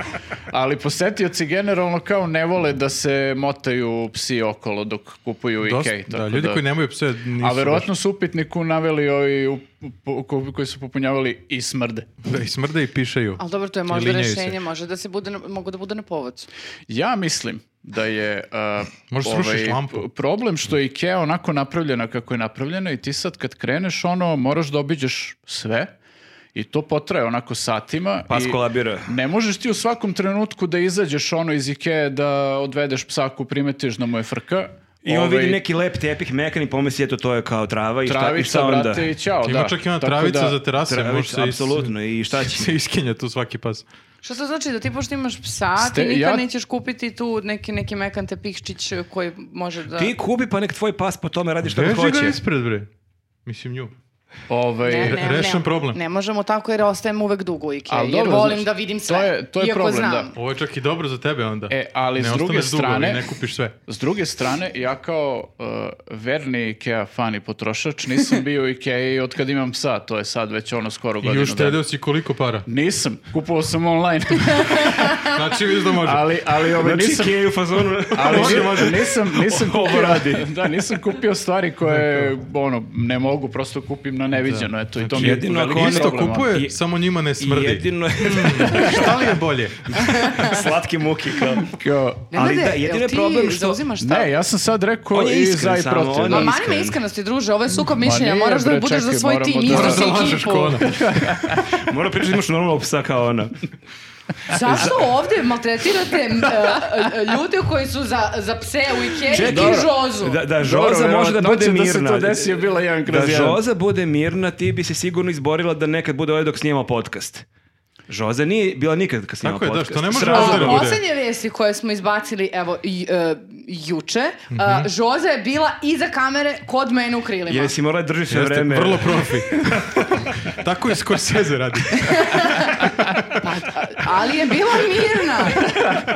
S3: ali posetioci generalno kao ne vole da se motaju psi okolo dok kupuju
S5: Dosta-
S3: Ikea.
S5: da, ljudi koji nemaju pse nisu
S3: A verovatno su upitniku naveli ovi u- po- ko- koji su popunjavali i smrde.
S5: baš- Da, i smrde i pišaju.
S1: Ali dobro, to je
S5: I
S1: možda
S5: linjaju se.
S1: rešenje, može da se bude, na- mogu da bude na povodcu.
S3: Ja mislim da je uh,
S5: Možda srušiš lampu.
S3: p- problem što je Ikea onako napravljena kako je napravljena i ti sad kad kreneš ono moraš da obiđeš sve i to potraje onako satima
S2: Pas
S3: i
S2: kolabira.
S3: ne možeš ti u svakom trenutku da izađeš ono iz Ikea da odvedeš psa ako primetiš da mu je frka.
S2: I on
S3: Ovaj,
S2: vidi neki lep tepih mekan i pomisli, eto, to je kao trava i šta, i šta
S3: travica,
S2: onda?
S3: brate, i ćao, da.
S5: Ima čak i ona
S3: Tako
S5: travica
S3: da-
S5: za terase.
S2: Travica,
S5: može se is-
S2: apsolutno, i šta će?
S5: se iskenja tu svaki pas.
S1: Što to znači da ti pošto imaš psa,
S3: Ste-
S1: ti nikad
S3: ja-
S1: nećeš kupiti tu neki, neki mekan tepihčić koji može da...
S2: Ti kupi pa nek tvoj pas po tome radi šta god
S5: Veži ga
S2: hoće.
S5: ispred, bre. Mislim nju.
S3: Ovaj,
S1: Ne,
S5: re-
S1: ne,
S5: rešen
S1: ne.
S5: problem.
S1: Ne možemo tako jer ostajem uvek dugo u Ikea,
S3: Ali
S1: jer
S3: dobro,
S1: volim
S3: znači,
S1: da vidim
S3: to
S1: sve.
S3: je- to je
S1: iako
S3: problem,
S1: znam.
S3: da.
S5: Ovo je čak i dobro za tebe onda.
S3: E, ali
S5: ne
S3: s druge
S5: ostaneš dugo, ali
S3: strane-
S5: ne kupiš sve.
S3: S druge strane, ja kao uh, verni Ikea fan i potrošač nisam bio u Ikei od kad imam psa, to je sad već ono skoro
S5: I
S3: godinu dana.
S5: uštedeo si koliko para.
S3: Nisam, kupovao sam online,
S5: Znači, vidiš da može.
S3: ali, ali ove,
S2: Znači,
S3: nisam,
S2: Ikea je u fazonu.
S3: ali
S2: Može,
S3: ni-
S2: može.
S3: nisam, nisam
S2: Ovo
S3: kupio,
S2: radi.
S3: da, nisam kupio stvari koje ono, ne mogu, prosto kupim na neviđeno, eto, i to mi je
S2: Znači, jedino ako
S3: veliki
S2: on
S5: Isto
S3: problem, ono.
S5: kupuje,
S2: I-
S5: samo njima ne smrdi.
S2: Jedino je
S5: Šta li je bolje?
S2: slatke muki kao.
S3: Kao,
S1: Nenade,
S2: Ali da, jedini
S1: jel
S2: je
S1: ti
S2: problem što-
S1: zauzimaš stav?
S3: Ne, ja sam sad rekao
S2: On je
S3: i
S2: iskren
S3: za i
S2: samo,
S3: protiv.
S2: on
S3: da.
S2: je
S1: Ma mani me
S2: iskren.
S1: iskrenosti, druže, ovo je sukob mišljenja,
S3: nije,
S1: moraš da
S3: bre,
S1: budeš za
S3: čekaj,
S1: svoj
S3: moramo
S1: tim,
S3: da-
S1: izdaš
S5: Moraš da
S1: ekipu.
S5: lažeš ko ona.
S2: Mora pričati imaš normalnog psa kao ona.
S1: Zašto ovdje maltretirate m, e, e, ljude koji su za, za pse u Ikea i E, Žozu?
S2: Da, da
S3: Dobro,
S2: Žoza može da
S3: verovatno
S2: bude
S3: će
S2: mirna.
S3: Da se to desi je bila jedan
S2: Da
S3: kroz jedan.
S2: Žoza bude mirna, ti bi se sigurno izborila da nekad bude ovdje dok snimamo podcast. Žoza nije bila nikad kad snimamo
S5: Tako je, da,
S2: podcast.
S5: što ne može
S2: Sram
S5: ovdje
S2: te
S5: da
S2: bilo.
S5: bude.
S1: Poslednje vijesti koje smo izbacili, evo, i, e, juče,
S3: Mhm.
S1: a, Žoza je bila iza kamere kod mene u krilima.
S2: Jesi morala držiš sve
S5: Jeste,
S2: vreme.
S5: vrlo profi. Tako i Scorsese radi.
S1: Ali je bila mirna.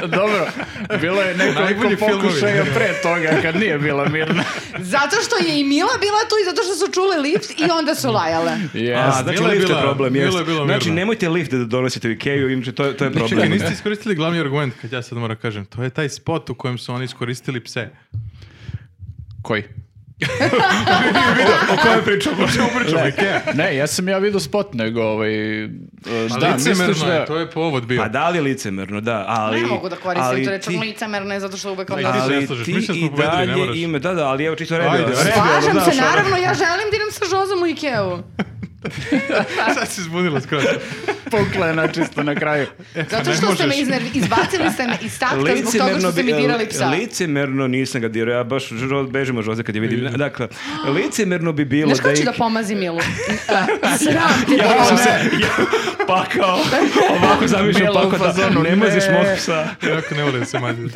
S3: Dobro, bilo je nekoliko
S5: Najbolji filmovi.
S3: pokušaja pre toga kad nije bila mirna.
S1: Zato što je i Mila bila tu i zato što su čule lift i onda su lajale.
S2: A,
S3: Yes.
S2: znači
S5: Bila je
S2: lift je
S5: bila-
S2: problem,
S5: bila
S2: jeste.
S5: je bila
S2: Znači,
S5: mirna.
S2: nemojte lift da donosite u Ikeju, inače to, to je problem.
S5: Čekaj, niste iskoristili glavni argument, kad ja sad moram kažem. To je taj spot u kojem su oni iskoristili pse.
S3: Koji?
S2: O kojem pričamo? O čemu pričamo?
S3: Ne, ne, ja sam ja vidio spot, nego ovaj... e,
S5: Pa
S3: Da,
S5: licemerno
S3: misliš da...
S5: je, to je povod bio.
S2: Pa da li je licemerno, da, ali...
S1: Ne mogu da koristim
S2: ali
S1: tu reč
S2: ti-
S1: licemerne, zato što uvek
S5: ti se
S1: onda...
S5: ne
S2: Ali
S5: slažeš,
S2: ti
S5: mi sad smo
S2: i
S5: pobedili, ne
S2: dalje
S5: moraš.
S2: ime, da, da, ali evo čisto redio.
S5: Ajde,
S1: Slažem
S2: znaš,
S1: se,
S2: ono-
S1: naravno, ja želim da idem sa Žozom u Ikeu.
S5: Sad si zbunila skroz.
S3: Pukla je načisto na kraju.
S1: Zato što ste me iznervi, izbacili ste me iz takta zbog toga što ste mi
S2: bi- e,
S1: dirali psa.
S2: Licemerno nisam ga dirao, ja baš žro- bežim od Žoze kad je vidim. Dakle, licemerno bi bilo
S1: Znaš
S2: da...
S1: kako ću
S2: i-
S1: da pomazi Milu? Sram ti
S2: Ja sam
S1: bilo.
S2: se ja, pakao, ovako zamišljam
S3: Bila u
S2: pakao da
S3: fazonu,
S2: ne maziš
S3: ne.
S2: mog psa.
S5: Jako ne volim da se manjim.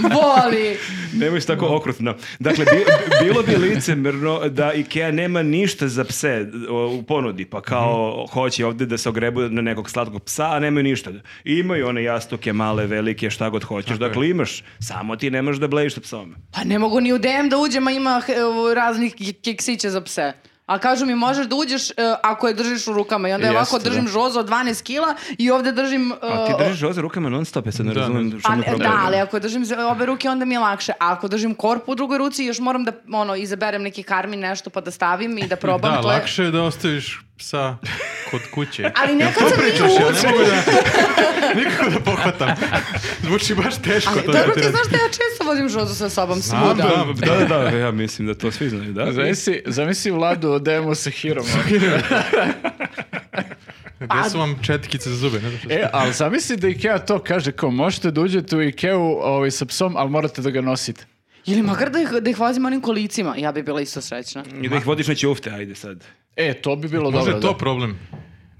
S1: Boli.
S2: Nemoj se tako okrutno. Dakle, bi- bi- bilo bi licemerno da IKEA nema ništa za pse o, u ponudi, pa kao hoće ovdje da se ogrebu na nekog slatkog psa, a nemaju ništa. Imaju one jastuke male, velike, šta god hoćeš. Dakle, imaš, samo ti ne možeš da blejiš sa psom.
S1: Pa ne mogu ni u DM da uđem, a ima eh, raznih ke- keksića za pse. A kažu mi možeš da uđeš eh, ako je držiš u rukama. I onda
S3: Jeste,
S1: ovako
S3: da.
S1: držim žozo od 12 kila i ovdje držim... eh,
S2: A ti držiš oze rukama non stop, ja sad ne
S5: Da,
S2: razumijem
S5: ne-
S2: što
S1: Pa,
S2: mi je
S1: ne-
S2: problem.
S1: da, ali ako držim za obe ruke, onda mi je lakše. A ako držim korpu u drugoj ruci, još moram da ono, izaberem neki karmin, nešto pa da stavim i da probam.
S5: Da,
S1: to je-
S5: lakše je da ostaviš psa kod kuće.
S1: Ali nekad
S5: To
S1: sam i
S5: pričaš, ja ne
S1: uđem.
S5: mogu da... Nikako da pohvatam. Zvuči baš teško.
S1: Ali
S5: to
S1: dobro
S5: da
S1: ti
S5: kažem.
S1: znaš da ja često vodim žozu sa sobom
S5: Znam,
S1: svuda.
S5: da.
S2: Da, da, da, ja mislim da to svi znaju, da.
S3: Zamisli, zamisli vladu, demo sa hirom.
S5: Gde su vam četkice za zube? Ne znam što
S3: E, ali zamisli da Ikea to kaže, kao možete da uđete u Ikeu ovaj, sa psom, ali morate da ga nosite.
S1: Ili makar da ih, da ih vozim onim kolicima. Ja bi bila isto srećna.
S2: I da ih vodiš na ćufte, ajde sad.
S3: E, to bi bilo
S5: Možda
S3: dobro.
S5: je to
S3: da.
S5: problem.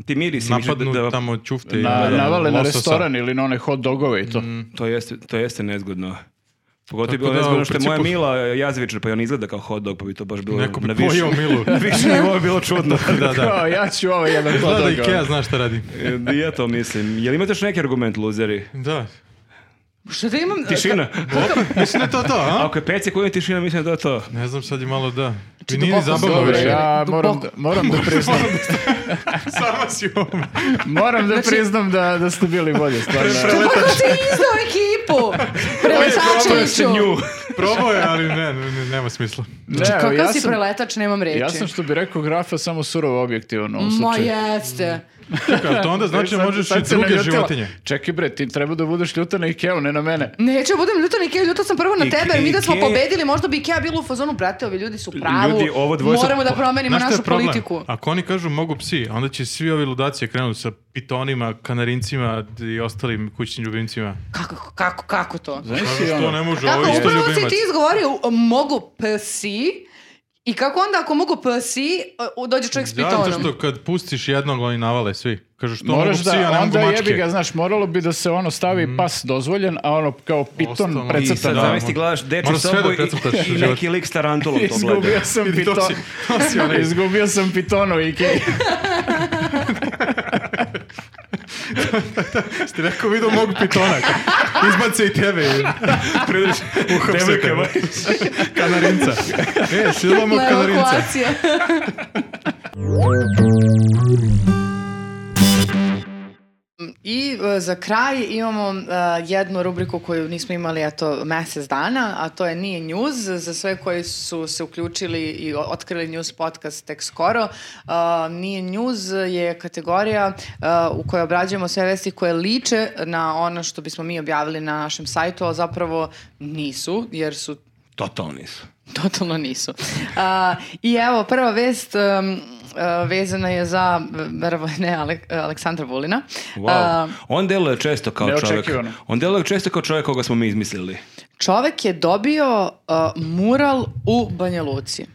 S2: Ti mirisi,
S5: Napadnu
S2: da, da,
S5: tamo čufte i
S3: Na,
S5: da,
S3: navale na
S5: lososa.
S3: restoran ili na one hot dogove i to.
S5: Mm.
S2: to jeste, to jeste nezgodno. Pogotovo je
S5: Tako
S2: bilo
S5: da,
S2: nezgodno
S5: u
S2: što je moja
S5: principu-
S2: Mila Jazvičar, pa i on izgleda kao hot dog, pa bi to baš bilo
S5: Neko bi
S2: na više. Pa
S5: pojeo Milu.
S2: Na više nivo je bilo čudno.
S5: Da, da.
S3: Kao, ja ću ovaj jedan hot
S5: Zna da
S3: dog.
S5: Ikea zna šta radi.
S2: I ja to mislim. Jel imate još neki argument, luzeri?
S5: Da.
S1: Što da imam...
S2: Tišina.
S5: Mislim da je to to, a?
S2: Ako je pet sekundi tišina, mislim da je to.
S5: Ne znam, sad je malo da. Mi nije ni
S1: duboko
S3: Dobro,
S5: zabavno
S1: Dobro,
S5: više.
S3: ja
S1: duboko.
S3: moram, da- moram da priznam,
S5: Sama si ovom.
S3: moram da
S1: Znači-
S3: priznam da, da ste bili bolje, stvarno.
S1: Kako si izdao ekipu? Preletačeviću.
S5: Probao je, ali ne, ne, ne, nema smisla.
S3: Ne, evo,
S1: Kakav
S3: ja
S1: Znači, si
S3: sam,
S1: preletač, nemam reči.
S3: ja sam što bi rekao grafa samo surovo objektivan u ovom
S1: Ma
S3: slučaju.
S1: jeste.
S5: Čekaj, to onda znači da
S3: Sad-
S5: možeš
S3: sad
S5: i
S3: se
S5: druge
S3: naljutila.
S5: životinje.
S3: Čekaj bre, ti treba da budeš ljuta na Ikeu, ne na mene.
S1: Neću, ja budem ljuta na Ikea, ljuta sam prvo na
S2: Ike-
S1: tebe, jer mi da smo
S2: Ikea-
S1: pobedili, možda bi Ikea bila u fazonu, brate, ovi ljudi su u pravu,
S2: Ljudi, ovo dvoje su-
S1: moramo da promenimo
S5: Pa, Znaš šta je
S1: našu
S5: problem?
S1: politiku.
S5: Ako oni kažu mogu psi, onda će svi ovi ludacije krenuti sa pitonima, kanarincima i ostalim kućnim ljubimcima.
S1: Kako, kako, kako to?
S3: Znaš
S5: Kažu
S3: si ono-
S5: što ne može,
S1: Kako,
S5: ovo je isto
S1: upravo si
S5: ljubimac.
S1: ti izgovorio, o, mogu psi, i kako onda ako mogu psi, o, dođe čovjek s
S5: Zato
S1: pitonom?
S5: što kad pustiš jednog, oni navale svi. Kažu što
S3: Moraš
S5: mogu psi, a
S3: da,
S5: ne mogu
S3: onda jebi ga,
S5: mačke.
S3: znaš, moralo bi da se ono stavi pas dozvoljen, a ono kao piton
S5: Mhm. Ostalo-
S2: I
S3: precrtan.
S2: sad
S5: Da,
S2: zamisli
S5: mo-
S2: gledaš dečju
S5: moraš sve
S2: sobu
S5: da
S2: i,
S5: precrtaš u
S2: i
S5: životu.
S2: neki lik s tarantulom to gleda.
S3: Izgubio sam
S5: I to
S3: piton.
S5: si- to si ono onaj-
S3: Izgubio sam pitonu Ikei.
S5: Ti rekao vidio mog pitona. Izbace i tebe. Pridruži. Uhapse
S2: Devojka,
S5: tebe. Kanarinca. E, silamo
S1: Na
S5: kanarinca.
S1: evakuacija. I e, za kraj imamo e, jednu rubriku koju nismo imali eto mjesec dana, a to je Nije News. Za sve koji su se uključili i o- otkrili News podcast tek skoro, e, Nije News je kategorija e, u kojoj obrađujemo sve vesti koje liče na ono što bismo mi objavili na našem sajtu, a zapravo nisu, jer su
S2: Totalni su.
S1: Totalno nisu. A, I evo, prva vest um, a, vezana je za verovo- ne, Alek- Aleksandra Vulina.
S2: Wow.
S1: A,
S2: On deluje često kao čovjek.
S3: Neočekivano.
S2: On deluje često kao čovjek koga smo mi izmislili.
S1: čovek je dobio a, mural u Banja Luci.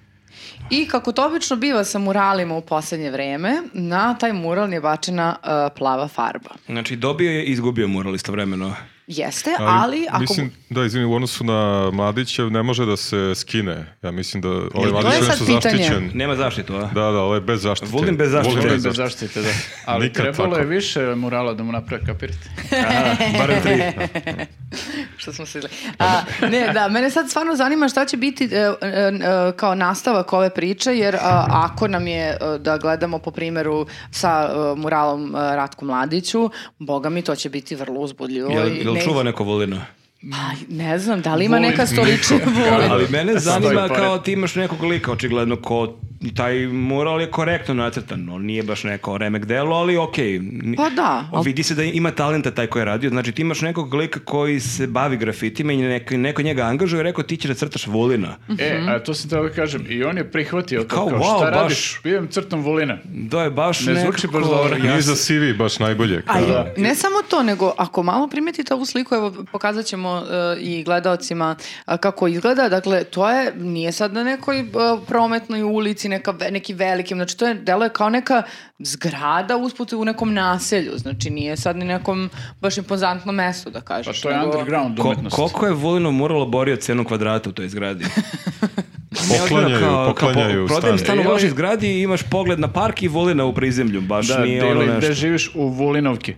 S1: I kako to obično biva sa muralima u posljednje vreme, na taj mural je bačena a, plava farba.
S2: Znači, dobio je i izgubio mural istovremeno.
S1: Jeste, ali, ako...
S4: Mislim, da, izvini, u odnosu na Mladića ne može da se skine. Ja mislim da
S2: E,
S1: to je
S4: ovaj Mladić je
S1: sad
S4: nešto
S1: pitanje.
S4: zaštićen.
S2: Nema zaštitu, a?
S4: Da, da, ovo je bez zaštite.
S2: Vulin bez zaštite.
S4: Vulin
S3: Volim da zaštite, da. Ali
S4: Nikad
S3: trebalo
S4: tako.
S3: je više murala da mu naprave, kapirate?
S2: Aha, barem tri.
S1: što smo se izle-
S2: Pa
S1: A, ne, da, mene sad stvarno zanima šta će biti e, e, e, kao nastavak ove priče, jer a, ako nam je, e, da gledamo po primjeru sa e, muralom e, Ratku Mladiću, boga mi, to će biti vrlo uzbudljivo.
S2: Jel,
S1: i
S2: jel
S1: ne-
S2: čuva neko volino?
S1: Pa, ne znam, da li ima
S3: Vulin.
S1: neka stolična vulin?
S2: Ali mene zanima
S3: Stoji pored.
S2: kao ti imaš nekog lika, očigledno, ko taj mural je korektno nacrtan, on nije baš neko remek delo, ali okej. Ni-
S1: Pa da, ali-
S2: Vidi se da ima talenta taj ko je radio, znači ti imaš nekog lika koji se bavi grafitima i neko, neko njega angažuje i rekao ti ćeš da crtaš volina.
S3: E,
S1: Mhm.
S3: a to sam trebao da kažem. I on je prihvatio to.
S2: Kao,
S3: Kao,
S2: wow,
S3: šta
S2: baš-
S3: radiš? Idem crtom volina.
S2: Da je baš
S3: Ne
S2: nekako...
S3: zvuči baš dobro.
S2: Ja
S4: Nije za CV baš najbolje.
S1: A i
S4: kao-
S1: ne samo to, nego ako malo primetite ovu sliku, evo pokazat ćemo e, i gledaocima e, kako izgleda, dakle to je, nije sad na nekoj e, prometnoj ulici, neka, ve- neki veliki, znači to je, delo je kao neka zgrada usput u nekom naselju, znači nije sad ni nekom baš impozantnom mestu da
S3: Pa
S1: kažeš.
S3: to je
S1: nego-
S3: underground
S2: Ko-
S3: umetnost.
S2: koliko je Vulinov mural borio cenu kvadrata u toj zgradi?
S4: Poklanjaju, poklanjaju
S2: Prodajem
S4: stan.
S2: stan u
S3: Ili-
S2: vašoj zgradi i imaš pogled na park i Vulina u prizemlju. Baš
S3: Da,
S2: nije ono
S3: deli
S2: nešto.
S3: gde živiš u Vulinovki.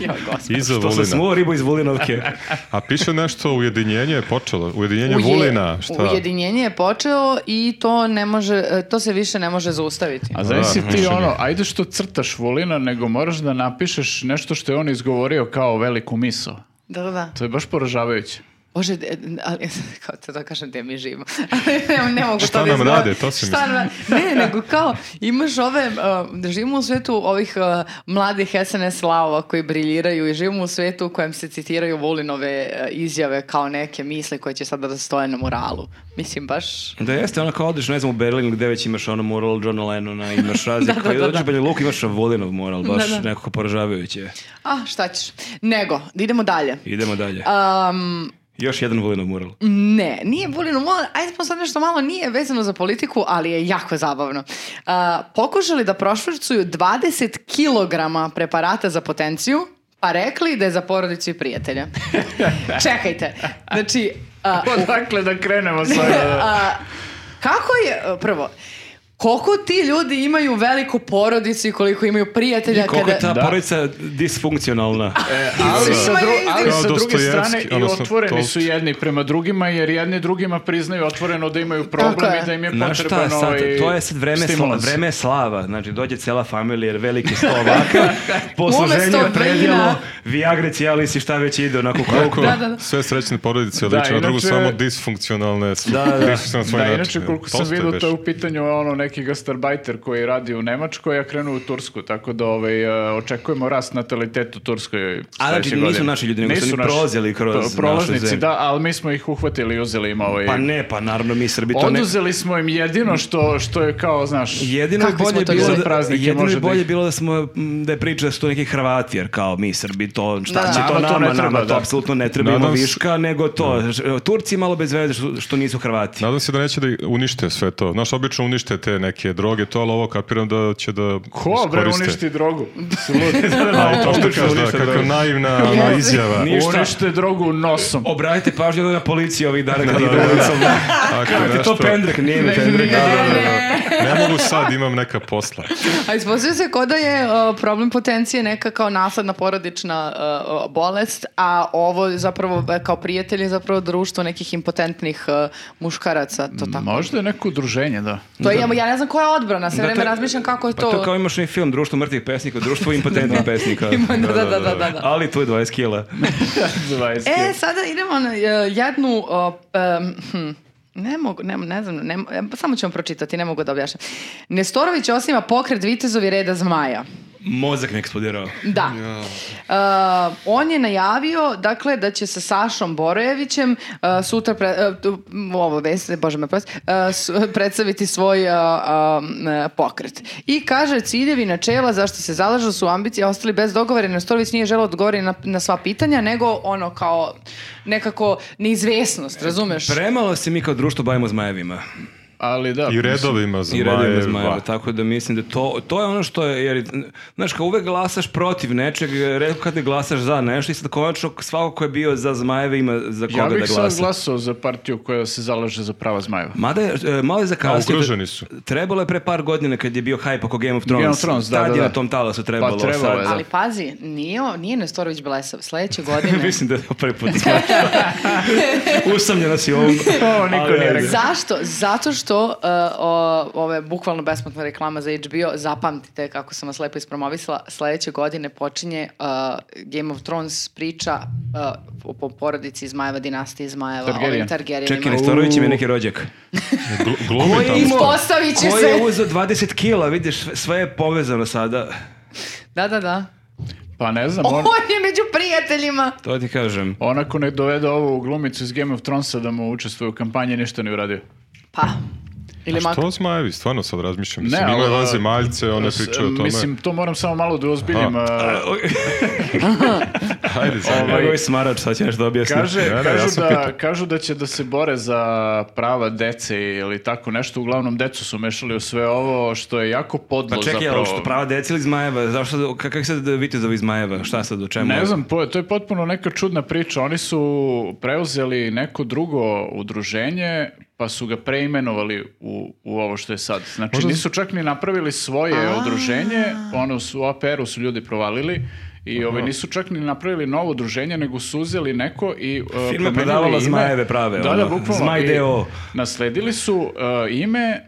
S1: Joj, gospod.
S4: Iza
S2: To sam
S4: Vulina.
S2: smuo ribu iz Vulinovke.
S4: A piše nešto, ujedinjenje je počelo. Ujedinjenje
S1: Uje-
S4: Vulina. Šta?
S1: Ujedinjenje je počeo i to ne može, e, to se više ne može zaustaviti.
S3: A zavisi
S4: Da,
S3: ti
S4: više
S3: ono,
S4: nije.
S3: ajde što crtaš volina, nego moraš da napišeš nešto što je on izgovorio kao veliku miso.
S1: Da, da, da.
S3: To je baš poražavajuće.
S1: Bože, de- ali, kao to da kažem gde mi živimo. Ali ne, ne mogu
S4: Šta
S1: to da
S4: nam
S1: izgovorim.
S4: rade, to sam
S1: Šta nam rade? Ne, nego kao imaš ove, uh, da živimo u svetu ovih uh, mladih SNS lavova koji briljiraju i živimo u svetu u kojem se citiraju Volinove uh, izjave kao neke misli koje će sada da stoje na moralu. Mislim, baš...
S2: Da jeste, ono kao odeš, ne znam, u Berlin gde već imaš ono mural Johna Lennona, imaš razliku.
S1: da,
S2: da,
S1: da,
S2: da,
S1: da.
S2: Banja Luka, imaš Volinov mural, baš
S1: Da, da.
S2: nekako poražavajuće.
S1: Ah, šta ćeš? Nego, da idemo dalje.
S2: Idemo dalje.
S1: Um,
S2: Još jedan Volinov mural.
S1: Ne, nije Vulin umor, ajde smo sad nešto malo nije vezano za politiku, ali je jako zabavno. A, pokušali da prošvrcuju 20 kilograma preparata za potenciju, pa rekli da je za porodicu i prijatelja. Čekajte, znači... a,
S3: Odakle da krenemo sada?
S1: a, kako je, uh, prvo, koliko ti ljudi imaju veliku porodicu i koliko imaju prijatelja?
S2: I koliko je ta
S3: Da.
S2: porodica disfunkcionalna.
S3: ali, sa, dru-
S1: Imaju-
S3: ali sa
S4: Kao
S3: druge strane
S4: Dostojevski,
S3: i
S4: odnosno
S3: otvoreni su
S4: Tolstoy.
S3: jedni prema drugima, jer jedni drugima priznaju otvoreno da imaju problem
S1: Tako je.
S3: i da im je
S2: Znaš šta
S3: potreban
S2: sad,
S3: ovaj
S2: to je sad vreme, sla,
S3: stimulans.
S2: vreme slava, znači dođe cela familija jer veliki slovaka, posluženje
S1: Umesto
S2: predjelo,
S1: vina.
S2: Viagre, Cialis i šta već ide onako u krugu.
S4: Kako
S1: Da, da, da.
S4: sve srećne porodice
S3: Da,
S4: liče na drugu,
S3: inače-
S4: samo disfunkcionalne su.
S2: Da, da, da.
S4: disfunkcionalne na svoj
S3: Da,
S4: način.
S3: inače koliko sam
S4: Tolstoj
S3: vidio
S4: beš.
S3: to je u pitanju ono neki gastarbajter koji radi u Nemačkoj, a krenuo u Tursku, tako da ovaj, e, očekujemo rast natalitetu u Turskoj
S2: A, znači,
S3: sledeće
S2: nisu
S3: godine.
S2: naši ljudi, nego su
S3: Nisu
S2: oni
S3: naši.
S2: prolazili kroz
S3: Pro-
S2: našu
S3: Prolaznici,
S2: zemlju.
S3: da, ali mi smo ih uhvatili i uzeli im ovaj...
S2: Pa ne, pa naravno mi Srbi to ne...
S3: Oduzeli smo im jedino što, što je kao, znaš...
S2: Jedino je
S1: Kakvi smo
S2: bolje
S1: to
S2: bilo
S1: ljudi?
S2: da,
S3: Praznike
S2: jedino je
S3: može da
S2: bolje
S3: ih-
S2: bilo da smo m, da je priča da su to neki Hrvati jer kao mi Srbi to šta
S1: Da,
S2: će
S1: da.
S2: to
S3: Nama
S2: nama,
S3: to ne
S2: nama,
S3: treba,
S2: to
S3: da.
S2: apsolutno ne treba imamo
S4: Nadam se-
S2: viška nego to Ž- Turci malo bez veze što, što nisu Hrvati.
S4: Nadam se da neće da ih unište sve to. Znaš, obično unište te neke droge, to, ali ovo kapiram da će da
S3: Ko, bre,
S4: iskoriste.
S3: uništi drogu? Si lud.
S4: Ali to što
S2: Obično
S4: kažeš, da,
S2: unište
S4: kako
S2: droge.
S4: naivna ona izjava.
S2: Ništa.
S3: Unište drogu nosom.
S2: Obratite pažnju na policiju ovih dana kad
S4: Da,
S2: idu
S4: da, da.
S2: ulicom.
S4: Ako je
S2: Kako je to
S4: nešto-
S2: pendrek? Nije mi pendrek.
S4: Da, da, da. Ne mogu sad, imam neka posla.
S1: A ispostavlja se kao da je uh, problem potencije neka kao nasledna porodična uh, bolest, a ovo je zapravo e, kao prijatelji zapravo društvo nekih impotentnih uh, muškaraca, to tako.
S3: Možda je neko udruženje, da.
S1: To je, ja ne znam koja je odbrana, sve
S2: Da,
S1: vreme
S2: to je-
S1: razmišljam kako je
S2: Pa
S1: to.
S2: to kao imaš i film Društvo mrtvih pesnika, Društvo impotentnih pesnika.
S1: Ima- da, da, da, da, da.
S2: Ali tu je 20 kila.
S3: Dvajski.
S1: E, sada idemo na e, jednu... o, em, hm, Ne mogu, ne, ne znam, ne, mo- em, samo ću vam pročitati, ne mogu da objašnjam. Nestorović osniva pokret Vitezovi reda zmaja.
S2: Mozak mi je eksplodirao.
S1: Da. Uh, on je najavio, dakle, da će sa Sašom Borojevićem uh, sutra, pre, uh, tu- m, ovo veste, bože me prosti, uh, su- predstaviti svoj uh, um, uh, pokret. I kaže, ciljevi načela zašto se zalažu su ambicije ostali bez dogovora, jer Nestorović nije želeo odgovoriti na, na sva pitanja, nego ono kao nekako neizvesnost, razumeš?
S2: Premalo se mi kao društvo bavimo zmajevima.
S3: Ali da.
S4: I redovima za
S2: i redovima
S4: Majeva.
S2: zmajeva, tako da mislim da to, to je ono što je, jer, znaš, kao uvek glasaš protiv nečeg, redko kad ne glasaš za nešto i sad konačno svako ko je bio za zmajeve ima za koga
S3: Ja bih
S2: da
S3: sad
S2: glasa.
S3: glasao za partiju koja se zalaže za prava zmajeva.
S2: Mada je, e, malo je zakasnio.
S4: A, ugroženi su.
S2: Trebalo je pre par godina kad je bio hype oko Game of Thrones.
S3: Game of Thrones, da,
S2: Tad
S3: da,
S2: je
S3: da.
S2: na tom talasu trebalo.
S3: Pa trebalo je,
S2: sad.
S3: da.
S1: Ali pazi, nije, on- nije Nestorović blesav. Sledeće godine...
S2: Mislim da je to prvi put. Usamljena si ovom.
S3: To niko
S2: Ali,
S3: nije
S2: ajde.
S3: rekao.
S1: Zašto? Zato što to uh, o, ovo je bukvalno besplatna reklama za HBO. Zapamtite kako sam vas lepo ispromovisala. Sledeće godine počinje uh, Game of Thrones priča uh, o- po porodici Zmajeva, dinastiji Zmajeva.
S3: Targaryen.
S1: Ovim Targaryenima.
S2: Čekaj, Nestorović im je neki rođak.
S4: Gl- glumi
S2: je
S4: tamo.
S2: imao-
S1: Ispostavit će
S2: Ko je
S1: se.
S2: uzeo 20 kila, vidiš, sve je povezano sada.
S1: Da, da, da.
S3: Pa ne znam,
S1: On
S3: on,
S1: je među prijateljima.
S2: To ti kažem.
S3: onako ne dovede ovu glumicu iz Game of Thronesa da mu učestvuje u kampanji, ništa ne uradio.
S1: Pa. Ili
S4: A
S1: mak...
S4: što zmajevi, stvarno sad razmišljam. Mislim,
S3: Ne,
S4: imaju
S3: ali-
S4: vanzemaljce, one
S3: S-
S4: pričaju o tome.
S3: Mislim, to moram samo malo da ozbiljim.
S4: Ajde, zmajevi.
S2: Evo je smarač, sad ćeš da objasnim.
S3: Kaže,
S4: Ne, ne, ja
S3: kažu,
S4: sam
S3: da,
S4: pitao.
S3: kažu da će da se bore za prava dece ili tako nešto. Uglavnom, decu su mešali u sve ovo, što je jako podlo
S2: Pa čekaj,
S3: zapravo.
S2: ali što prava deca ili zmajeva? Zašto, kak- kak sad vitezovi iz zmajeva? Šta sad, o čemu?
S3: Ne znam, po- to je potpuno neka čudna priča. Oni su preuzeli neko drugo udruženje, pa su ga preimenovali u, u ovo što je sad. Znači, nisu čak ni napravili svoje udruženje, ono su, u APR-u su ljudi provalili, I ovaj, nisu čak ni napravili novo udruženje, nego su uzeli neko i... uh,
S2: Firma
S3: promenili
S2: prodavala
S3: ime.
S2: zmajeve prave,
S3: Da, da,
S2: ono,
S3: bukvalno.
S2: Zmaj
S3: I
S2: d.o.o..
S3: Nasledili su uh, ime,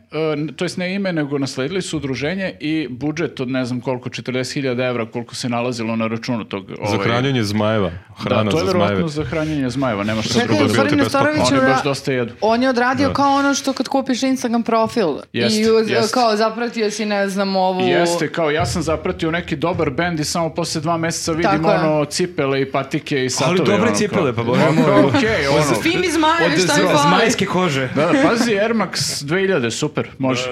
S3: uh, to jest ne ime, nego nasledili su udruženje i budžet od ne znam koliko, 40.000 evra, koliko se nalazilo na računu tog...
S4: Za
S3: ovaj,
S4: hranjenje zmajeva. Hrana
S3: da, to je
S4: za zmajeve.
S3: verovatno za hranjenje zmajeva, nema šta
S1: Čekaj,
S3: drugo
S4: Drugo
S1: u
S3: da
S4: stvari
S1: stvari Nestorović
S4: besplatno.
S3: Oni
S1: je
S3: baš
S1: ra-
S3: dosta jedu.
S1: On je odradio kao ono što kad kupiš Instagram profil i
S3: Jeste,
S1: uz-
S3: jeste.
S1: kao zapratio si ne znam ovu...
S3: Jeste, kao ja sam zapratio neki dobar bend i samo posle dva meseca vidim
S1: Tako je.
S3: ono cipele i patike i satove.
S2: Ali dobre
S3: ono,
S2: cipele, pa
S3: kao-
S2: bože
S3: Ono,
S2: moj.
S3: kao, okej, ono.
S1: Fini zmajevi,
S2: Od
S1: šta mi
S2: zma-
S1: fali?
S2: zmajske kože.
S3: Da, da, pazi, Air Max 2000, super, može.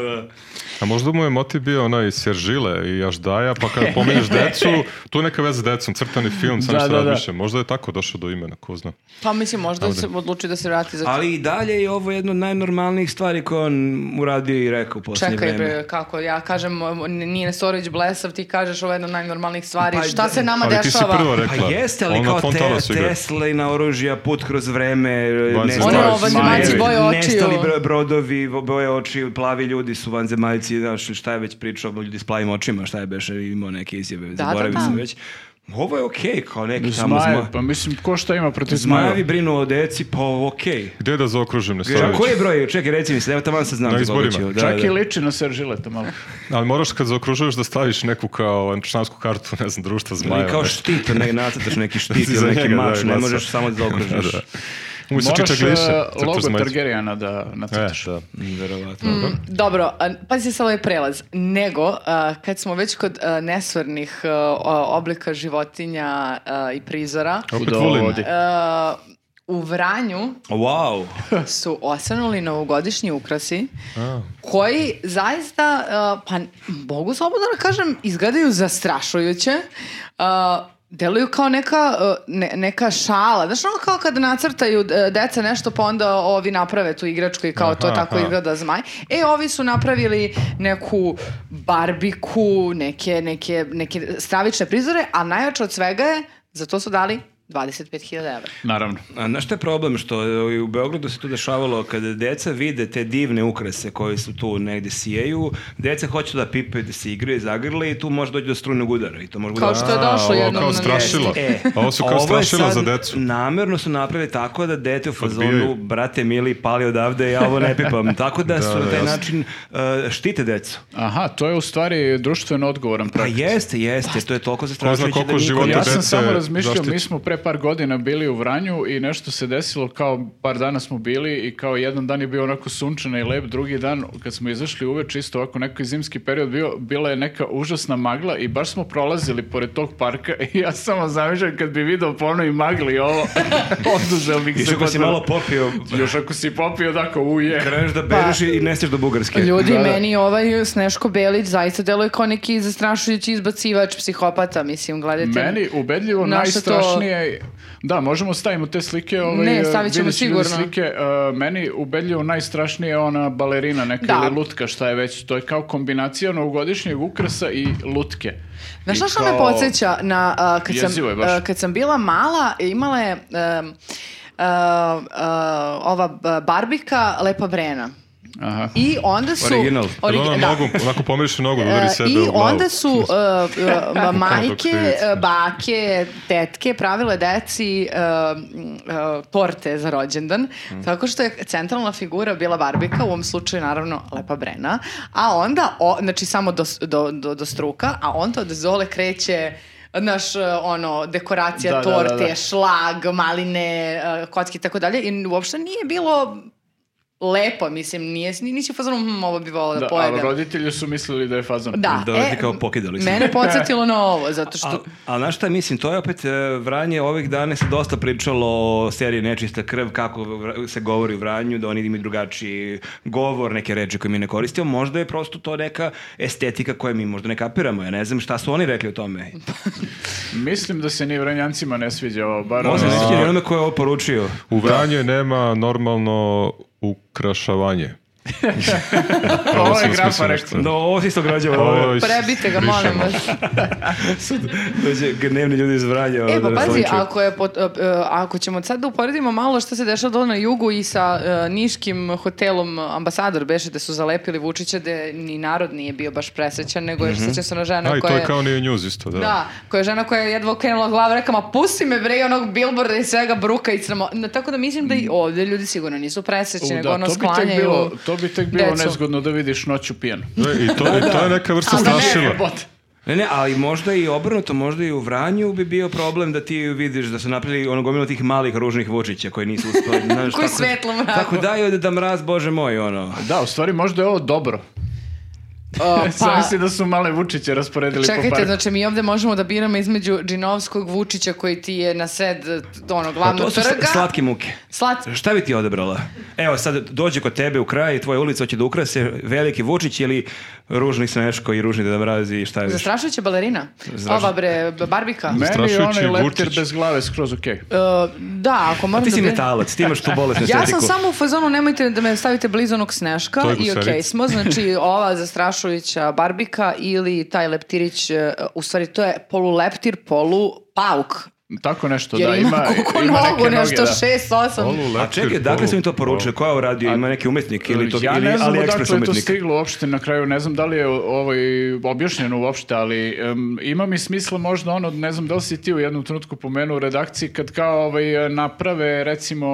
S4: A možda mu je motiv bio onaj Seržile i Jaždaja, pa kad pominješ decu, tu je neka veza s decom, crtani film, sam
S3: Da,
S4: nešto
S3: da, da.
S4: razmišljam. Možda je tako došao do imena, ko zna.
S1: Pa mislim, možda se odluči da se vrati za...
S2: Ali i dalje je ovo jedno od najnormalnijih stvari koje on uradio i rekao u posljednje
S1: Čekaj
S2: vreme.
S1: bre, kako, ja kažem, n- nije Nestorović blesav, ti kažeš ovo je jedna od najnormalnijih stvari,
S2: Pa,
S1: šta
S2: da.
S1: se nama
S4: Ali ti si
S1: dešava?
S4: prvo rekla.
S2: Pa jeste, ali
S4: on
S2: kao
S4: na Fontana
S2: te,
S4: su igra.
S2: Tesla i na oružja, put kroz vreme,
S4: Vanzemaljci. Ono, vanzemaljci
S2: zmajevi,
S1: boje očiju.
S2: nestali bro- brodovi, vo- boje očiju, plavi ljudi su vanzemaljci, znaš, šta je već pričao, ljudi s plavim očima, šta je beše, imao neke izjave,
S1: da,
S2: zaboravio
S1: da.
S2: sam već. Ovo je okej, kao neki tamo
S3: Zmaje,
S2: zma...
S3: pa mislim, ko šta ima protiv zmajeva?
S2: Zmajevi brinu o deci, pa okej.
S4: Gde da zaokružim na
S2: Okay.
S4: stavić?
S2: Koji je broj? Čekaj, reci mi se, evo tamo sam znam.
S4: Na
S2: za
S4: izborima.
S2: Bogaću, Da,
S3: Čak
S2: da.
S3: i liči na Seržileta malo.
S4: Ali moraš kad zaokružuješ da staviš neku kao člansku kartu, ne znam, društva zmajeva.
S2: Ili kao štit, ne, nacrtaš neki štit
S4: Za
S2: ili neki
S4: njega, da,
S2: mač, ne
S4: glasa.
S2: možeš samo da zaokružiš.
S4: Da. Mu se
S3: Moraš
S4: čiča
S3: e,
S4: gliše, crta
S3: logo
S4: zmajeva.
S3: Targaryena da
S4: E,
S3: nacrtaš.
S4: da.
S2: Verovatno.
S1: Mm. Dobro, a, pazi se ovaj prelaz. Nego, a, kad smo već kod a, nesvarnih a, o- oblika životinja a, i prizora,
S4: Opet
S3: Kuda
S4: volim.
S3: vodi.
S1: a, u Vranju
S2: Wow.
S1: su osvanuli novogodišnji ukrasi koji zaista, uh, pa n- mogu slobodno da kažem, izgledaju zastrašujuće. Uh, deluju kao neka, uh, ne- neka šala. Znaš ono kao kad nacrtaju uh, deca nešto pa onda ovi naprave tu igračku i kao to
S4: Aha,
S1: tako
S4: aha.
S1: izgleda zmaj. E, ovi su napravili neku barbiku, neke, neke, neke stravične prizore, a najjače od svega je, za to su dali 25.000 evra.
S3: Naravno.
S2: A znaš šta je problem? Što e, u Beogradu se tu dešavalo kada deca vide te divne ukrase koje su tu negde sijeju, deca hoće da pipaju, da se igraju, zagrle i tu može doći do strujnog udara. I to može
S1: Kao
S2: bude-
S1: što je
S4: A,
S1: došlo
S4: ovo
S1: jednom
S4: kao
S1: na
S4: strašilo.
S1: vesti.
S2: E,
S4: Ovo su kao
S2: je
S4: strašila
S2: sad
S4: za decu.
S2: Namerno su napravili tako da dete u fazonu,
S4: Odbijaju.
S2: brate mili, pali odavde, ja ovo ne pipam. Tako da, su na
S4: da,
S2: taj
S4: jasno.
S2: način uh, štite decu.
S3: Aha, to je u stvari društveno odgovoran
S2: Pa
S3: projekt.
S2: jeste, jeste, to je toliko
S4: Ko zna
S2: zastrašujuće
S4: koliko
S2: da niko...
S4: života
S2: ne-
S3: Ja sam
S4: dece
S3: samo razmišljao,
S4: zaštiti.
S3: mi smo pre par godina bili u Vranju i nešto se desilo, kao par dana smo bili i kao jedan dan je bio onako sunčan i lep, drugi dan kad smo izašli uveč isto ovako neki zimski period bio, bila je neka užasna magla i baš smo prolazili pored tog parka i ja samo zamišljam kad bi video po onoj magli ovo, oduzeo bih
S2: Još
S3: se.
S2: ako si
S3: potpuno.
S2: malo popio,
S3: Još ako si popio, tako uje.
S2: kreneš da bereš i nesteš do Bugarske.
S1: Pa, Ljudi,
S3: Da, da.
S1: meni ovaj Sneško Belić zaista deluje kao neki zastrašujući izbacivač psihopata, mislim, gledajte.
S3: Meni ubedljivo
S1: Naša
S3: najstrašnije... Da, možemo stavimo te slike. Ovaj,
S1: Ne, stavit ćemo
S3: vidjet ću ljudi
S1: sigurno.
S3: Slike. Uh, meni ubedljivo najstrašnije je ona balerina neka
S1: Da.
S3: ili lutka, šta je već. To je kao kombinacija novogodišnjeg ukrasa i lutke.
S1: Znaš
S3: I
S1: šta što me
S3: kao-
S1: podsjeća na... a, kad, sam,
S3: Jezivo je baš.
S1: a, kad sam bila mala, imala je em, a, a, ova b- barbika Lepa Brena.
S3: Aha.
S1: I onda su...
S2: Original.
S4: Jer
S1: Origi-
S4: ona
S1: da.
S4: nogu, onako pomiriše nogu,
S1: E,
S4: udari sebe
S1: I
S4: u glavu.
S1: onda su e, e, ma- majke,
S4: aktivica.
S1: e, bake, tetke pravile deci e, m, e, torte za rođendan,
S3: Mm.
S1: tako što je centralna figura bila Barbika, u ovom slučaju naravno Lepa Brena, a onda, o- znači samo do, s- do, do, do struka, a onda od zole kreće naš ono dekoracija
S3: Da, da, da,
S1: torte,
S3: da.
S1: šlag, maline, e, kocki i tako dalje i uopšte nije bilo lepo, mislim, nije, nisi u fazonu, "Hm, ovo bi volao da,
S3: Da, ali
S1: pojedem.
S3: roditelji su mislili da Pa je fazon.
S1: Da, e,
S2: Da, ti kao pokidali smo.
S1: Mene podsjetilo na ovo, zato što...
S2: A, a znaš šta mislim, to je opet e, Vranje, ovih dana se dosta pričalo o seriji Nečista krv, kako vra- se govori u Vranju, da oni imaju drugačiji govor, neke reči koje mi ne koristimo, možda je prosto to neka estetika koju mi možda ne kapiramo, ja ne znam šta su oni rekli o tome.
S3: Mislim da se ni vranjancima ne sviđa ovo, bar...
S2: Ovo sam
S3: ono-
S2: se sjećao onome ko je ovo poručio.
S4: U Vranju nema normalno ukrašavanje.
S3: Ovo je
S4: sam
S3: grafa rekla.
S4: smislio nešto.
S2: Da, ovo se isto građava.
S4: Ovo je-
S1: Prebite ga, molim
S4: Brišemo.
S1: vas.
S2: Dođe gnevni ljudi iz Vranja.
S1: E,
S2: ovdje
S1: pa
S2: da nas
S1: pazi,
S2: liče.
S1: ako, je pot- e, e, ako ćemo sad da uporedimo malo što se dešava dole na jugu i sa e, niškim hotelom Ambasador Beše, da su zalepili Vučića, da ni narod nije bio baš presrećan, nego je mm se na žena
S4: A i to
S1: koja
S4: je kao nije news isto, da.
S1: Da, koja je žena koja je jedva okrenula glavu, rekla, ma pusti me bre, i onog billboarda i svega bruka i crmo. No, tako da mislim da i ovdje ljudi sigurno nisu presrećni,
S3: U,
S1: nego
S3: da,
S1: ono
S3: to bi tek
S1: sklanjaju...
S3: bilo, to bi tek bilo
S1: decu.
S3: nezgodno da vidiš noću pijan.
S4: Da, I to, i to je neka vrsta
S1: Ali ne,
S4: strašila.
S3: Jebote.
S2: Ne, ne, ali možda i obrnuto, možda i u Vranju bi bio problem da ti vidiš da su napravili ono gomilo tih malih ružnih vučića koji nisu uspeli. Znaš,
S1: Koji
S2: tako-
S1: svetlo mraku.
S2: Tako daj ovde da mraz, bože moj, ono.
S3: Da, u stvari možda je ovo dobro.
S1: O,
S3: Sam misli da su male Vučiće rasporedili po
S1: Pa Čekajte,
S3: parku.
S1: znači mi ovdje možemo da biramo između Džinovskog Vučića koji ti je na sred eh, ono
S2: Pa
S1: glavnog
S2: to su
S1: trga.
S2: sl- slatke muke.
S1: Slat-
S2: Šta bi ti odebrala? Evo sad dođe kod tebe u kraj i tvoja ulica hoće da ukrase veliki Vučić ili ružni Sneško i ružni Deda Mraz i šta još.
S1: Zastrašujuća balerina.
S2: Zastrašujuća.
S1: Ova bre, b- Barbika.
S3: Meni je
S4: Zastrašujući
S3: onaj leptir
S4: Vučić.
S3: bez glave skroz okej.
S1: E, da, ako moram
S2: Ti si
S1: da bi-
S2: metalac, ti imaš tu bolesnu
S1: Ja sam
S2: estetiku.
S1: samo u fazonu, nemojte da me stavite blizu onog sneška
S4: To je
S1: i okej
S4: gusarica.
S1: smo, znači ova zastrašujuća barbika ili taj leptirić, e, u stvari to je poluleptir, polu pauk,
S3: Tako nešto,
S1: jer
S3: da,
S1: ima,
S3: ima,
S1: koliko
S3: ima
S1: nogu,
S3: neke noge,
S1: nešto
S3: da.
S1: šest, osam.
S2: A čekaj, dakle su mi to poručili? Ko je ovo radio? Ima neki umetnik ili to
S3: ja
S2: ili
S3: ne znam
S2: AliExpress
S3: odakle je to
S2: umetnik?
S3: stiglo uopšte na kraju, ne znam da li je ovaj objašnjeno uopšte, ali em, ima mi smisla možda ono, ne znam da li si ti u jednom trenutku pomenuo u redakciji, kad kao ovaj, naprave recimo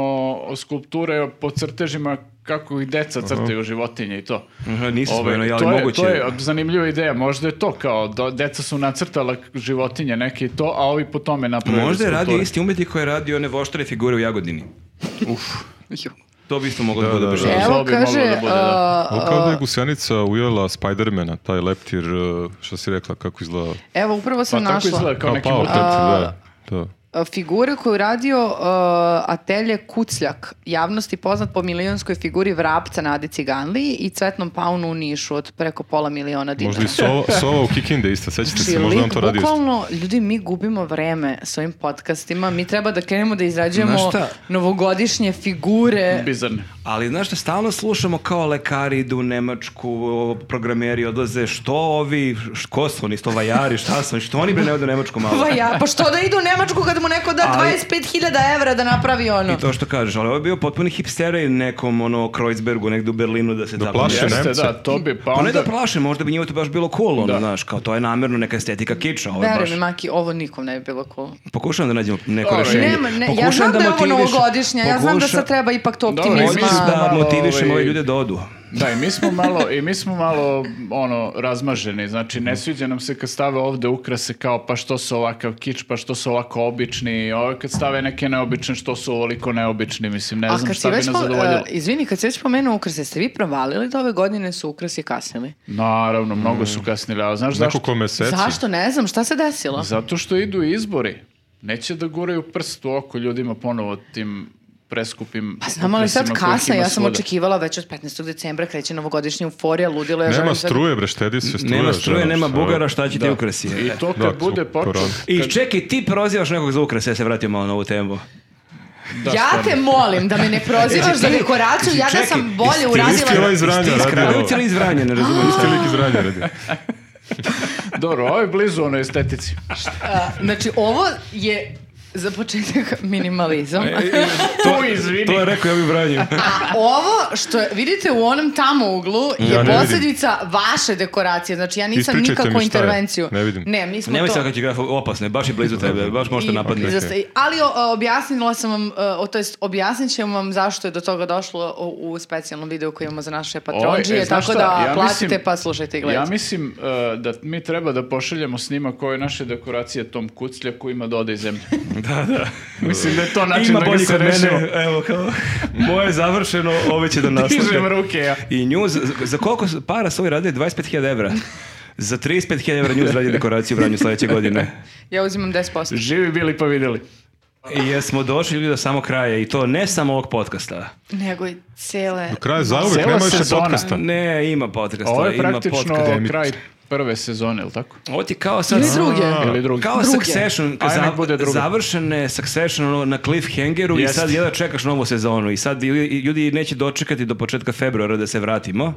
S3: skulpture po crtežima kako i deca crtaju životinje i to.
S2: Aha, Nisam
S3: Ovaj,
S2: spomenuo, ali
S3: to, je,
S2: moguće.
S3: to je zanimljiva ideja, možda je to kao, do, deca su nacrtala životinje neke i to, a ovi po tome napravili
S2: Možda je radio
S3: skulpture.
S2: isti umetnik koji je radio one voštare figure u Jagodini.
S1: Ju.
S2: To bi isto moglo da, bude
S4: Da, da,
S2: baš.
S4: da.
S3: Evo,
S1: Evo
S3: bi moglo
S1: kaže,
S3: da bude, da.
S1: uh,
S4: Ovo kao da je gusenica ujela Spidermana, taj leptir, e, šta si rekla, kako izgleda?
S1: e, evo upravo
S3: Pa
S1: sam
S3: tako
S1: našla.
S3: izgleda kao
S4: Kao
S3: neki
S4: pao
S3: motiv.
S4: tet, da. da.
S1: e, figure koju je radio e, Atelje Kucljak, javnosti poznat po milionskoj figuri vrapca na Adi Ciganli i cvetnom paunu u Nišu od preko pola miliona dinara.
S4: Možda i sova, sova u Kikinde isto, sećate
S1: Znači,
S4: se, možda on
S1: lik,
S4: to radi isto.
S1: bukvalno, ljudi, mi gubimo vreme s ovim podcastima. Mi treba da krenemo da izrađujemo
S2: Znaš šta?
S1: novogodišnje figure.
S3: Bizarne.
S2: Ali znaš što, stalno slušamo kao lekari idu u Nemačku, o, programeri odlaze, što ovi, š- ko su oni, što vajari, šta su oni, što oni bre ne odu u Nemačku malo.
S1: Pa ja, pa što da idu u Nemačku kad mu neko da
S2: Ali-
S1: 25.000 evra da napravi ono?
S2: I to što kažeš, ali ovo je bio potpuni hipsteraj nekom, ono, Kreuzbergu, negde u Berlinu da se da
S4: plaše Što
S3: Jeste,
S4: Nemce?
S3: da, to bi, pa
S2: Pa ne
S3: onda...
S2: da plaše, možda bi njima to baš bilo cool, ono,
S3: Da.
S2: znaš, kao to je namerno neka estetika kiča, ovo je
S1: Veruj
S2: baš...
S1: mi, Maki, ovo nikom ne bi bilo cool.
S2: Pokušavam da nađemo neko
S3: Dobro,
S2: rešenje.
S1: Nema, ne, ja
S2: Pokušavam
S1: znam da, je ovo
S2: motiviš-
S1: novogodišnje, ja znam da
S2: pokuša-
S1: sad treba ipak to
S3: Dobro, i
S1: optimizma.
S3: mi smo-
S2: da
S3: Malo,
S2: motivišemo
S3: ovaj,
S2: ove ljude da odu.
S3: Da, i mi smo malo, i mi smo malo ono, razmaženi, znači
S1: Mhm.
S3: ne sviđa nam se kad stave ovde ukrase kao pa što su ovakav kič, pa što su ovako obični, ovo kad stave neke neobične, što su ovoliko neobični, mislim, ne
S1: A
S3: znam
S1: kad
S3: šta
S1: si
S3: bi
S1: već,
S3: nas
S1: po-
S3: zadovoljilo.
S1: e, izvini, kad si već pomenuo ukrase, ste vi provalili da ove godine su ukrasi kasnili?
S3: Naravno, mnogo
S1: Mhm.
S3: su kasnili, ali znaš zašto?
S4: Nekoliko meseci.
S1: Zašto? Ne znam, šta se desilo?
S3: Zato što idu izbori. Neće da guraju prst u oko ljudima ponovo tim preskupim...
S1: Pa znam, ali sad
S3: ukrasima kojih
S1: kasno,
S3: ima
S1: ja sam
S3: svuda.
S1: očekivala već od 15. decembra kreće novogodišnja euforija, ludilo je
S4: Nema struje, bre, štedi se struje.
S2: Nema struje,
S4: žena,
S2: nema
S4: šta?
S2: bugara, šta će ti
S3: ovaj- Da.
S2: ukrasi?
S3: I to kad
S4: Da, zbog
S3: bude počeo...
S4: korone.
S2: I čekaj, ti prozivaš nekog za ukras, ja se vratio malo na ovu temu.
S1: ja te molim da me ne prozivaš za dekoraciju, ja da sam bolje
S4: Isti
S1: uradila.
S4: ovaj iz Vranja
S2: Ti iz
S4: radi ovo.
S2: Kragovica ili iz Vranja, ne razumijem.
S4: Isti lik iz Vranja radi.
S1: ono.
S3: Dobro, ovo je blizu onoj estetici.
S1: Znači, ovo E, je Za početak minimalizam.
S4: E,
S3: To izvini.
S2: To je rekao ja bi branio.
S1: A ovo što je- vidite u onom tamo uglu je
S4: Ja ne
S1: posljedica vaše dekoracije. Znači ja nisam
S4: Ispričajte
S1: nikakvu
S4: mi šta je.
S1: intervenciju.
S4: Ne vidim.
S1: Ne, mi smo
S2: Nemoj
S1: to...
S2: sad kad će graf opasne, baš je blizu tebe, baš možete
S1: I-
S2: napadne.
S1: Zasta- i- ali o, objasnila sam vam, e, o, to jest objasnit ćemo vam zašto je do toga došlo u, u specijalnom videu koji imamo za naše patronđije,
S3: Oj, e, znaš
S1: tako
S3: šta,
S1: da
S3: ja
S1: platite
S3: mislim-
S1: pa slušajte i
S3: Ja
S1: gledajte.
S3: mislim e, da mi treba da pošaljemo snimak ove naše dekoracije tom kucljaku ima da ode iz zemlje.
S2: Da, da.
S3: Mislim da je to način
S2: Ima
S3: da ga
S2: bolji
S3: se
S2: kod
S3: rešimo.
S2: mene, evo kao, moje je završeno, ove će da
S3: Dižem
S2: nastave.
S3: ruke ja.
S2: I nju, za, za koliko para su ovi radili? 25.000 evra. Za 35.000 evra nju radi dekoraciju u Vranju sledeće godine.
S1: Ja uzimam 10%.
S3: Živi bili pa videli.
S2: I jesmo došli ljudi do samo kraja i to ne samo ovog podcasta.
S1: Nego i cele...
S4: Kraj zauvek,
S3: Cela
S4: nema više
S3: sezona.
S4: podcasta.
S2: Pa Ne, ima podcasta,
S3: Ovo je
S2: ima
S3: praktično
S2: podcast.
S3: kraj prve sezone, ili tako?
S2: Ovo ti kao sad...
S1: Ili druge.
S3: Ili drugi.
S2: Kao
S1: Druge.
S2: Succession, kad
S3: Ajde, nek
S2: za-
S3: bude druge.
S2: završen je Succession ono, na cliffhangeru i
S3: Jeste.
S2: sad jedva čekaš novu sezonu i sad ljudi, ljudi neće dočekati do početka februara da se vratimo.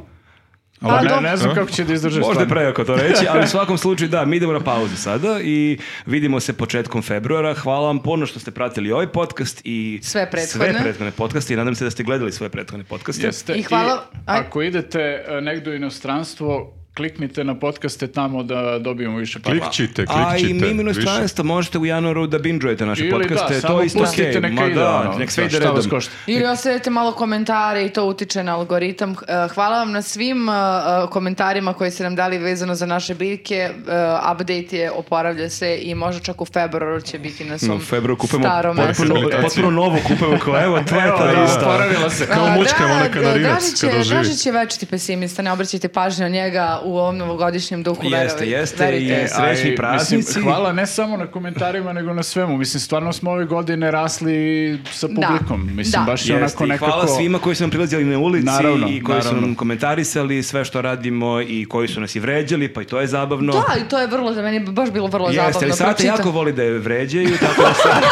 S1: Pa
S3: Ne,
S1: dobro.
S3: ne znam kako će da izdrže
S2: Možda je
S3: stvarno.
S2: prejako to reći, ali u svakom slučaju da, mi idemo na pauzu sada i vidimo se početkom februara. Hvala vam puno što ste pratili ovaj podcast i
S1: Sve prethodne.
S2: sve prethodne podcaste i nadam se da ste gledali svoje prethodne podcaste.
S3: Jeste.
S1: I hvala- aj.
S3: ako idete e, negdje u inostranstvo, kliknite na podcaste tamo da dobijemo više para.
S4: Klikćite,
S2: Pa A i
S4: klikćite.
S2: mi minus
S4: više.
S2: stranstvo možete u januaru da bingeujete naše
S3: Ili
S2: podcaste,
S3: da,
S2: to
S3: samo
S2: je isto
S3: pustite
S2: okej.
S3: neka
S2: Ma
S3: ide,
S2: da,
S3: ono,
S2: nek sve ide
S3: šta vas
S2: redom.
S3: košta.
S1: Ili ostavite malo komentare i to utiče na algoritam. Eh, Hvala vam na svim eh, eh, komentarima koje ste nam dali vezano za naše biljke. Eh, Update je, oporavlja se i možda čak u februaru će biti na
S2: No,
S1: svom
S2: Mm, u februaru kupujemo
S1: starom mestu.
S2: potpuno,
S4: mestu.
S2: potpuno novu kupujemo koja evo, to je
S3: Evo,
S2: ta
S3: da,
S2: ista.
S3: oporavila se.
S4: Kao
S1: A,
S4: mućka
S1: da,
S4: ona kanarinac
S1: Dražić
S4: kad
S1: je-
S4: oživi.
S1: Dražić je večiti pesimista, ne obraćajte pažnju na njega u ovom novogodišnjem duhu.
S2: Jeste,
S1: verovajte,
S2: jeste
S1: verujte.
S2: i-
S3: A i,
S2: Srećni
S3: mislim,
S2: praznici.
S3: hvala ne samo na komentarima, nego na svemu. Mislim, stvarno smo ove godine rasli sa
S1: Da.
S3: publikom. Mislim,
S1: Da.
S3: baš je
S2: Jeste,
S3: onako
S2: i
S3: nekako...
S2: Hvala svima koji su nam prilazili na ulici
S3: Naravno,
S2: i koji su
S3: naravno.
S2: nam komentarisali sve što radimo i koji su nas i vređali, pa i to je zabavno.
S1: Da, i to je vrlo, za meni je baš bilo vrlo zabavno.
S2: Jeste, ali Sate
S1: pročitam.
S2: jako voli da je vređaju, tako da, sve-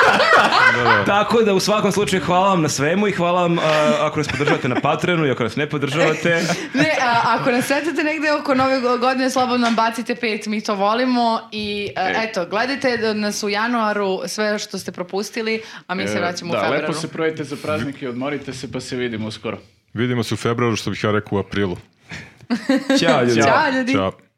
S2: tako da u svakom slučaju hvala vam na svemu i hvala vam a, ako nas podržavate na Patreonu i ako nas ne podržavate.
S1: Ne, a, ako nas sretite negde oko nove go- godine, slobodno nam bacite pet, mi to volimo i e, eto, gledajte da nas u januaru sve što ste propustili, a mi se
S3: E,
S1: vraćamo
S3: da,
S1: u februaru.
S3: lepo se projete za praznike, odmorite se pa se vidimo uskoro.
S4: Vidimo se u februaru, što bih ja rekao u aprilu.
S2: Ćao ljudi.
S1: Ćao ljudi!
S4: Ćao.